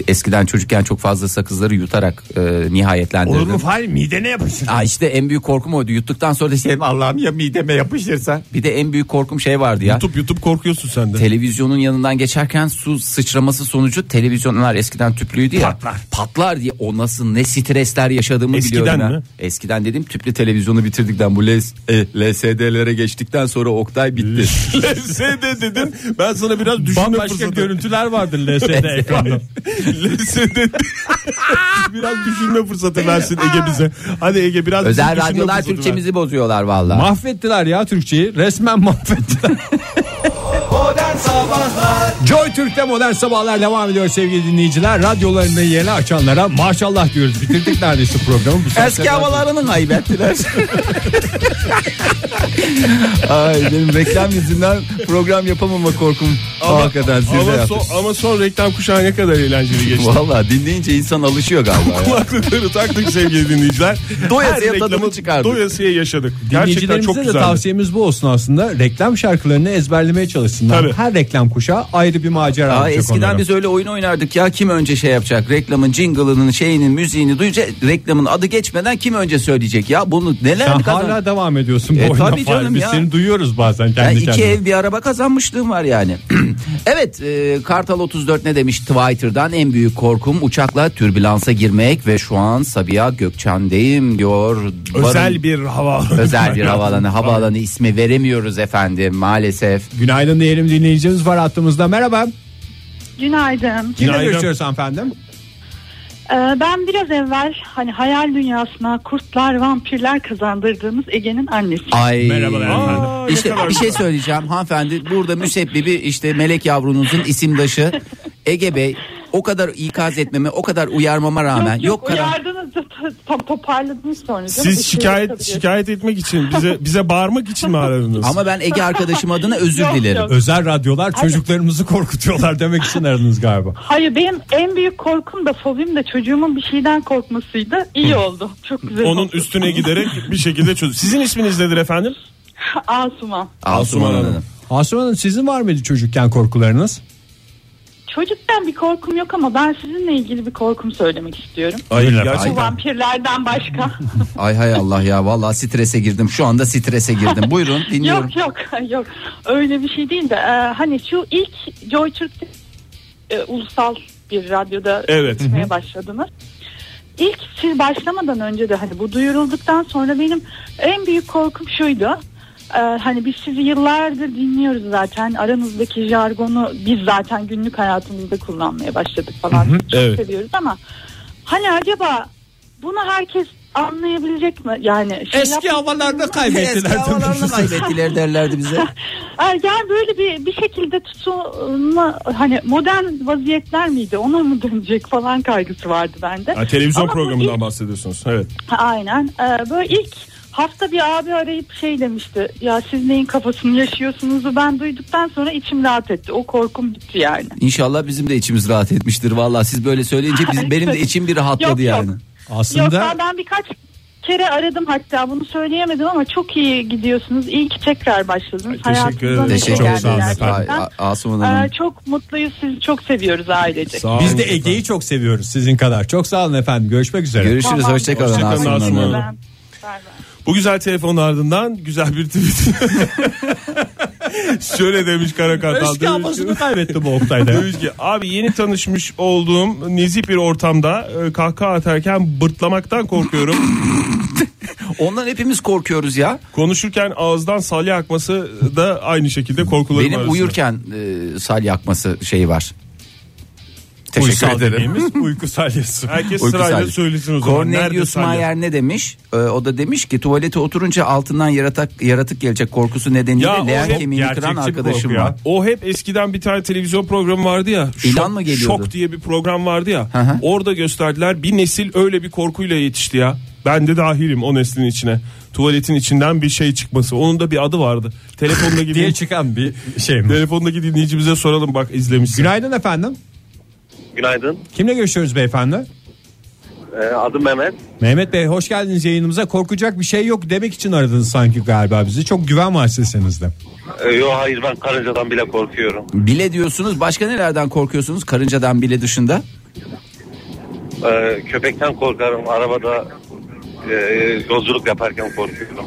Speaker 4: eskiden çocukken çok fazla sakızları yutarak e, nihayetlendirdim.
Speaker 5: Olur mu Fahir midene yapışır.
Speaker 4: Aa işte en büyük korkum oydu. Yuttuktan sonra da şeyim Allah'ım ya mideme yapışırsa. Bir de en büyük korkum şey vardı ya.
Speaker 3: Yutup yutup korkuyorsun sen de.
Speaker 4: Televizyonun yanından geçerken su sıçraması sonucu televizyonlar eskiden tüplüydü ya. Patlar. Patlar diye o nasıl ne stresler yaşadığımı
Speaker 3: Eskiden
Speaker 4: biliyorum. ha.
Speaker 3: mi?
Speaker 4: Eskiden dedim tüplü televizyonu bitirdikten bu les- e, LSD'lere geçtikten sonra Oktay bitti.
Speaker 3: LSD dedin. Ben sana biraz düşünme
Speaker 2: Bambaşka
Speaker 3: fırsatı.
Speaker 2: görüntüler vardır LSD ekranda.
Speaker 3: LSD. biraz düşünme fırsatı versin Ege bize. Hadi Ege biraz bizim
Speaker 4: Özel
Speaker 3: düşünme
Speaker 4: radyolar
Speaker 3: fırsatı ver.
Speaker 4: Türkçemizi bozuyorlar vallahi.
Speaker 2: mahvettiler ya Türkçeyi. Resmen mahvettiler.
Speaker 7: Modern Sabahlar
Speaker 2: Joy Türk'te modern sabahlar devam ediyor sevgili dinleyiciler. Radyolarını yeni açanlara maşallah diyoruz. Bitirdik neredeyse programı. Bu saatte
Speaker 4: Eski havalarını kaybettiler. Ay benim reklam yüzünden program yapamama korkum. Hakikaten size
Speaker 3: Ama
Speaker 4: yaptı.
Speaker 3: son, ama son reklam kuşağı ne kadar eğlenceli geçti.
Speaker 4: Vallahi dinleyince insan alışıyor galiba. ya.
Speaker 3: Kulaklıkları taktık sevgili dinleyiciler.
Speaker 4: Doyasıya
Speaker 3: Her
Speaker 4: tadını
Speaker 3: reklamı
Speaker 4: çıkardık.
Speaker 3: Doyasıya yaşadık. Gerçekten
Speaker 2: Dinleyicilerimize
Speaker 3: çok
Speaker 2: de
Speaker 3: güzeldi.
Speaker 2: tavsiyemiz bu olsun aslında. Reklam şarkılarını ezberlemeye çalışsınlar.
Speaker 3: Tabii.
Speaker 2: Her reklam kuşağı ayrı bir macera
Speaker 4: Aa,
Speaker 2: olacak
Speaker 4: eskiden
Speaker 2: onlara.
Speaker 4: biz öyle oyun oynardık ya kim önce şey yapacak reklamın jingle'ının şeyinin müziğini duyunca reklamın adı geçmeden kim önce söyleyecek ya bunu neler
Speaker 2: Sen
Speaker 4: kazan-
Speaker 2: hala devam ediyorsun bu
Speaker 4: E,
Speaker 2: oyuna.
Speaker 4: tabii canım
Speaker 2: Fahir. Biz
Speaker 4: ya.
Speaker 2: seni duyuyoruz bazen
Speaker 4: Ya
Speaker 2: kendi
Speaker 4: iki
Speaker 2: kendine.
Speaker 4: ev bir araba kazanmışlığım var yani. evet e, Kartal 34 ne demiş Twitter'dan en büyük korkum uçakla türbülansa girmek ve şu an Sabiha Gökçen'deyim diyor. Barın-
Speaker 3: Özel bir hava.
Speaker 4: özel bir havaalanı. Havaalanı ismi veremiyoruz efendim maalesef.
Speaker 2: Günaydın diyelim dinleyicimiz var hattımızda. Merhaba.
Speaker 10: Günaydın.
Speaker 2: Kimle görüşüyoruz hanımefendim?
Speaker 10: Ee, Ben biraz evvel hani hayal dünyasına kurtlar, vampirler kazandırdığımız Ege'nin annesi.
Speaker 4: Ay.
Speaker 6: Merhabalar efendim.
Speaker 4: İşte bir şey söyleyeceğim hanımefendi. Burada müsebbibi işte melek yavrunuzun isimdaşı Ege Bey o kadar ikaz etmeme, o kadar uyarmama rağmen yok, karan-
Speaker 10: uyardınız da to- to- toparladınız sonra. canım.
Speaker 3: Siz
Speaker 10: Bir şey
Speaker 3: şikayet
Speaker 10: yapabilirsiniz.
Speaker 3: şikayet etmek için bize bize bağırmak için mi aradınız?
Speaker 4: Ama ben Ege arkadaşım adına özür
Speaker 10: Yok,
Speaker 4: dilerim.
Speaker 10: yok.
Speaker 2: Özel radyolar çocuklarımızı korkutuyorlar demek için aradınız galiba.
Speaker 10: Hayır benim en büyük korkum da fobim de çocuğumun bir şeyden korkmasıydı. İyi oldu. Çok güzel
Speaker 3: Onun
Speaker 10: oldu.
Speaker 3: üstüne giderek bir şekilde çöz. Sizin isminiz nedir efendim?
Speaker 10: Asuman.
Speaker 4: Asuman Hanım.
Speaker 2: Asuman Hanım sizin var mıydı çocukken korkularınız?
Speaker 10: Çocuktan bir korkum yok ama ben sizinle ilgili bir korkum söylemek istiyorum.
Speaker 3: Hayır
Speaker 10: Bu vampirlerden başka.
Speaker 4: Ay hay Allah ya vallahi strese girdim. Şu anda strese girdim. Buyurun dinliyorum.
Speaker 10: yok yok yok. Öyle bir şey değil de e, hani şu ilk Joy Türk'te e, ulusal bir radyoda
Speaker 3: Evet.
Speaker 10: gitmeye başladınız. İlk siz başlamadan önce de hani bu duyurulduktan sonra benim en büyük korkum şuydu. E, hani biz sizi yıllardır dinliyoruz zaten. Aranızdaki jargonu biz zaten günlük hayatımızda kullanmaya başladık falan.
Speaker 3: Hı hı,
Speaker 10: Çok
Speaker 3: evet.
Speaker 10: seviyoruz ama hani acaba bunu herkes anlayabilecek mi? Yani şey yapmak-
Speaker 4: Eski havalarını kaybettiler derlerdi bize.
Speaker 10: Ay, Yani böyle bir bir şekilde tutulma hani modern vaziyetler miydi ona mı dönecek falan kaygısı vardı bende.
Speaker 3: Ha, televizyon
Speaker 10: Ama bu
Speaker 3: programından bahsediyorsunuz. Evet.
Speaker 10: ilk- Aynen Ee, böyle ilk hafta bir abi arayıp şey demişti ya siz neyin kafasını yaşıyorsunuzu ben duyduktan sonra içim rahat etti o korkum bitti yani.
Speaker 4: İnşallah bizim de içimiz rahat etmiştir. Vallahi siz böyle söyleyince biz, benim de içim bir rahatladı
Speaker 10: Yok, yok.
Speaker 4: yani.
Speaker 2: Aslında
Speaker 10: Yoksa ben birkaç kere aradım hatta bunu söyleyemedim ama çok iyi gidiyorsunuz. İyi ki tekrar başladınız.
Speaker 3: Ay, teşekkür
Speaker 10: Hayatımıza
Speaker 3: ederim.
Speaker 10: bir şey
Speaker 4: Teşekkür
Speaker 10: geldi
Speaker 4: ederim. Ay,
Speaker 10: gerçekten.
Speaker 4: A- Asuman Hanım.
Speaker 10: Ee, çok mutluyuz sizi çok seviyoruz ailecek.
Speaker 3: Sağ
Speaker 2: biz
Speaker 3: olun
Speaker 2: de
Speaker 3: efendim.
Speaker 2: Ege'yi çok seviyoruz sizin kadar. Çok sağ olun efendim. Görüşmek üzere.
Speaker 4: Görüşürüz.
Speaker 10: Tamam.
Speaker 4: Hoşçakalın
Speaker 3: Hoşça kalın
Speaker 4: Asuman
Speaker 3: Asuman
Speaker 4: Hanım.
Speaker 3: Hanım. Bu güzel telefonun ardından güzel bir tweet. Şöyle demiş Karakartal.
Speaker 2: Eski
Speaker 3: demiş
Speaker 2: havasını
Speaker 3: ki-
Speaker 2: kaybetti bu Oktay'da.
Speaker 3: Demiş ki abi yeni tanışmış olduğum nezih bir ortamda e, kahkaha atarken bırtlamaktan korkuyorum.
Speaker 4: Ondan hepimiz korkuyoruz ya.
Speaker 3: Konuşurken ağızdan salya akması da aynı şekilde korkularım
Speaker 4: Benim
Speaker 3: arasında.
Speaker 4: uyurken e, sal yakması şeyi var. Teşekkür
Speaker 3: Uysal
Speaker 4: ederim.
Speaker 3: dediğimiz
Speaker 2: Uyku salyası.
Speaker 3: Herkes
Speaker 4: Uyku
Speaker 3: sırayla
Speaker 4: salyası.
Speaker 3: söylesin o zaman. Nerede
Speaker 4: Cornelius
Speaker 3: salya?
Speaker 4: Mayer ne demiş? Ee, o da demiş ki tuvalete oturunca altından yaratık, yaratık gelecek korkusu nedeniyle
Speaker 3: Ya o
Speaker 4: leğen
Speaker 3: hep
Speaker 4: kemiğini kıran
Speaker 2: gerçekçi bir
Speaker 4: arkadaşım
Speaker 2: korku ya.
Speaker 4: var.
Speaker 3: O hep eskiden bir tane televizyon programı vardı ya.
Speaker 4: İlan
Speaker 3: Şok-
Speaker 4: mı geliyordu?
Speaker 3: Şok diye bir program vardı ya.
Speaker 4: Hı hı.
Speaker 3: Orada gösterdiler. Bir nesil öyle bir korkuyla yetişti ya. Ben de dahilim o neslin içine. Tuvaletin içinden bir şey çıkması. Onun da bir adı vardı. Telefondaki
Speaker 2: diye
Speaker 3: din-
Speaker 2: çıkan bir şey mi?
Speaker 3: telefondaki dinleyicimize soralım bak izlemişsin.
Speaker 2: Günaydın efendim.
Speaker 11: Günaydın.
Speaker 2: Kimle görüşüyoruz beyefendi?
Speaker 11: Ee, adım Mehmet.
Speaker 2: Mehmet Bey hoş geldiniz yayınımıza. Korkacak bir şey yok demek için aradınız sanki galiba bizi. Çok güven var sesinizde.
Speaker 11: Ee, yo hayır ben karıncadan bile korkuyorum.
Speaker 4: Bile diyorsunuz. Başka nelerden korkuyorsunuz? Karıncadan bile dışında.
Speaker 11: Ee, köpekten korkarım. Arabada e, yolculuk yaparken korkuyorum.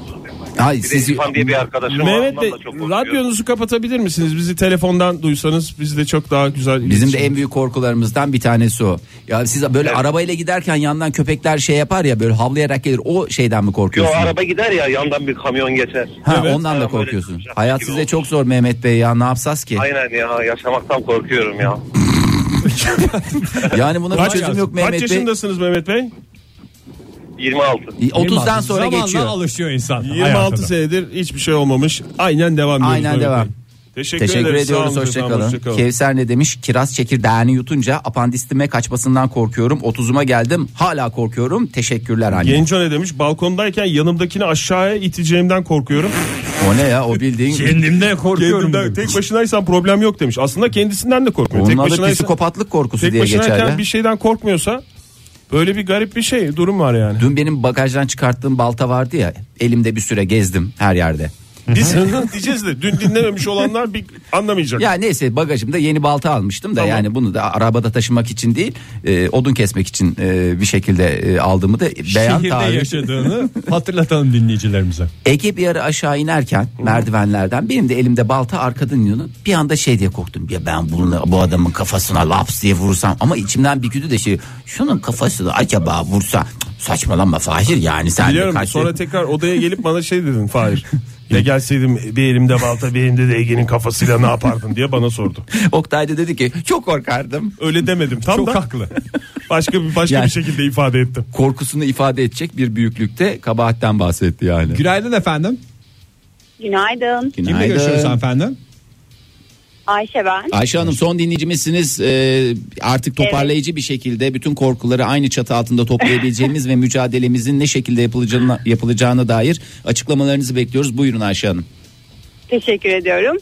Speaker 4: Hayır
Speaker 11: Bir
Speaker 4: siz
Speaker 11: de İrfan diye bir arkadaşım var.
Speaker 3: Mehmet
Speaker 11: ondan
Speaker 3: Bey
Speaker 11: da çok korkuyorum.
Speaker 3: radyonuzu kapatabilir misiniz? Bizi telefondan duysanız biz de çok daha güzel.
Speaker 4: bizim de
Speaker 3: iletişim-
Speaker 4: en büyük korkularımızdan bir tanesi o. Ya siz böyle arabayla giderken yandan köpekler şey yapar ya böyle havlayarak gelir. O şeyden mi
Speaker 11: Yo
Speaker 4: korkuyorsunuz?
Speaker 11: araba gider ya yandan bir kamyon geçer.
Speaker 4: Ha,
Speaker 11: Evet.
Speaker 4: ondan da
Speaker 11: Araba öyle
Speaker 4: korkuyorsun.
Speaker 11: duracak
Speaker 4: Hayat
Speaker 11: gibi
Speaker 4: size
Speaker 11: oldu.
Speaker 4: çok zor Mehmet Bey ya. Ne yapsaz ki?
Speaker 11: Aynen ya yaşamaktan korkuyorum ya.
Speaker 4: Yani buna bir
Speaker 3: Kaç,
Speaker 4: çözüm
Speaker 3: kaç
Speaker 4: yok Mehmet Bey.
Speaker 3: yaşındasınız Mehmet Bey?
Speaker 11: 26.
Speaker 4: 30'dan sonra
Speaker 2: Zamanla
Speaker 4: geçiyor.
Speaker 2: alışıyor insan.
Speaker 3: 26
Speaker 2: hayatına.
Speaker 3: senedir hiçbir şey olmamış. Aynen devam ediyoruz.
Speaker 4: Aynen
Speaker 3: Mehmet
Speaker 4: devam.
Speaker 3: Bey. Teşekkür,
Speaker 4: Teşekkür
Speaker 3: ederiz. Sağ
Speaker 4: ediyoruz
Speaker 3: olun efendim,
Speaker 4: hoşçakalın.
Speaker 3: hoşça kalın.
Speaker 4: Kevser ne demiş? Kiraz çekirdeğini yutunca apandistime kaçmasından korkuyorum. 30'uma geldim hala korkuyorum. Teşekkürler anne.
Speaker 3: Genco ne demiş? Balkondayken yanımdakini aşağıya iteceğimden korkuyorum.
Speaker 4: O ne ya o
Speaker 3: Şey,
Speaker 4: bildiğin.
Speaker 2: Kendimden korkuyorum.
Speaker 3: Kendimden, tek başınaysan problem yok demiş. Aslında kendisinden de korkmuyor.
Speaker 4: Onun
Speaker 3: tek
Speaker 4: adı
Speaker 3: başınaysa,
Speaker 4: psikopatlık korkusu
Speaker 3: tek
Speaker 4: diye geçer
Speaker 3: başınayken
Speaker 4: ya.
Speaker 3: bir şey- şeyden korkmuyorsa böyle bir garip bir şey durum var yani.
Speaker 4: Dün benim bagajdan çıkarttığım balta vardı ya. Elimde bir süre gezdim her yerde.
Speaker 3: Biz diyeceğiz de dün dinlememiş olanlar bir anlamayacak.
Speaker 4: Ya neyse bagajımda yeni balta almıştım da
Speaker 3: Tamam.
Speaker 4: yani bunu da arabada taşımak için değil e, odun kesmek için e, bir şekilde e, aldığımı da beyan
Speaker 2: Şehirde
Speaker 4: tarih.
Speaker 2: yaşadığını hatırlatalım dinleyicilerimize.
Speaker 4: Ege bir ara aşağı inerken merdivenlerden benim de elimde balta arkadan iniyordum. Bir anda şey diye korktum. Ya ben bunu bu adamın kafasına laps diye vursam ama içimden bir güdü de şey şunun kafasını acaba vursa Cık, saçmalama Fahir yani sen de
Speaker 3: Biliyorum
Speaker 2: Hani
Speaker 4: kaç-
Speaker 3: sonra tekrar odaya gelip bana şey dedin Fahir. Ya gelseydim bir elimde balta bir elimde de Ege'nin kafasıyla ne yapardın diye bana sordu.
Speaker 4: Oktay da dedi ki çok korkardım.
Speaker 3: Öyle demedim tam
Speaker 2: Çok
Speaker 3: da.
Speaker 2: haklı.
Speaker 3: Başka bir başka bir şekilde ifade ettim.
Speaker 4: Korkusunu ifade edecek bir büyüklükte kabahatten bahsetti yani.
Speaker 2: Günaydın efendim.
Speaker 10: Günaydın.
Speaker 2: Kimle görüşüyoruz efendim?
Speaker 10: Ayşe ben.
Speaker 4: Ayşe Hanım son dinleyicimizsiniz. Ee, artık toparlayıcı bir şekilde bütün korkuları aynı çatı altında toplayabileceğimiz ve mücadelemizin ne şekilde yapılacağına, yapılacağına dair açıklamalarınızı bekliyoruz. Buyurun Ayşe Hanım.
Speaker 10: Teşekkür ediyorum.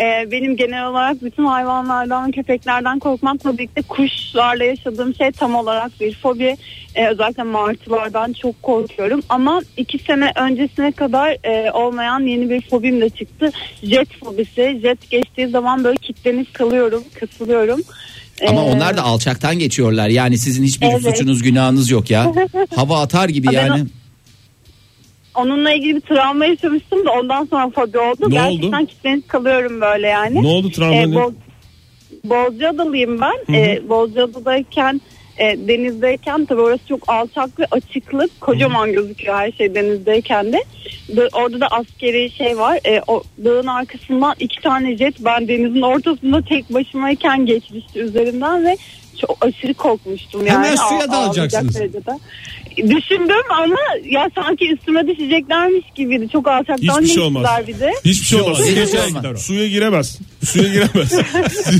Speaker 10: Ee, benim genel olarak bütün hayvanlardan, köpeklerden korkmakla birlikte kuşlarla yaşadığım şey tam olarak bir fobi. Ee, özellikle martılardan çok korkuyorum. Ama iki sene öncesine kadar e, olmayan yeni bir fobim de çıktı. Jet fobisi. Jet geçtiği zaman böyle kilitlenip kalıyorum, kasılıyorum.
Speaker 4: Ama
Speaker 10: Ee,
Speaker 4: onlar da alçaktan geçiyorlar. Yani sizin hiçbir
Speaker 10: Evet.
Speaker 4: suçunuz günahınız yok ya. Hava atar gibi
Speaker 10: Ben
Speaker 4: yani.
Speaker 10: Onunla ilgili bir travma yaşamıştım da ondan sonra fobi oldu.
Speaker 3: Ne oldu?
Speaker 10: Gerçekten kilitlenip kalıyorum böyle yani.
Speaker 3: Ne oldu travma ne?
Speaker 10: Bol, Ee, Bozcaada'lıyım ben.
Speaker 3: Hı hı.
Speaker 10: E, Bozcaada'dayken e, denizdeyken tabii orası çok alçak ve açıklık. Kocaman gözüküyor her şey denizdeyken de. Ve Orada da askeri şey var. E, o dağın arkasından iki tane jet ben denizin ortasında tek başımayken geçmişti üzerinden ve çok aşırı korkmuştum yani.
Speaker 2: Hemen suya
Speaker 10: Ağ-
Speaker 2: dalacaksınız.
Speaker 10: ağlayacak derecede. Düşündüm ama ya sanki üstüme düşeceklermiş gibiydi. Çok alçaktan
Speaker 3: Hiçbir şey
Speaker 10: geçtiler
Speaker 3: olmaz.
Speaker 10: bir de.
Speaker 3: Hiçbir şey olmaz. Suya,
Speaker 10: Hiçbir şey
Speaker 3: giremez. suya giremez. Suya giremez.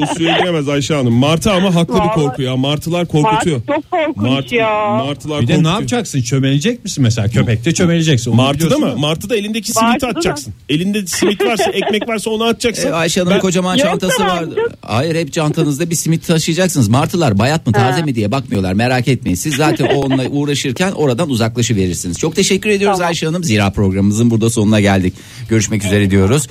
Speaker 3: o suya giremez Ayşe Hanım. Martı ama haklı bir
Speaker 10: Vallahi-
Speaker 3: korku ya. Martılar korkutuyor.
Speaker 10: Mart çok korkunç
Speaker 3: Mart-
Speaker 10: ya.
Speaker 3: martılar
Speaker 2: Bir de ne
Speaker 3: korkutuyor.
Speaker 2: yapacaksın? Çömelecek misin mesela? Köpekte çömeleceksin. Onu
Speaker 3: Martıda
Speaker 2: biliyorsun
Speaker 3: mı?
Speaker 2: ama-
Speaker 3: Martıda elindeki
Speaker 2: Martıda
Speaker 3: simiti
Speaker 2: da.
Speaker 3: atacaksın. Elinde simit varsa, ekmek varsa onu atacaksın.
Speaker 4: Ee,
Speaker 2: E,
Speaker 4: Ayşe Hanım'ın
Speaker 3: Ben-
Speaker 4: kocaman çantası vardı. Hayır hep çantanızda bir simit taşıyacaksınız. Martılar bayat mı taze mi diye bakmıyorlar merak etmeyin. Siz zaten o onunla uğraşırken oradan uzaklaşıverirsiniz. Çok teşekkür ediyoruz Ayşe Hanım. Zira programımızın burada sonuna geldik. Görüşmek üzere diyoruz.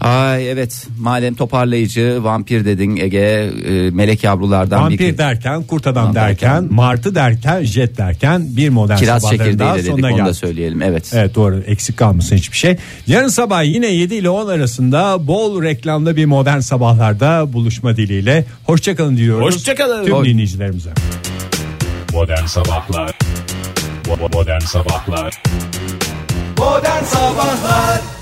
Speaker 4: Ay evet madem toparlayıcı vampir dedin Ege e, melek yavrulardan bir
Speaker 2: Vampir derken, kurt adam derken, martı derken, jet derken bir modern
Speaker 4: kiraz
Speaker 2: sabahların
Speaker 4: çekirdeği
Speaker 2: daha
Speaker 4: de dedik
Speaker 2: sonuna
Speaker 4: onu da
Speaker 2: geldik.
Speaker 4: söyleyelim evet.
Speaker 2: Evet doğru eksik kalmasın hiçbir şey. Yarın sabah yine 7 ile 10 arasında bol reklamlı bir modern sabahlarda buluşma dileğiyle. Hoşçakalın diyoruz.
Speaker 3: Hoşçakalın.
Speaker 2: Tüm
Speaker 3: Hoş-
Speaker 2: dinleyicilerimize.
Speaker 15: Modern Sabahlar Modern Sabahlar
Speaker 16: Modern Sabahlar